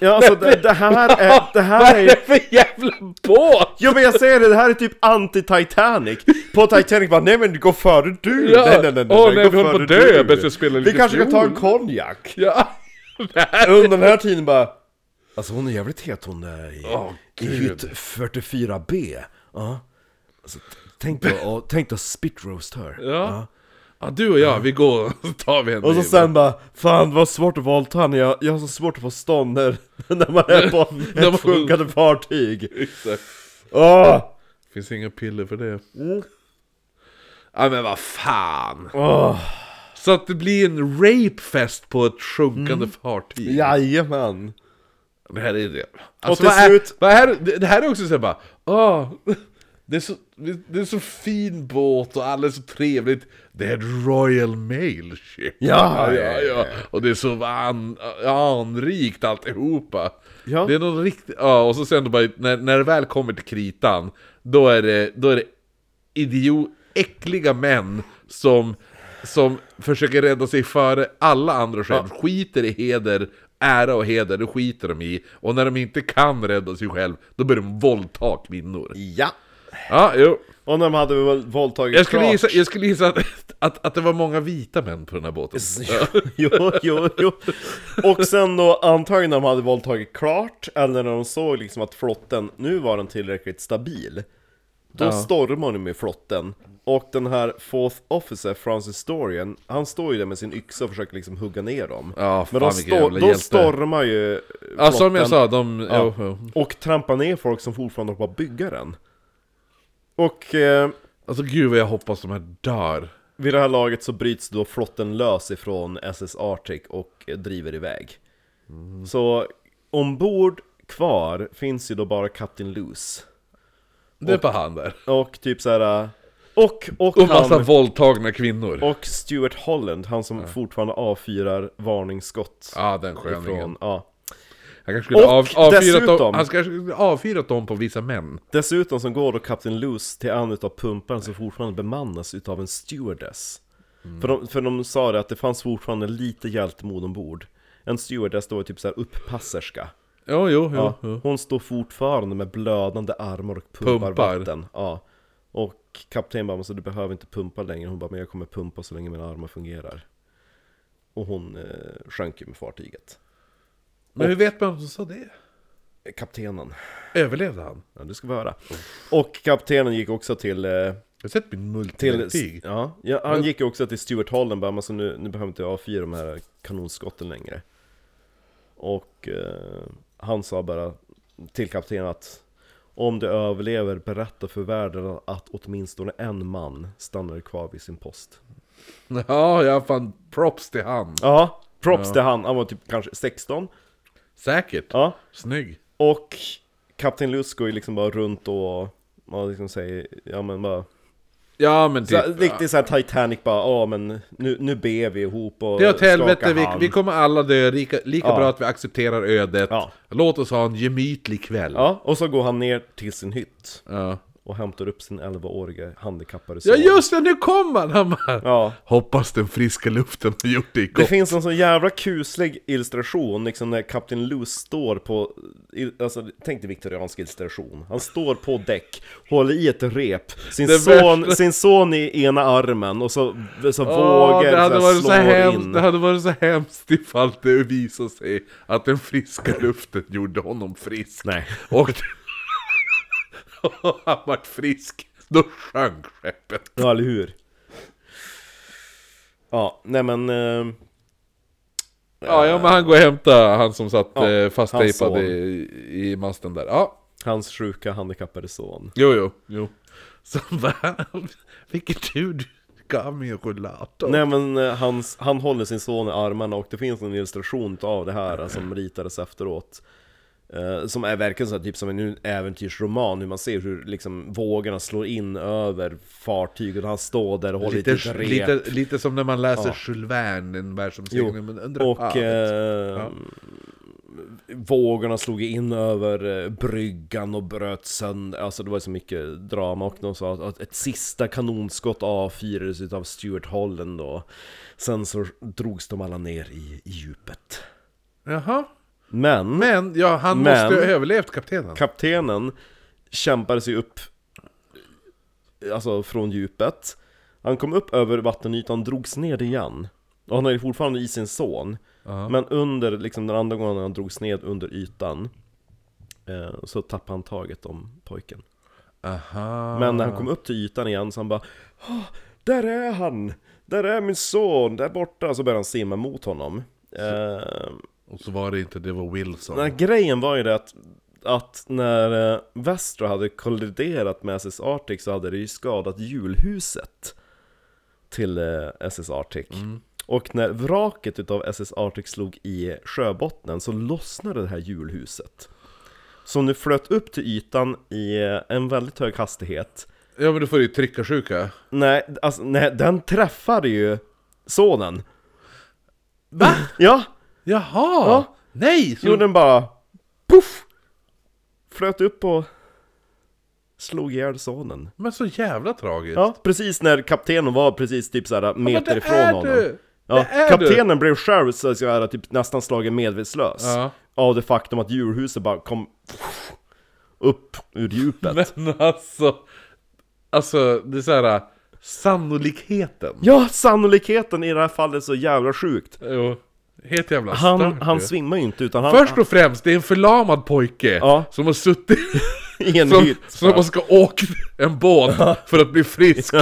S1: Ja alltså det, det här är, det
S2: Vad
S1: här
S2: är
S1: är
S2: det för jävla båt?
S1: Jo men jag säger det, det här är typ anti-Titanic! På Titanic bara nej men gå före du!
S2: Ja.
S1: Nej nej nej,
S2: Åh, nej,
S1: gå
S2: vi håller på
S1: före
S2: att dö.
S1: du.
S2: Jag bäst jag spelar lite
S1: Vi kanske kan ta en
S2: fiol.
S1: konjak!
S2: Ja, det här
S1: Under den här tiden bara Alltså hon är jävligt het hon är i, i hytt 44B Ja alltså, t- Tänk dig att- tänk dig att spitroast her
S2: Ja. ja, du och jag, vi går och så tar vi henne
S1: Och så
S2: i-
S1: sen bara Fan vad svårt att våldta henne, jag, jag har så svårt att få stånd när, när man är på
S2: När man-
S1: ett sjunkande fartyg
S2: Exakt.
S1: Åh!
S2: Finns inga piller för det.
S1: Mm.
S2: Ja men vad fan!
S1: Åh!
S2: Så att det blir en rapefest på ett sjunkande
S1: Mm.
S2: fartyg.
S1: Jajamän!
S2: Det här är det. Alltså,
S1: till
S2: vad är,
S1: slut-
S2: Vad är, det det här är också såhär bara, åh, det är, så, det är så fin båt och allt är så trevligt. Det är ett Royal Mail Ship.
S1: Ja,
S2: ja, ja. Och det är så an, anrikt alltihopa.
S1: Ja.
S2: Det är någon riktig, ja, och så sen då bara, när, när det väl kommer till kritan, då är det, då är det idiot, äckliga män som, som försöker rädda sig före alla andra själv, skiter i heder, ära och heder, det skiter de i. Och när de inte kan rädda sig själv, då börjar de våldta kvinnor.
S1: Ja!
S2: Ja, jo.
S1: Och när de hade väl våldtagit
S2: Jag skulle
S1: klart.
S2: gissa, jag skulle gissa att, att, att det var många vita män på den här båten.
S1: jo, jo, jo. Och sen då antagligen när de hade våldtagit klart, eller när de såg liksom att flotten, nu var den tillräckligt stabil. Då stormar de med flotten. Och den här Fourth Officer, Francis Dorian, han står ju där med sin yxa och försöker liksom hugga ner dem.
S2: Ja, fan,
S1: Men de,
S2: vilken jävla
S1: de
S2: hjälte.
S1: stormar ju flotten.
S2: Ja, som jag sa, de...
S1: Ja.
S2: Jo, jo.
S1: Och trampar ner folk som fortfarande håller på att bygga den. Och... Eh,
S2: Alltså gud vad jag hoppas de här dör.
S1: Vid det här laget så bryts då flotten lös ifrån SS Arctic och eh, driver iväg. Så ombord kvar finns ju då bara Captain Luce.
S2: Det är på han där.
S1: Och typ så här. Och, och,
S2: Och massa
S1: han,
S2: våldtagna kvinnor.
S1: och Stuart Holland, han som fortfarande avfyrar varningsskott.
S2: Ja, den sköningen.
S1: Från, ja.
S2: Han kanske skulle
S1: Och
S2: av, avfyrat dem,
S1: dessutom-
S2: han kanske skulle avfyrat dem på vissa män.
S1: Dessutom så går då Captain Luce till en utav pumparna som fortfarande bemannas utav en stewardess.
S2: Mm.
S1: För, de, för de sa det att det fanns fortfarande lite hjältemod ombord. En stewardess då var typ så här upppasserska.
S2: Jo, jo, jo.
S1: Ja,
S2: jo.
S1: hon står fortfarande med blödande armar och pumpar,
S2: Pumpar.
S1: vatten. Ja. Och kaptenen bara, så du behöver inte pumpa längre. Hon bara, men jag kommer pumpa så länge mina armar fungerar. Och hon eh, sjönk ju med fartyget.
S2: Men hur vet man vem som sa det?
S1: Eh, Kaptenen,
S2: Överlevde han?
S1: ja du ska få höra. Och kaptenen gick också till... Eh,
S2: Jag har sett min
S1: till
S2: multivertyg.
S1: ja, ja, han gick ju också till Stuart Holland bara, men så nu, nu behöver inte jag avfyra de här kanonskotten längre. Och eh, han sa bara till kaptenen att om du överlever, berätta för världen att åtminstone en man stannar kvar vid sin post.
S2: Ja, jag fan props till han.
S1: Ja, props till han. Han var typ kanske 16.
S2: Säkert.
S1: Ja,
S2: Snygg.
S1: och kapten Lutz går ju liksom bara runt och, man liksom säger, ja men bara
S2: Typ, Ja, men
S1: så,
S2: typ.
S1: här, Riktigt såhär Titanic bara, ja men nu, nu ber vi ihop och
S2: Det är åt helvete,
S1: skakar
S2: vi,
S1: hand."
S2: vi kommer alla dö, lika, lika
S1: Ja.
S2: bra att vi accepterar ödet.
S1: Ja.
S2: Låt oss ha en gemytlig kväll.
S1: Ja, och så går han ner till sin hytt
S2: Ja.
S1: och hämtar upp sin 11-årige handikappade son.
S2: Ja just det, nu kommer han! han bara,
S1: Ja.
S2: Hoppas den friska luften har gjort dig
S1: Det
S2: gott.
S1: finns en så jävla kuslig illustration, liksom när Kapten Luce står på, i- alltså tänk dig viktoriansk illustration. Han står på däck, håller i ett rep, sin,
S2: Det
S1: son,
S2: värsta.
S1: sin son i ena armen och så, så
S2: Åh,
S1: vågor
S2: det,
S1: så här
S2: hade varit så
S1: slår
S2: hemskt,
S1: in.
S2: det hade varit så hemskt ifall det visade sig att den friska luften gjorde honom frisk.
S1: Nej.
S2: Och, och han vart frisk. Då sjönk skeppet.
S1: Ja, eller hur? Ja, nej men... Eh,
S2: Ja, ja men han går och hämtar han som satt
S1: Ja,
S2: eh,
S1: hans son.
S2: fasttejpad i, i masten där. Ja,
S1: Hans sjuka handikappade son.
S2: jo jo. jo.
S3: Så va? Vilken tur du gav mig en rullator.
S1: Nej men eh, hans, han håller sin son i armarna och det finns en illustration av det här eh, som ritades efteråt. Eh, som är verkligen så här, typ som en äventyrsroman, hur man ser hur liksom vågorna slår in över fartyget och han står där och håller i ett
S2: Lite,
S1: rep.
S2: lite, lite som när man läser
S1: Ja.
S2: Jules Verne, en
S1: Jo,
S2: världsomseglare. Men undrar Ah,
S1: och
S2: fan.
S1: eh, vågorna slog in över eh, bryggan och bröt sönder, alltså det var så mycket drama och de sa att- att ett sista kanonskott avfyrades utav Stuart Holland då. Sen så drogs de alla ner i, i djupet.
S2: Jaha.
S1: Men
S2: Men, ja, han
S1: Men-
S2: måste ju ha överlevt kaptenen.
S1: kaptenen kämpade sig upp Alltså från djupet Han kom upp över vattenytan, drogs ner igen Och han är fortfarande i sin son Men under, liksom den andra gången han drogs ned under ytan eh, Så tappade han taget om pojken
S2: Aha.
S1: Men när han kom upp till ytan igen så han bara "Åh, Där är han! Där är min son! Där borta! Så började han simma mot honom eh,
S2: Och så var det inte, det var Wilson.
S1: den här grejen var ju det att, att när eh, Västra hade kolliderat med SS Arctic så hade det ju skadat hjulhuset till eh, SS Arctic. Och när vraket utav SS Arctic slog i sjöbottnen så lossnade det här hjulhuset. Som nu flöt upp till ytan i eh, en väldigt hög hastighet.
S2: Ja men då får du ju tryckarsjuka.
S1: Nej, alltså, nej den träffade ju sonen.
S2: Va?
S1: Ja,
S2: Jaha!
S1: Ja.
S2: Nej! Så...
S1: Jo, den bara poff! Flöt upp och slog ihjäl sonen.
S2: Men så jävla tragiskt.
S1: Ja, precis när kaptenen var precis typ såhär meter
S2: det
S1: ifrån
S2: är
S1: honom.
S2: du!
S1: Ja,
S2: Det är
S1: kaptenen blev själv så att säga typ nästan slagen medvetslös.
S2: Ja.
S1: Av det faktum att djurhuset bara kom poff, upp ur djupet.
S2: Men alltså... Alltså, det är såhär... Sannolikheten.
S1: Ja, sannolikheten i det här fallet är så jävla sjukt.
S2: Jo. Helt jävla
S1: Han,
S2: starkt
S1: han
S2: ju.
S1: svimmar ju inte utan han...
S2: Först och främst, det är en förlamad pojke
S1: Ja.
S2: som har suttit...
S1: i en
S2: Som,
S1: hytt.
S2: som man ska åka en båt för att bli frisk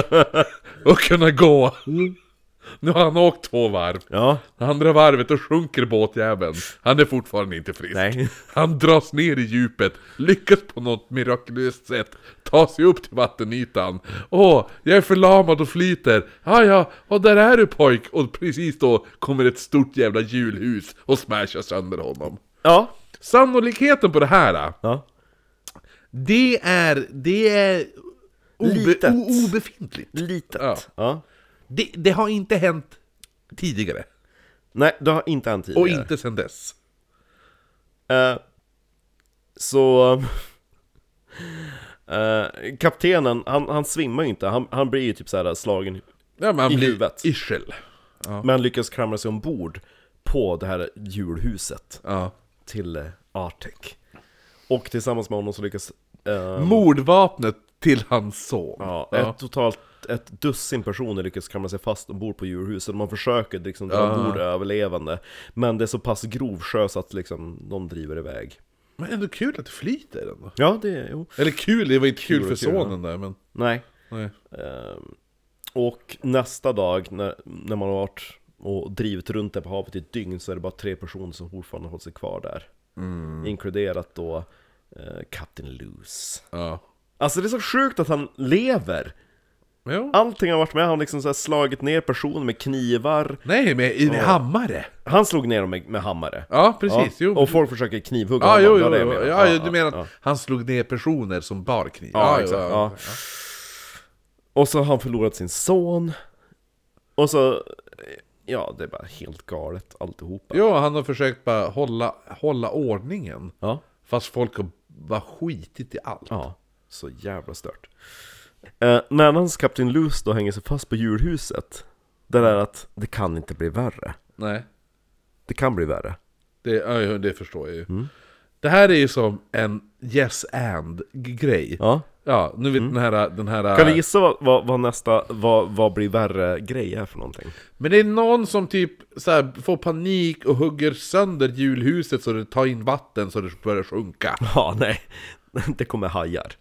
S2: och kunna gå. Nu har han åkt två varv.
S1: Mm. Ja,
S2: Andra varvet och sjunker båtjäveln. Han är fortfarande inte frisk.
S1: Nej.
S2: Han dras ner i djupet, lyckas på något mirakulöst sätt ta sig upp till vattenytan. Åh, jag är förlamad och flyter. Ja, ja, och där är du pojk. Och precis då kommer ett stort jävla julhus och smashar sönder honom.
S1: ja,
S2: Sannolikheten på det här, äh?
S1: ja.
S2: det är... Det är...
S1: Litet.
S2: o- obefintligt.
S1: Litet.
S2: Ja.
S1: Ja.
S2: Det, det har inte hänt tidigare.
S1: Nej, det har inte hänt tidigare.
S2: Och inte sen dess.
S1: Eh, så... eh, kaptenen, han, han svimmar ju inte, han, han blir ju typ såhär slagen
S2: Ja, men han
S1: I
S2: blir
S1: huvudet.
S2: yrsel.
S1: Men han lyckas klamra sig ombord på det här julhuset
S2: Ja.
S1: till eh, Artek Och tillsammans med honom så lyckas... eh,
S2: Um. Mordvapnet till hans son. Eh,
S1: ja,
S2: Ja.
S1: Ett totalt ett dussin personer lyckas klamra sig fast ombord på djurhuset Man försöker liksom dra ombord överlevande Men det är så pass grov sjö så att liksom de driver iväg
S2: Men ändå kul att det flyter ändå.
S1: Ja, det är... Jo.
S2: Eller kul, det var inte kul,
S1: Kul,
S2: för
S1: kul, ja.
S2: sonen där men...
S1: Nej
S2: Nej.
S1: Ehm, Och nästa dag när, när man har varit och drivit runt där på havet i ett dygn så är det bara tre personer som fortfarande håller sig kvar där.
S2: Mm.
S1: Inkluderat då eh, Captain Loose.
S2: Ja.
S1: Alltså det är så sjukt att han lever!
S2: Jo.
S1: Allting har varit med, han har liksom så här slagit ner personer med knivar
S2: Nej, men i hammare!
S1: Han slog ner dem med, med hammare
S2: Ja, precis. Jo.
S1: Och folk försöker knivhugga
S2: ja,
S1: honom,
S2: jo,
S1: det
S2: jo,
S1: var det jag
S2: jo.
S1: menade.
S2: Ja, du menar att
S1: ja.
S2: han slog ner personer som bar kniv?
S1: Ja, exakt. Ja. Och så har han förlorat sin son Och så, ja det är bara helt galet alltihopa
S2: Jo, han har försökt bara hålla, hålla ordningen.
S1: Ja,
S2: Fast folk har bara skitit i allt.
S1: ja, så jävla stört eh, När hans kapten Luce då hänger sig fast på djurhuset Det där att det kan inte bli värre
S2: Nej.
S1: Det kan bli värre
S2: Det, ja, ja, det förstår jag ju.
S1: Mm.
S2: Det här är ju som en yes and-grej.
S1: Ja Mm.
S2: Ja, nu vet den här... Den här
S1: Kan du gissa vad, vad, vad nästa, vad, vad blir värre grej är för någonting?
S2: Men det är någon som typ så här, får panik och hugger sönder julhuset så det tar in vatten så det börjar sjunka.
S1: Ja, nej Det kommer hajar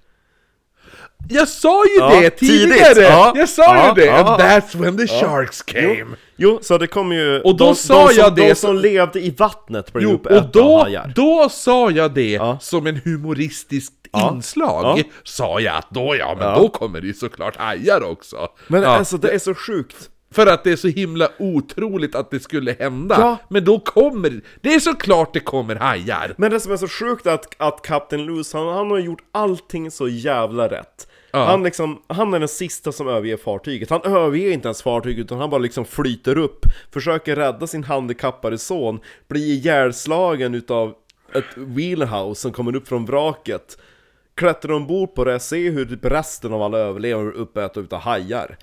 S2: Jag sa ju
S1: Ja,
S2: det
S1: tidigt.
S2: tidigare!
S1: Ja.
S2: Jag sa
S1: Ja,
S2: ju det!
S1: ja.
S2: And that's when the sharks came!
S1: Jo, jo, så det kom ju...
S2: Och då
S1: de,
S2: sa
S1: de som,
S2: jag det
S1: De
S2: så-
S1: som levde i vattnet blev
S2: Jo,
S1: uppätna
S2: och då,
S1: hajar.
S2: då sa jag det
S1: Ja.
S2: som en humoristiskt inslag.
S1: Ja.
S2: Sa jag att då ja, men då kommer det ju såklart hajar också.
S1: Men
S2: ja.
S1: alltså det är så sjukt.
S2: För att det är så himla otroligt att det skulle hända.
S1: Ja.
S2: Men då kommer, det är såklart det kommer hajar.
S1: Men det som är så sjukt är att, att Captain Loose, han, han har gjort allting så jävla rätt. Han, liksom, han är den sista som överger fartyget. Han överger inte ens fartyget utan han bara liksom flyter upp, försöker rädda sin handikappade son, blir ihjälslagen utav ett wheelhouse som kommer upp från vraket. Klättrar ombord på det, ser hur typ resten av alla överlever och blir uppätna utav hajar.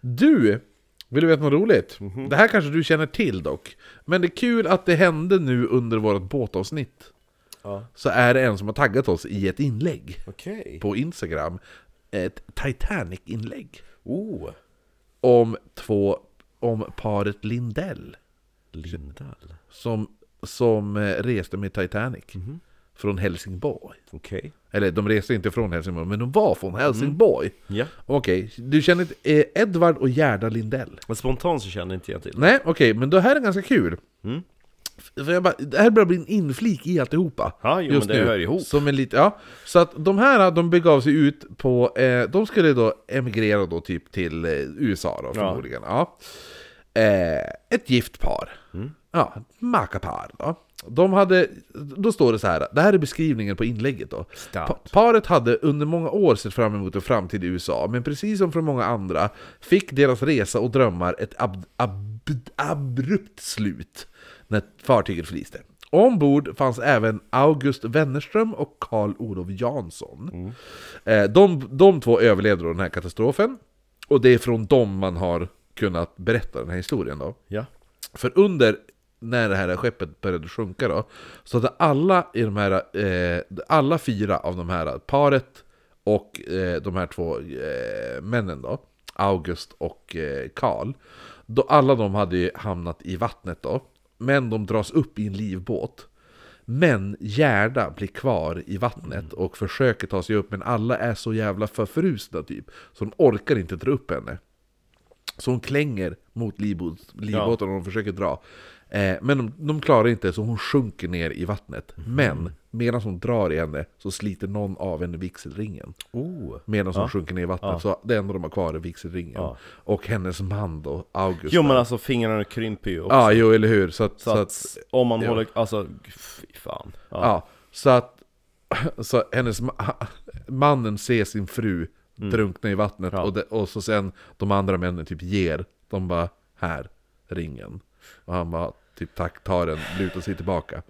S2: Du, vill du veta något roligt?
S1: Mhm.
S2: Det här kanske du känner till dock. Men det är kul att det hände nu under vårt båtavsnitt.
S1: Ja.
S2: Så är det en som har taggat oss i ett inlägg
S1: Okej.
S2: på Instagram. Ett Titanic-inlägg.
S1: Oh,
S2: om två, om paret Lindell
S1: Lindell.
S2: som, som eh, reste med Titanic
S1: Mhm.
S2: från Helsingborg.
S1: Okej.
S2: Eller de reste inte från Helsingborg, men de var från Helsingborg.
S1: Ja.
S2: Okej, du känner inte- eh, Edvard och Gerda Lindell?
S1: Men spontant så känner inte jag till.
S2: Nej, okej, men det här är ganska kul.
S1: Mm.
S2: För jag bara, det här börjar bli en inflik i alltihopa.
S1: Ja, jo, men det hör ihop.
S2: Som en lit, ja. Så att de här de begav sig ut på, eh, de skulle då emigrera då typ till eh, USA då förmodligen. Ja. Eh, ett gift par.
S1: Mm.
S2: Ja, ett makapar då. De hade, då står det så här, det här är beskrivningen på inlägget då.
S1: Start.
S2: Pa- Paret hade under många år sett fram emot en framtid i USA, men precis som för många andra fick deras resa och drömmar ett ab- ab- abrupt slut när fartyget förliste. Ombord fanns även August Wennerström och Karl Olof Jansson. Eh, De, de två överlevde då den här katastrofen, och det är från dem man har kunnat berätta den här historien. då.
S1: Ja.
S2: För under när det här skeppet började sjunka då, så hade alla i de här, eh, alla fyra av de här paret och eh, de här två eh, männen då, August och eh, Karl, då alla de hade ju hamnat i vattnet då, men de dras upp i en livbåt. Men Gerda blir kvar i vattnet och försöker ta sig upp, men alla är så jävla förfrusna typ, så de orkar inte dra upp henne. Så hon klänger mot livbåt- livbåten och de försöker dra. Eh, men de, de klarar inte så hon sjunker ner i vattnet.
S1: Mhm.
S2: Men medan hon drar i henne så sliter någon av henne vigselringen.
S1: Oh.
S2: Medan hon sjunker ner i vattnet så det enda de har kvar är vigselringen. Och hennes man då, August.
S1: Jo men alltså fingrarna krymper ju också.
S2: Ja, jo eller hur. Så att,
S1: Så att om man håller, alltså fy fan. Ja.
S2: Ja, så att så hennes ma- mannen ser sin fru
S1: Mm.
S2: drunkna i vattnet och, det, och så sen de andra männen typ ger, de bara här, ringen. Och han bara typ tack, tar den, lutar sig tillbaka.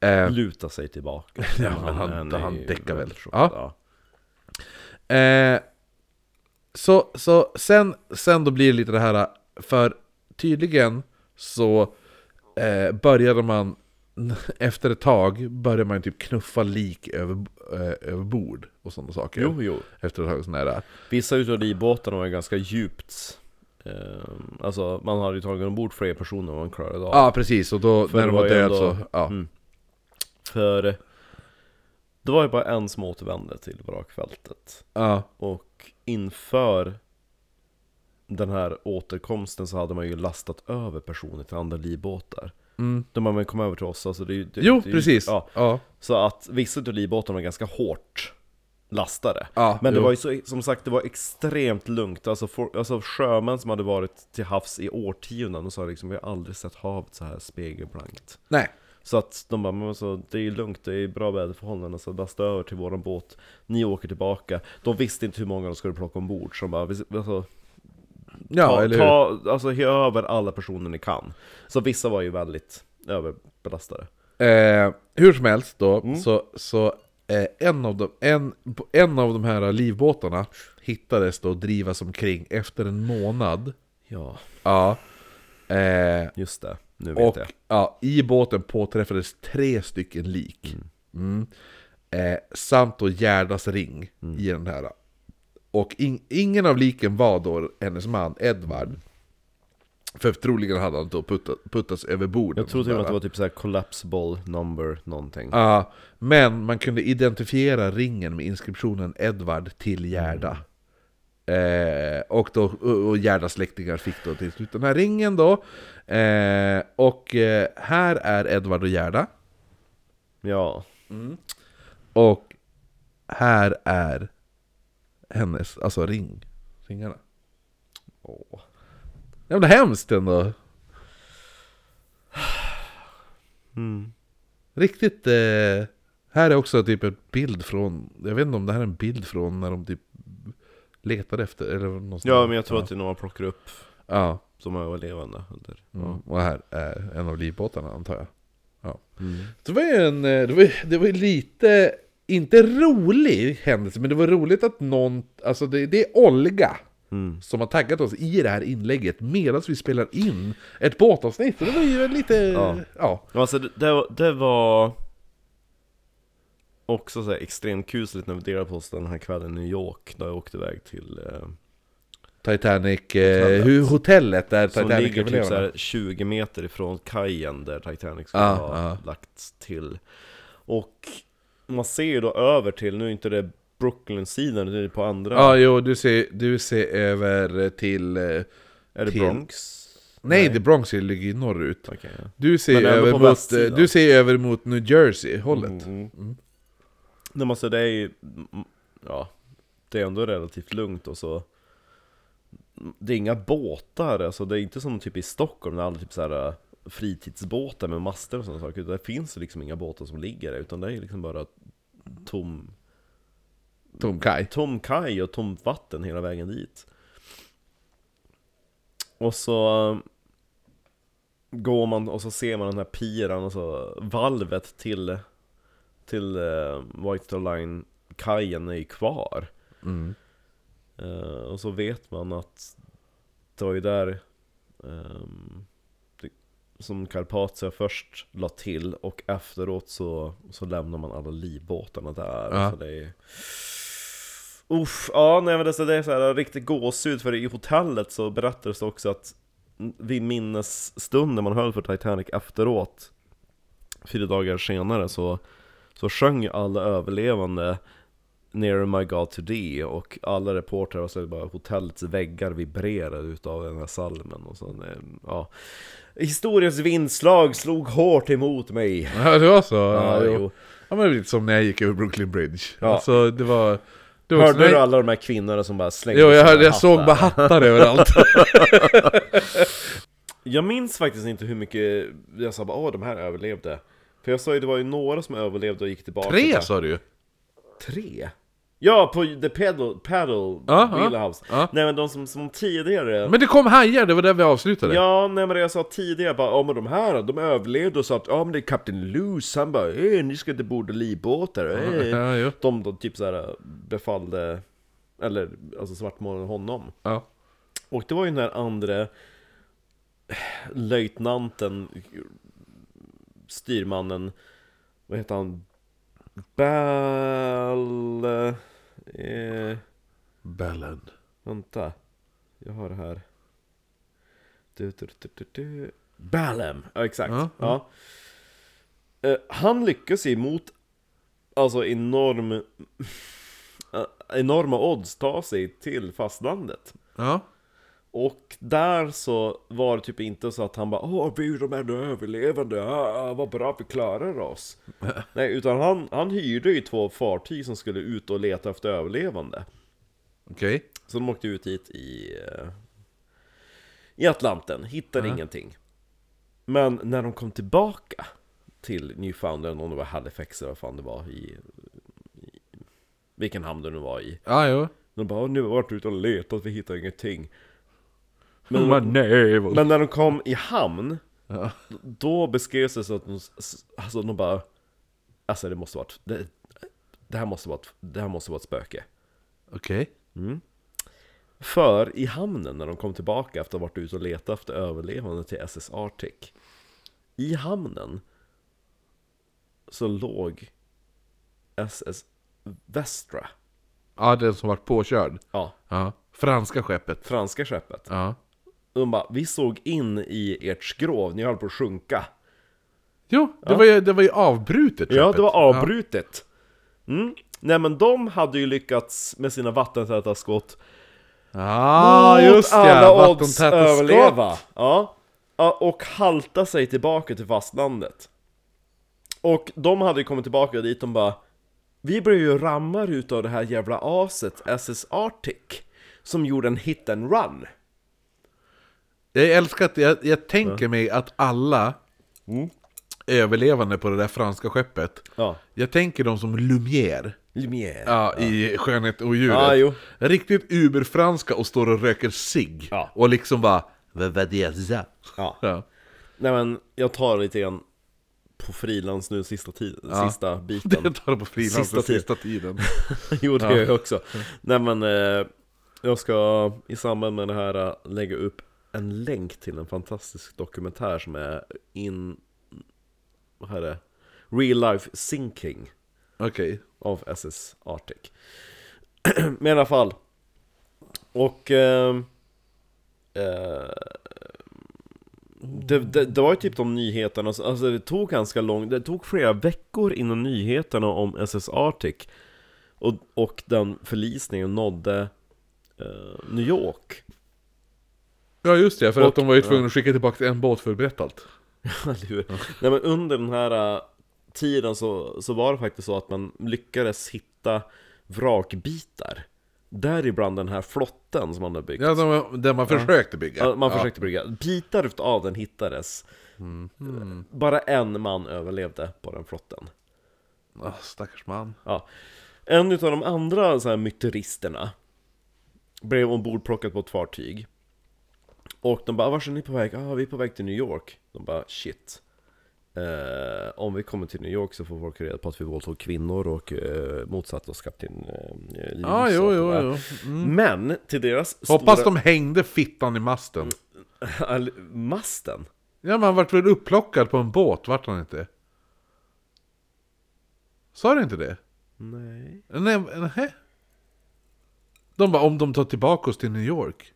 S2: Eh,
S1: Luta sig tillbaka.
S2: Ja, men han- han
S1: är ju
S2: däckar väl.
S1: väldigt
S2: Ja.
S1: chockad,
S2: Eh, så så sen, sen då blir det lite det här, för tydligen så eh, började man efter ett tag började man typ knuffa lik över, eh, över bord och sådana saker.
S1: Jo, jo.
S2: Efter ett tag sån här.
S1: Vissa utav livbåtarna var ju ganska djupt, eh, alltså man hade ju tagit ombord fler personer än man klarade av.
S2: Ja precis, och då
S1: För
S2: när
S1: det
S2: de var,
S1: var ju
S2: död
S1: ändå- Mm.
S2: så... Ja.
S1: För det var ju bara en som återvände till vrakfältet.
S2: ja.
S1: Och inför den här återkomsten så hade man ju lastat över personer till andra livbåtar.
S2: Mm.
S1: Då man väl kom över till oss, alltså det, är ju- det,
S2: Jo
S1: det, är ju-
S2: precis!
S1: Ja,
S2: Ja. Ja.
S1: Så att vissa utav livbåtarna var ganska hårt lastade.
S2: Ja,
S1: Men det
S2: jo.
S1: var ju så, som sagt, det var extremt lugnt. Alltså, for, alltså sjömän som hade varit till havs i årtionden, och sa liksom vi har aldrig sett havet så här spegelblankt.
S2: Nej.
S1: Så att de bara, men alltså, det är ju lugnt, det är bra väderförhållanden, så lasta alltså, över till våran båt, ni åker tillbaka. De visste inte hur många de skulle plocka ombord, så de bara, "Vi- alltså,
S2: Ja,
S1: ta,
S2: eller hur?
S1: ta, alltså, he över alla personer ni kan. Så vissa var ju väldigt överbelastade.
S2: Eh, hur som helst då,
S1: Mm.
S2: så, så eh, en, av de, en, en av de här livbåtarna hittades då drivas omkring efter en månad.
S1: Ja,
S2: Ja. Eh,
S1: just det, nu vet
S2: och
S1: jag.
S2: ja, i båten påträffades tre stycken lik. Mm. Eh, samt då Gerdas ring
S1: Mm.
S2: i den här. Och in, ingen av liken var då hennes man Edvard. För troligen hade han då putta, puttats över bord.
S1: Jag tror till och med att det var typ såhär collapsible number någonting.
S2: Ja, men man kunde identifiera ringen med inskriptionen Edvard till Gerda. Eh, och, då, och och Gerdas släktingar fick då till slut den här ringen då. Eh, och eh, här är Edvard och Gerda.
S1: Ja.
S2: Och här är hennes, alltså ring. Ringarna.
S1: Åh.
S2: Jävla hemskt ändå.
S1: Mm.
S2: Riktigt... Eh, här är också typ en bild från... Jag vet inte om det här är en bild från när de typ letade efter... Eller någonstans.
S1: Ja, men jag tror att det är några plockar upp
S2: Ja.
S1: som överlevande. Under.
S2: Mm. Och här är en av livbåtarna antar jag. Ja. Det var ju en... eh, Det var, ju- det var ju lite... Inte rolig händelse, men det var roligt att någon... Alltså det, det är Olga.
S1: Mm.
S2: Som har taggat oss i det här inlägget medan vi spelar in ett båtavsnitt. Och det var ju lite...
S1: Ja.
S2: ja.
S1: Ja, Alltså det, det, var- det var också så här extremt kusligt när vi delade på oss den här kvällen i New York när jag åkte iväg till eh,
S2: Titanic, eh, hur hotellet där
S1: Som
S2: Titanic
S1: ligger typ så
S2: överlever.
S1: här 20 meter ifrån kajen där Titanic skulle
S2: Ja,
S1: ha
S2: ja.
S1: lagts till Och man ser ju då över till, nu är inte det Brooklyn-sidan, det är på andra
S2: Ja, jo, du ser, du ser över till... eh, Nej,
S1: Är det
S2: till-
S1: Bronx?
S2: The Bronx ligger ju norrut.
S1: Okej, ja.
S2: Du ser,
S1: Men ändå
S2: över
S1: på
S2: mot, eh,
S1: västsidan. Mm.
S2: du ser över mot New Jersey-hållet.
S1: Nej, men alltså det är ju, mm, ja, det är ändå relativt lugnt och så Det är inga båtar, alltså det är inte som typ i Stockholm när alla typ så här äh, fritidsbåtar med master och sådana saker Där finns det liksom inga båtar som ligger där, utan det är liksom bara tom,
S2: Tom Kai.
S1: tom kaj och tomt vatten hela vägen dit Och så äh, går man och så ser man den här piran, alltså valvet till, till äh, White Star Line kajen är ju kvar Eh, och så vet man att det var ju där ehm, det, som Carpathia först la till och efteråt så, så lämnar man alla livbåtarna där.
S2: Ja.
S1: Så det är, Uff, ja, nej, men det, så det är så här riktigt gåshud för i hotellet så berättades det också att vid minnesstunden man höll för Titanic efteråt, fyra dagar senare, så, så sjöng alla överlevande Near My God To Thee och alla reportrar var så bara hotellets väggar vibrerade utav den här salmen och så, eh, ja. Historiens vindslag slog hårt emot mig.
S2: Ja, det var så? Ja,
S1: Ja,
S2: jo.
S1: jo.
S2: ja men det var lite som när jag gick över Brooklyn Bridge.
S1: Ja.
S2: Alltså, det var... Det var också-
S1: Hörde
S2: nej-
S1: du alla de här kvinnorna som bara slängde
S2: Jo, jag,
S1: sina
S2: hörde, jag såg
S1: hattar?
S2: bara hattar överallt.
S1: Jag minns faktiskt inte hur mycket jag sa bara åh de här överlevde. För jag sa ju det var ju några som överlevde och gick tillbaka.
S2: Tre alltså?
S1: till-
S2: sa du ju.
S1: Tre? Ja, på The Pedal, pedal
S2: Ja, ja,
S1: Wheelhouse.
S2: ja.
S1: Nej men de som, som tidigare...
S2: Men det kom hajar, det var där vi avslutade.
S1: Ja, nej men det jag sa tidigare bara, ja men de här, de överlevde och sa att ja men det är Kapten Loose, han bara eh, ni ska inte borda livbåtar, eh.
S2: Ja, jo.
S1: De då typ såhär befallde, eller alltså svartmålade honom.
S2: Ja.
S1: Och det var ju den här andra löjtnanten, styrmannen, vad heter han? Bell... Eh,
S2: Bellen.
S1: vänta, jag har det här. Du, du, du, du, du. Balem! Ja, exakt.
S2: Ja,
S1: Ja, Eh, han lyckas ju emot alltså enorm, eh, enorma odds ta sig till fastlandet.
S2: Ja.
S1: Och där så var det typ inte så att han bara Åh, vi är de enda överlevande, ah, ah, vad bra vi klarar oss Nej, utan han, han hyrde ju två fartyg som skulle ut och leta efter överlevande
S2: Okej.
S1: Så de åkte ut hit i, eh, i Atlanten, hittade ingenting Men när de kom tillbaka till Newfoundland, om det var Halifax eller vad fan det var i, i vilken hamn det nu var i
S2: Ja, jo.
S1: De bara "Åh, nu har vi varit ute och letat, vi hittar ingenting
S2: Men, men nej. vad-
S1: Men när de kom i hamn,
S2: Ja.
S1: då beskrevs det så att de, s- alltså de bara Alltså det måste varit, det, det här måste varit, det här måste varit spöke
S2: Okej.
S1: För i hamnen när de kom tillbaka efter att ha varit ute och letat efter överlevande till SS Arctic I hamnen så låg SS Vestra,
S2: Ja, den som vart påkörd.
S1: ja,
S2: Ja. Franska skeppet.
S1: franska skeppet
S2: Ja.
S1: De bara, vi såg in i ert skrov, ni höll på att sjunka.
S2: Jo, det, Var, ju, det var ju avbrutet
S1: Ja,
S2: skeppet.
S1: det var avbrutet. Mm. Nej men de hade ju lyckats med sina vattentäta skott
S2: Ja, ah,
S1: mot
S2: just det.
S1: alla odds
S2: vattentäta skott.
S1: överleva. Ja. Ja, och halta sig tillbaka till fastlandet. Och de hade ju kommit tillbaka dit och bara Vi blev ju rammar utav det här jävla aset SS Arctic som gjorde en hit and run.
S2: Jag älskar att jag, jag tänker mig att alla överlevande på det där franska skeppet
S1: Mm. Ja,
S2: Jag tänker dem som Lumière
S1: Lumière.
S2: ja, i Skönhet och djuret.
S1: Ja, jo.
S2: Riktigt uberfranska och står och röker cigg.
S1: Ja.
S2: Och liksom bara... Vad var det? där?"
S1: Ja.
S2: Ja.
S1: Nej men jag tar lite grann på frilans nu sista, tiden, sista biten.
S2: Jag tar det på frilans
S1: Sista
S2: sista,
S1: tid.
S2: sista tiden.
S1: jo, det gör jag också. Nej men, eh, jag ska i samband med det här eh, lägga upp en länk till en fantastisk dokumentär som är in... Vad här är det? Real Life Sinking
S2: Okej.
S1: av SS Arctic. Men i alla fall. Och... Eh, eh, det, det, det var ju typ de nyheterna, så- alltså det tog ganska lång, det tog flera veckor innan nyheterna om SS Arctic och, och den förlisningen nådde eh, New York.
S2: Ja just det, för
S1: Och-
S2: att de var ju tvungna att skicka tillbaka en båt för att berätta allt.
S1: Eller hur? Nej men under den här eh, tiden så, så var det faktiskt så att man lyckades hitta vrakbitar. Däribland den här flotten som man hade byggt.
S2: Ja, de, det man försökte bygga.
S1: Ja, Mm. Man försökte brygga. Bitar av den hittades. Bara en man överlevde på den flotten.
S2: Ja. Ah, stackars man.
S1: Ja. En av de andra så här myteristerna blev ombordplockad på ett fartyg. Och de bara, vart är ni på väg? Ja, ah, vi är på väg till New York. De bara, shit. Eh, om vi kommer till New York så får folk reda på att vi våldtog kvinnor och eh, motsatte oss kapten eh, Lewis
S2: Ja, ah, jo,
S1: och
S2: jo,
S1: det där.
S2: jo. Mm.
S1: Men till deras
S2: Hoppas
S1: stora...
S2: de hängde fittan i masten.
S1: All- Masten?
S2: Ja, men han vart väl upplockad på en båt, vart han inte? Sa du inte det?
S1: Nej.
S2: Nej, nej. De bara, om de tar tillbaka oss till New York.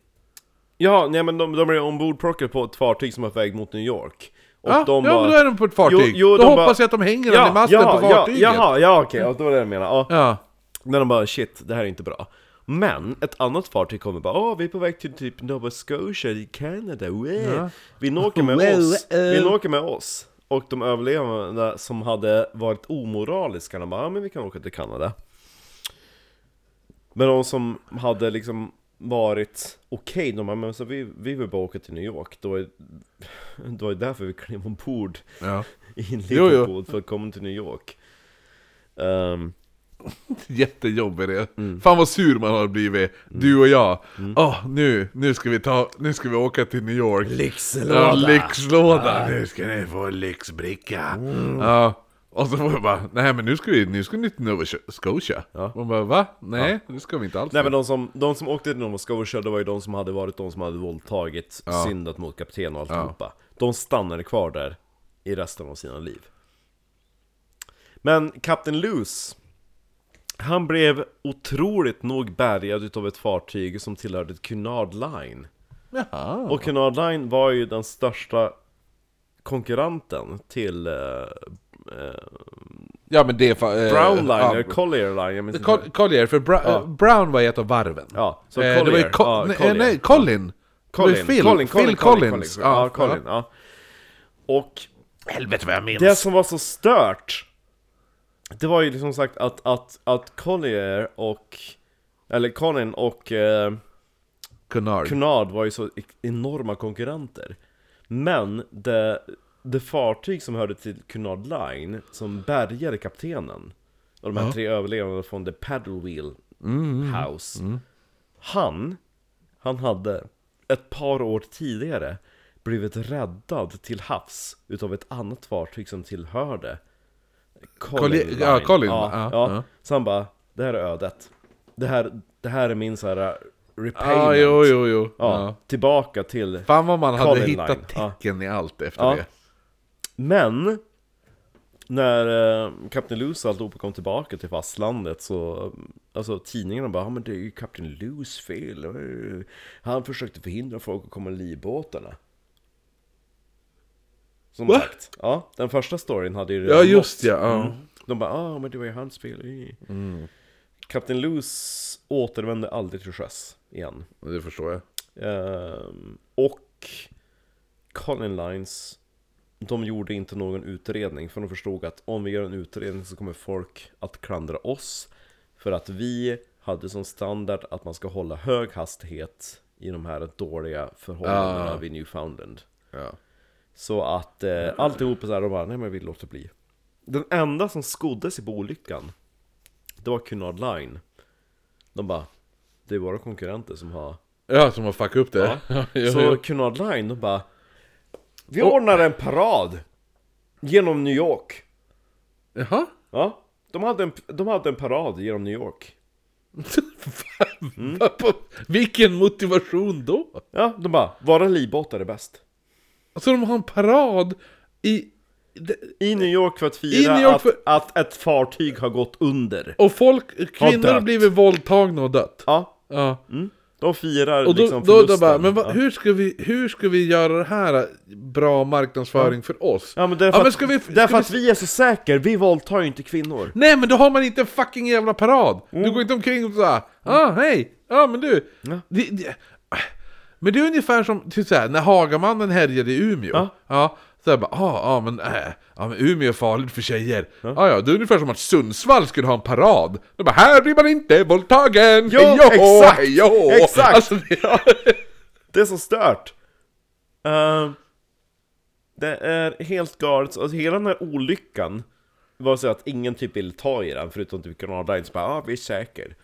S1: Ja, nej men de, de är ombordplockade på ett fartyg som är på väg mot New York. Och
S2: ja,
S1: de
S2: ja
S1: bara...
S2: men då är de på ett fartyg.
S1: Jo, jo,
S2: då
S1: de
S2: hoppas
S1: bara-
S2: jag att de hänger den i masten
S1: ja,
S2: på fartyget.
S1: Ja, jaha, ja okej, ja, det var det jag menade. Ja.
S2: Ja.
S1: När de bara shit, det här är inte bra. Men ett annat fartyg kommer bara åh, vi är på väg till typ Nova Scotia i Kanada, wow. Vill ni åka med
S2: Wow,
S1: oss?
S2: eh.
S1: Vill ni åka med oss? Och de överlevande som hade varit omoraliska, de bara ja men vi kan åka till Kanada. Men de som hade liksom varit okej, de bara men så vi, vi vill bara åka till New York. Det var ju- det var ju därför vi klev ombord
S2: ja.
S1: i
S2: jo.
S1: Liverpool för att komma till New York. Ehm,
S2: Jättejobbig det. Fan vad sur man har blivit, du och jag. Åh, nu, nu ska vi ta, nu ska vi åka till New York.
S1: Lyxlåda.
S2: Ja, lyxlåda! Nu ska ni få en lyxbricka! Ja. Och så var det bara, nej men nu ska vi, nu ska ni till Nova Scotia.
S1: Ja.
S2: Man bara, va? Nej, det ska vi inte alls.
S1: Nej men de som, de som åkte till Nova Scotia, det var ju de som hade varit de som hade våldtagit, syndat mot kapten och alltihopa. De stannade kvar där i resten av sina liv. Men Kapten Luce, han blev otroligt nog bärgad utav ett fartyg som tillhörde Cunard Line.
S2: Jaha.
S1: Och Cunard Line var ju den största konkurrenten till eh,
S2: Ja men det är fan... eh,
S1: Brown Line,
S2: ja.
S1: eller Collier Line, jag minns inte.
S2: Col- Collier, för Bra- eh, Brown var ett av varven.
S1: Ja, så
S2: Eh,
S1: Collier.
S2: det var ju Co-
S1: ja,
S2: nej,
S1: Collier.
S2: nej, Colin!
S1: Colin,
S2: Det var Phil,
S1: Colin, Colin,
S2: Phil
S1: Colin,
S2: Collins.
S1: Colin. Ja, Colin, ja. Och
S3: Helvete vad jag minns!
S1: det som var så stört Det var ju liksom sagt att, att, att Collier och Eller Colin och eh,
S2: Cunard.
S1: Cunard var ju så e- enorma konkurrenter Men det, det fartyg som hörde till Cunard Line Som bärgade kaptenen Och de här tre överlevande från The Paddle Wheel
S2: Mm,
S1: House Han han hade ett par år tidigare blivit räddad till havs utav ett annat fartyg som tillhörde
S2: Colli-
S1: Line.
S2: ja, Colin,
S1: Ja,
S2: ja,
S1: ja.
S2: ja.
S1: Så han bara, det här är ödet. Det här, det här är min så här uh,
S2: Ja,
S1: repayment.
S2: Ah, jo, jo, jo.
S1: Ja,
S2: Ja.
S1: Tillbaka till...
S2: Fan vad man hade
S1: Colin Line,
S2: hittat
S1: ja.
S2: tecken i allt efter
S1: Ja.
S2: det.
S1: Men när eh, Kapten Luce och alltihopa kom tillbaka till fastlandet så eh, Alltså tidningarna bara, ja men det är ju Kapten Luce fel Eh, Han försökte förhindra folk att komma i livbåtarna Som
S2: Va?
S1: sagt, ja den första storyn hade ju
S2: Ja
S1: redan
S2: just
S1: gått.
S2: ja, ja.
S1: De bara, ah men det var ju hans fel Eh.
S2: Mm.
S1: Kapten Luce återvände aldrig till sjöss igen
S2: Det förstår jag.
S1: Ehm, och Colin Lines, de gjorde inte någon utredning för de förstod att om vi gör en utredning så kommer folk att klandra oss. För att vi hade som standard att man ska hålla hög hastighet i de här dåliga förhållandena
S2: Ah.
S1: vid Newfoundland.
S2: Ja.
S1: Så att eh, alltihop är så här, de bara, nej men vi låter bli. Den enda som skodde sig på olyckan, det var Cunard Line. De bara, det är våra konkurrenter som har
S2: ja, som har fuckat upp det.
S1: Ja.
S2: jo,
S1: Så
S2: jo.
S1: Cunard Line, de bara Vi ordnar en parad Genom New York
S2: Jaha?
S1: Ja, de hade en, de hade en parad genom New York
S2: Fan,
S1: Mm.
S2: vad på- Vilken motivation då?
S1: Ja, de bara, våra livbåtar är bäst
S2: Alltså de har en parad i...
S1: I New York för att
S2: I
S1: fira
S2: New York
S1: att,
S2: för-
S1: att ett fartyg har gått under
S2: Och folk, kvinnor har
S1: dött.
S2: blivit våldtagna och dött.
S1: Ja,
S2: Ja.
S1: mm. de firar
S2: Och då,
S1: liksom
S2: då, då
S1: förlusten
S2: bara, men vad-
S1: ja.
S2: hur, ska vi, hur ska vi göra det här bra marknadsföring för oss?
S1: ja men därför,
S2: Ja, men
S1: att,
S2: ska vi-
S1: därför
S2: ska vi-
S1: att vi är så säkra, vi våldtar ju inte kvinnor
S2: Nej men då har man inte en fucking jävla parad! Du går inte omkring och såhär ah, hej, ja ah, men du
S1: Mm. Ja.
S2: det, det, Men det är ungefär som typ såhär, när Hagamannen härjade i Umeå
S1: Ja.
S2: Ja, så här bara, ah, ah, men, äh, ah, men Umeå är farligt för tjejer ja. Ah, ja, det är ungefär som att Sundsvall skulle ha en parad De bara, här blir man inte våldtagen!
S1: Ja,
S2: Hej-å,
S1: exakt!
S2: hej-å!
S1: Exakt!
S2: Alltså, det,
S1: Det är så stört! Ehm, det är helt galet, alltså hela den här olyckan var så att ingen typ vill ta i den förutom typ Granada Lines bara ah, vi är säker.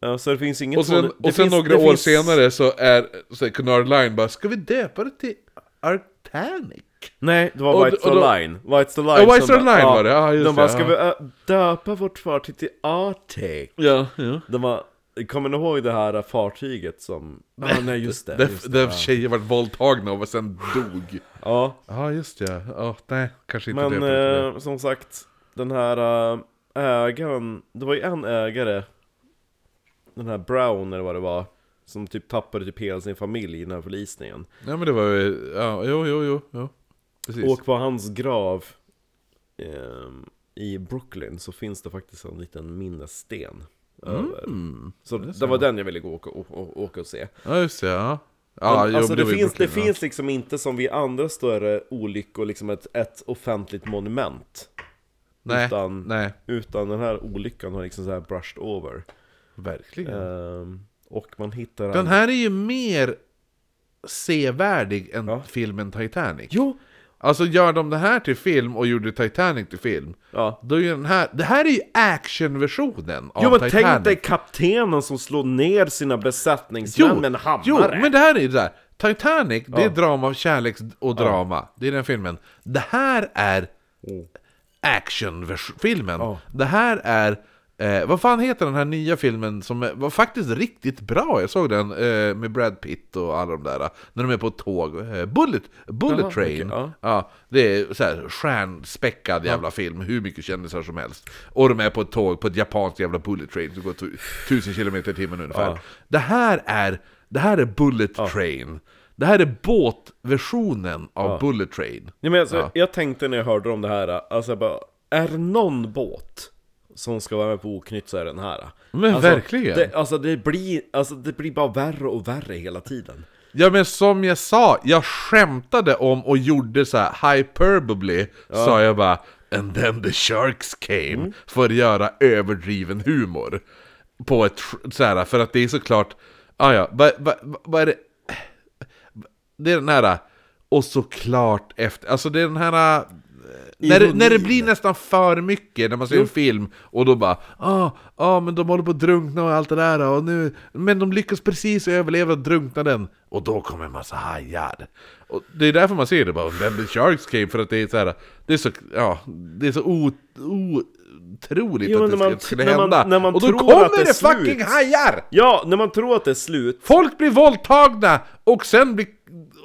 S1: Eh, så det finns inget
S2: och sen,
S1: sån- det
S2: och sen
S1: finns-
S2: några
S1: det
S2: år
S1: finns-
S2: senare så är så här, Cunard Line bara, ska vi döpa det till Artanic?
S1: Nej, det var
S2: och-
S1: White
S2: och
S1: Star
S2: då-
S1: Line. White Star Line,
S2: Ja,
S1: som
S2: White Star
S1: bara,
S2: Line
S1: ja,
S2: var det, ja, just
S1: De bara,
S2: det,
S1: ska
S2: ja.
S1: vi eh, döpa vårt fartyg till Arctic?
S2: Ja, ja
S1: De bara, kommer ni ihåg det här fartyget som... Ja, nej just det.
S2: Där,
S1: Just det.
S2: där tjejer vart våldtagna och sen dog.
S1: Ja.
S2: Ja, just det. Ja, nej, kanske inte
S1: Men
S2: det. Eh...
S1: eh, som sagt, den här eh, ägaren, det var ju en ägare Den här Brown eller vad det var Som typ tappade typ hela sin familj i den här förlisningen
S2: Nej, men det var ju... Ja, jo, jo, jo. jo. Precis.
S1: Och på hans grav ehm, I Brooklyn så finns det faktiskt en liten minnessten över.
S2: Mm.
S1: Så det, var den jag ville gå och, och, och, åka och se
S2: Ja, just det. Ja.
S1: Men,
S2: Ja, jo,
S1: alltså
S2: men
S1: det,
S2: var ju
S1: finns, det
S2: Brooklyn, ja.
S1: finns liksom inte som vid andra större olyckor liksom ett, ett offentligt monument
S2: Nej,
S1: utan-
S2: nej.
S1: Utan den här olyckan har liksom så här brushed over
S2: Verkligen.
S1: Ehm, Och man hittar
S2: Den
S1: aldrig-
S2: här är ju mer sevärdig än
S1: Ja.
S2: filmen Titanic.
S1: Jo!
S2: Alltså, gör de det här till film och gjorde Titanic till film,
S1: Ja
S2: då är ju den här... Det här är ju actionversionen av
S1: Jo men
S2: Titanic.
S1: tänk dig kaptenen som slår ner sina besättningsmän med en hammare!
S2: Jo, men det här är ju det där. Titanic, det
S1: Ja.
S2: är drama, kärleks och drama. Det är den filmen. Det här är actionfilmen.
S1: Oh. Ja.
S2: Det här är... Eh, vad fan heter den här nya filmen som är, var faktiskt riktigt bra? Jag såg den eh, med Brad Pitt och alla de där. eh, När de är på ett tåg. Eh, Bullet, Bullet
S1: Jaha,
S2: Train.
S1: okej, ja.
S2: Ja, det är så här stjärnspäckad jävla film, hur mycket kändisar som helst. Och de är på ett tåg, på ett japanskt jävla bullet train som går tu- 1000 km i timmen ungefär.
S1: Ja.
S2: Det, här är, det här är bullet train. Det här är båtversionen av bullet train.
S1: Nej, men alltså,
S2: Ja.
S1: Jag tänkte när jag hörde om det här, alltså jag bara, är det någon båt som ska vara med på Oknytt så är det den här
S2: Men
S1: alltså,
S2: verkligen.
S1: det, alltså, det blir, alltså det blir bara värre och värre hela tiden
S2: Ja men som jag sa, jag skämtade om och gjorde så här hyperbole, sa jag bara And then the sharks came, för att göra överdriven humor. På ett, sk- så här, för att det är såklart, ah, ja, vad vad- vad- vad är det? Det är den här, och såklart efter, alltså det är den här när det,
S1: Ironin.
S2: när det blir nästan för mycket när man ser en film och då bara ah, ah, men de håller på att drunkna och allt det där och nu, men de lyckas precis överleva drunknaden och då kommer en massa hajar. Och det är därför man ser det bara, then the sharks came för att det är så här, det är så, ja, det är så o, otroligt
S1: Jo, men
S2: att det
S1: när man-
S2: ska, skulle
S1: när man-
S2: hända.
S1: när man
S2: och då
S1: tror
S2: kommer
S1: att det är
S2: det fucking
S1: slut.
S2: hajar!
S1: Ja, när man tror att det är slut
S2: Folk blir våldtagna och sen blir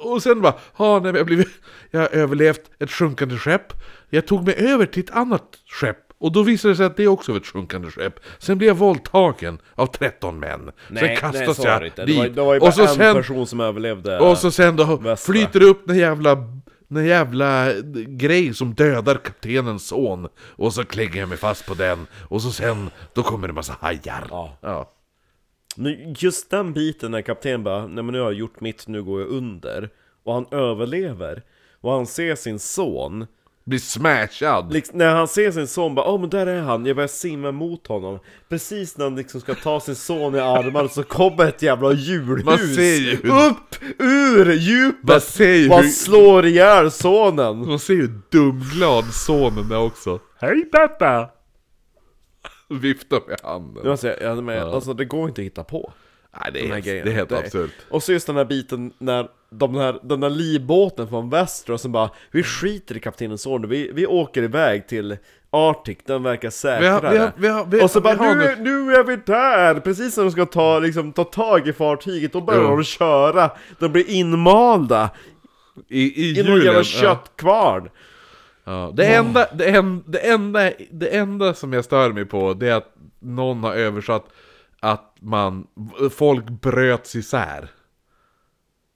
S2: och sen bara, ah, nej, men jag, blev, jag har överlevt ett sjunkande skepp. Jag tog mig över till ett annat skepp. Och då visade det sig att det också var ett sjunkande skepp. Sen blev jag våldtagen av 13 män. sen kastas
S1: så var det
S2: jag
S1: inte. Det
S2: dit.
S1: var, det var ju bara
S2: och så
S1: en
S2: sen
S1: person som överlevde.
S2: och så sen då
S1: Västra.
S2: flyter det upp den jävla, den jävla eh, grej som dödar kaptenens son. Och så klänger jag mig fast på den. Och så sen, då kommer det massa hajar.
S1: Ja.
S2: Ja.
S1: Nu, just den biten när kaptenen bara, nej men nu har jag gjort mitt, nu går jag under. Och han överlever. Och han ser sin son.
S2: Blir smashad.
S1: Liksom, när han ser sin son bara, åh men där är han, jag börjar simma mot honom. Precis när han liksom ska ta sin son i armar så kommer ett jävla
S2: Man ser ju
S1: djurhus
S2: hur-
S1: upp ur
S2: Man
S1: djupet!
S2: ser ju
S1: Bara
S2: hur,
S1: slår ihjäl sonen!
S2: man ser ju hur dumglad sonen är också.
S1: Hej pappa!
S2: Viftar med handen.
S1: Jag säger, ja, men, alltså det går inte att hitta på.
S2: Nej, det
S1: de
S2: är,
S1: här grejerna.
S2: helt- det är helt
S1: Det-
S2: absurt.
S1: Och så just den här biten när de här, den där livbåten från väster och som bara
S2: Mm.
S1: Vi skiter i kaptenens order, vi, vi åker iväg till Arctic, den verkar
S2: Vi har-
S1: säkrare
S2: vi har- vi har- vi-
S1: Och så
S2: vi
S1: bara
S2: har
S1: nu, nu är vi där! Precis när de ska ta, liksom, ta tag i fartyget, då börjar
S2: Jo.
S1: de köra De blir inmalda
S2: I, i,
S1: i någon
S2: julen,
S1: jävla
S2: ja.
S1: köttkvarn
S2: Ja, det, enda, det, en, det, enda, det enda som jag stör mig på det är att någon har översatt att man, folk bröts isär.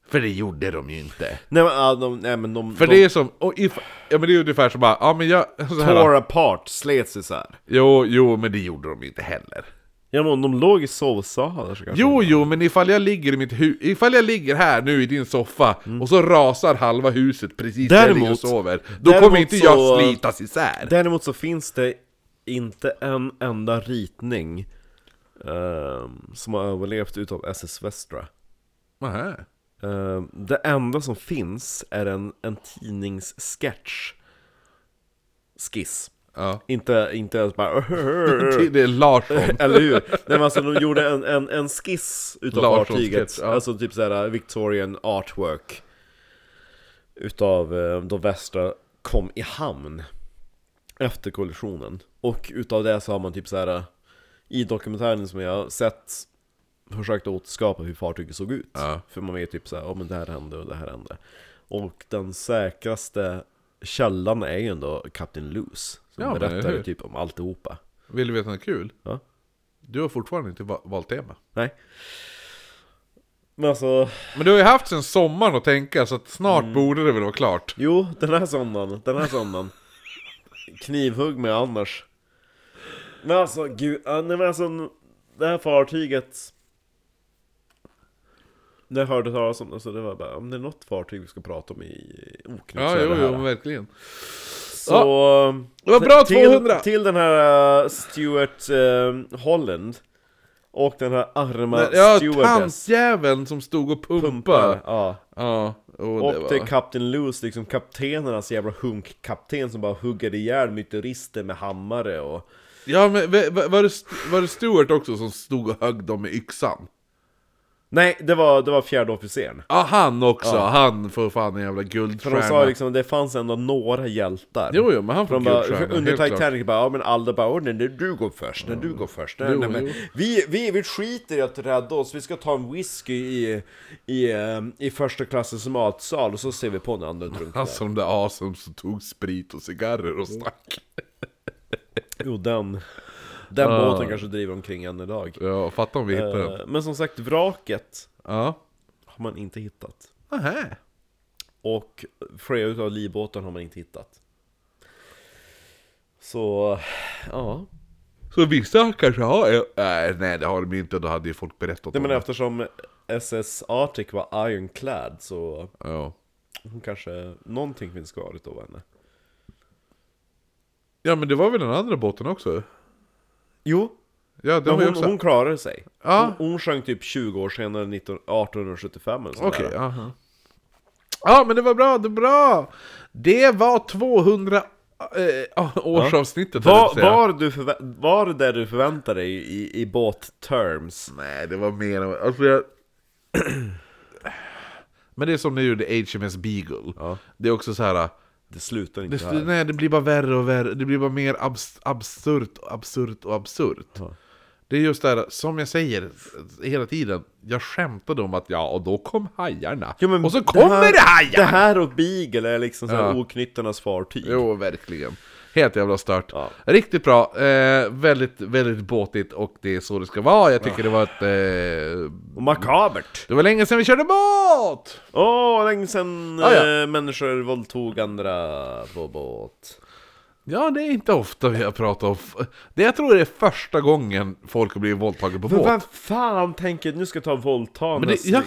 S2: För det gjorde de ju inte.
S1: Nej men, ja, de, nej, men de,
S2: För
S1: de
S2: det är som, och if, ja men det är ungefär som bara, ja men jag... Så här,
S1: tore apart, slets isär
S2: jo, jo, men det gjorde de inte heller.
S1: Ja men om de låg i sovsalar så kanske
S2: Jo, jo, men ifall jag ligger i mitt hus, ifall jag ligger här nu i din soffa och så rasar halva huset precis där jag ligger
S1: Mm.
S2: och
S1: Däremot-
S2: sover, då
S1: däremot
S2: kommer inte jag
S1: så-
S2: slitas isär.
S1: Däremot så finns det inte en enda ritning ehm, som har överlevt utav SS Västra.
S2: Nähä.
S1: Ehm, det enda som finns är en, en tidningssketch. Skiss.
S2: Ja.
S1: Inte, inte ens bara
S2: Det är Larsson.
S1: Eller hur? Nej men alltså de gjorde en, en, en skiss utav
S2: Larssons
S1: fartyget
S2: sketch, ja.
S1: Alltså typ såhär Victorian artwork Utav eh, då västra kom i hamn Efter kollisionen Och utav det så har man typ såhär I dokumentären som jag har sett Försökt återskapa hur fartyget såg ut
S2: Ja.
S1: För man vet typ såhär, ja men det här hände och det här hände Och den säkraste källan är ju ändå Captain Loose Som
S2: Ja, men
S1: berättar
S2: eller
S1: ju
S2: hur?
S1: typ om alltihopa
S2: Vill du veta något kul?
S1: Ja.
S2: Du har fortfarande inte va- valt tema.
S1: Nej. Men alltså,
S2: Men du har ju haft sen sommaren att tänka, så att snart
S1: Mm.
S2: borde det väl vara klart.
S1: jo, den här söndagen, den här söndagen. Knivhugg med Anders. Men alltså, gud, ja, nej men alltså, det här fartyget. När jag hörde talas om det så det var bara, om det är något fartyg vi ska prata om i Oknytt så
S2: Ja,
S1: är
S2: jo,
S1: det här.
S2: jo, verkligen.
S1: Så...
S2: Det var bra
S1: till,
S2: 200!
S1: Till den här eh, Stuart eh, Holland. Och den här arma
S2: Ja,
S1: stewardess.
S2: tantjäveln som stod och pumpade.
S1: Pumpar, ja.
S2: Ja, och det
S1: Och till
S2: var...
S1: Captain Loose, liksom kaptenernas jävla hunkkapten som bara hugger ihjäl myterister med hammare och...
S2: Ja, men va- va- var det, St- var det Stuart också som stod och högg dem med yxan?
S1: Nej, det var, det var fjärde officeren.
S2: Ja, han också! Han får fan en jävla
S1: För de sa
S2: guldstjärna.
S1: liksom, det fanns ändå några hjältar.
S2: Jo, jo, men han får
S1: de bara,
S2: guldstjärna,
S1: under
S2: helt klart.
S1: Titanic bara, ja men alla bara, "Åh, nej, nej, du går först, nej, du går först. Nej,
S2: Jo,
S1: nej, men,
S2: jo.
S1: vi, vi, vi skiter i att rädda oss, vi ska ta en whisky i, i, ehm, i första klassens matsal och så ser vi på när andra drunknar.
S2: Alltså de där asen som tog sprit och cigarrer och stack.
S1: Jo, den, den båten kanske driver omkring än idag.
S2: Ah. Ja, fatta om vi hittar den.
S1: Eh, Men som sagt, vraket
S2: Ja.
S1: har man inte hittat.
S2: Nähä.
S1: Och flera utav livbåten har man inte hittat. Så, ja.
S2: Så vissa kanske har... Äh, nej, det har de inte. Då hade ju folk berättat
S1: Nej
S2: om
S1: men
S2: det.
S1: eftersom SS Arctic var ironclad så
S2: Ja.
S1: hon kanske, någonting finns kvar utav henne.
S2: ja, men det var väl den andra båten också?
S1: Jo,
S2: Ja, den
S1: men
S2: var ju
S1: hon,
S2: också...
S1: hon klarade sig.
S2: Ja.
S1: Hon, hon sjönk typ 20 år senare, 19, 1875 eller sånt
S2: Okej,
S1: där.
S2: aha. Ja, men det var bra, det var bra! Det var 200 äh, årsavsnittet, höll jag på att
S1: Var,
S2: säga.
S1: var, du förvä- var det där du förväntade dig i, i båt-terms?
S2: Nej, det var mer än... Alltså jag... Men det är som när jag gjorde HMS Beagle.
S1: Ja.
S2: Det är också så här...
S1: Det slutar inte
S2: Det,
S1: här.
S2: nej, det blir bara värre och värre. Det blir bara mer abs, absurt och absurt och absurt.
S1: Ja.
S2: Det Det är just det här, som jag säger hela tiden, jag skämtade om att ja, och då kom hajarna.
S1: Jo, men
S2: och så
S1: det
S2: kommer
S1: här-
S2: det hajar!
S1: Det här och Beagle är liksom så här
S2: Ja.
S1: oknyttarnas fartyg.
S2: Jo, verkligen. Helt jävla stört.
S1: Ja.
S2: Riktigt bra, eh, väldigt, väldigt båtigt och det är så det ska vara. Jag tycker det var ett... Eh,
S1: Och makabert!
S2: det var länge sedan vi körde båt!
S1: Åh, länge sedan
S2: Ah, ja.
S1: eh, människor våldtog andra på båt.
S2: Ja, det är inte ofta vi har pratat om... f- Det jag tror det är första gången folk har blivit våldtagna på
S1: Men
S2: båt.
S1: vad fan tänker nu ska jag ta våldta
S2: Men alltså- det, ja.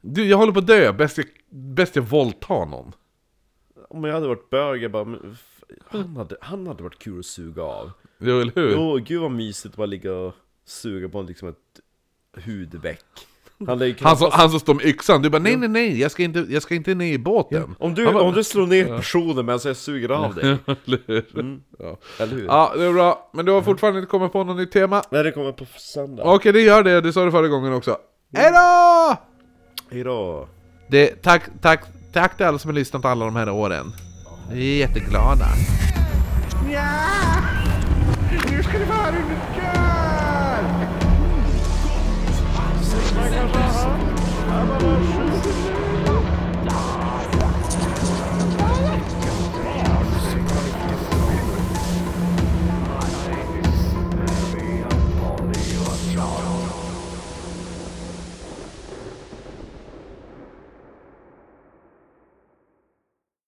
S2: Du, jag håller på att dö. Bäst jag, bäst jag våldtar någon.
S1: Om jag hade varit bög, jag bara... men f- Han hade, han hade varit kul att suga av.
S2: Jo, eller hur?
S1: Åh, gud vad mysigt att bara ligga och suga på liksom ett hudveck. Han lär ju
S2: Han,
S1: knappast-
S2: som, han som står med yxan. Du bara nej, nej, nej. Jag ska inte, jag ska inte ner i båten.
S1: om, du, om du slår ner personen medan jag suger av dig.
S2: Eller hur?
S1: Eller hur?
S2: Ja, det är bra. Men du har fortfarande inte kommit på något nytt tema.
S1: När det kommer på söndag.
S2: Okej, det gör det. Du sa det förra gången också. Hejdå!
S1: Hejdå!
S2: Det, tack, tack, tack till alla som har lyssnat alla de här åren. Vi är jätteglada.
S3: Nu ska det vara understöd!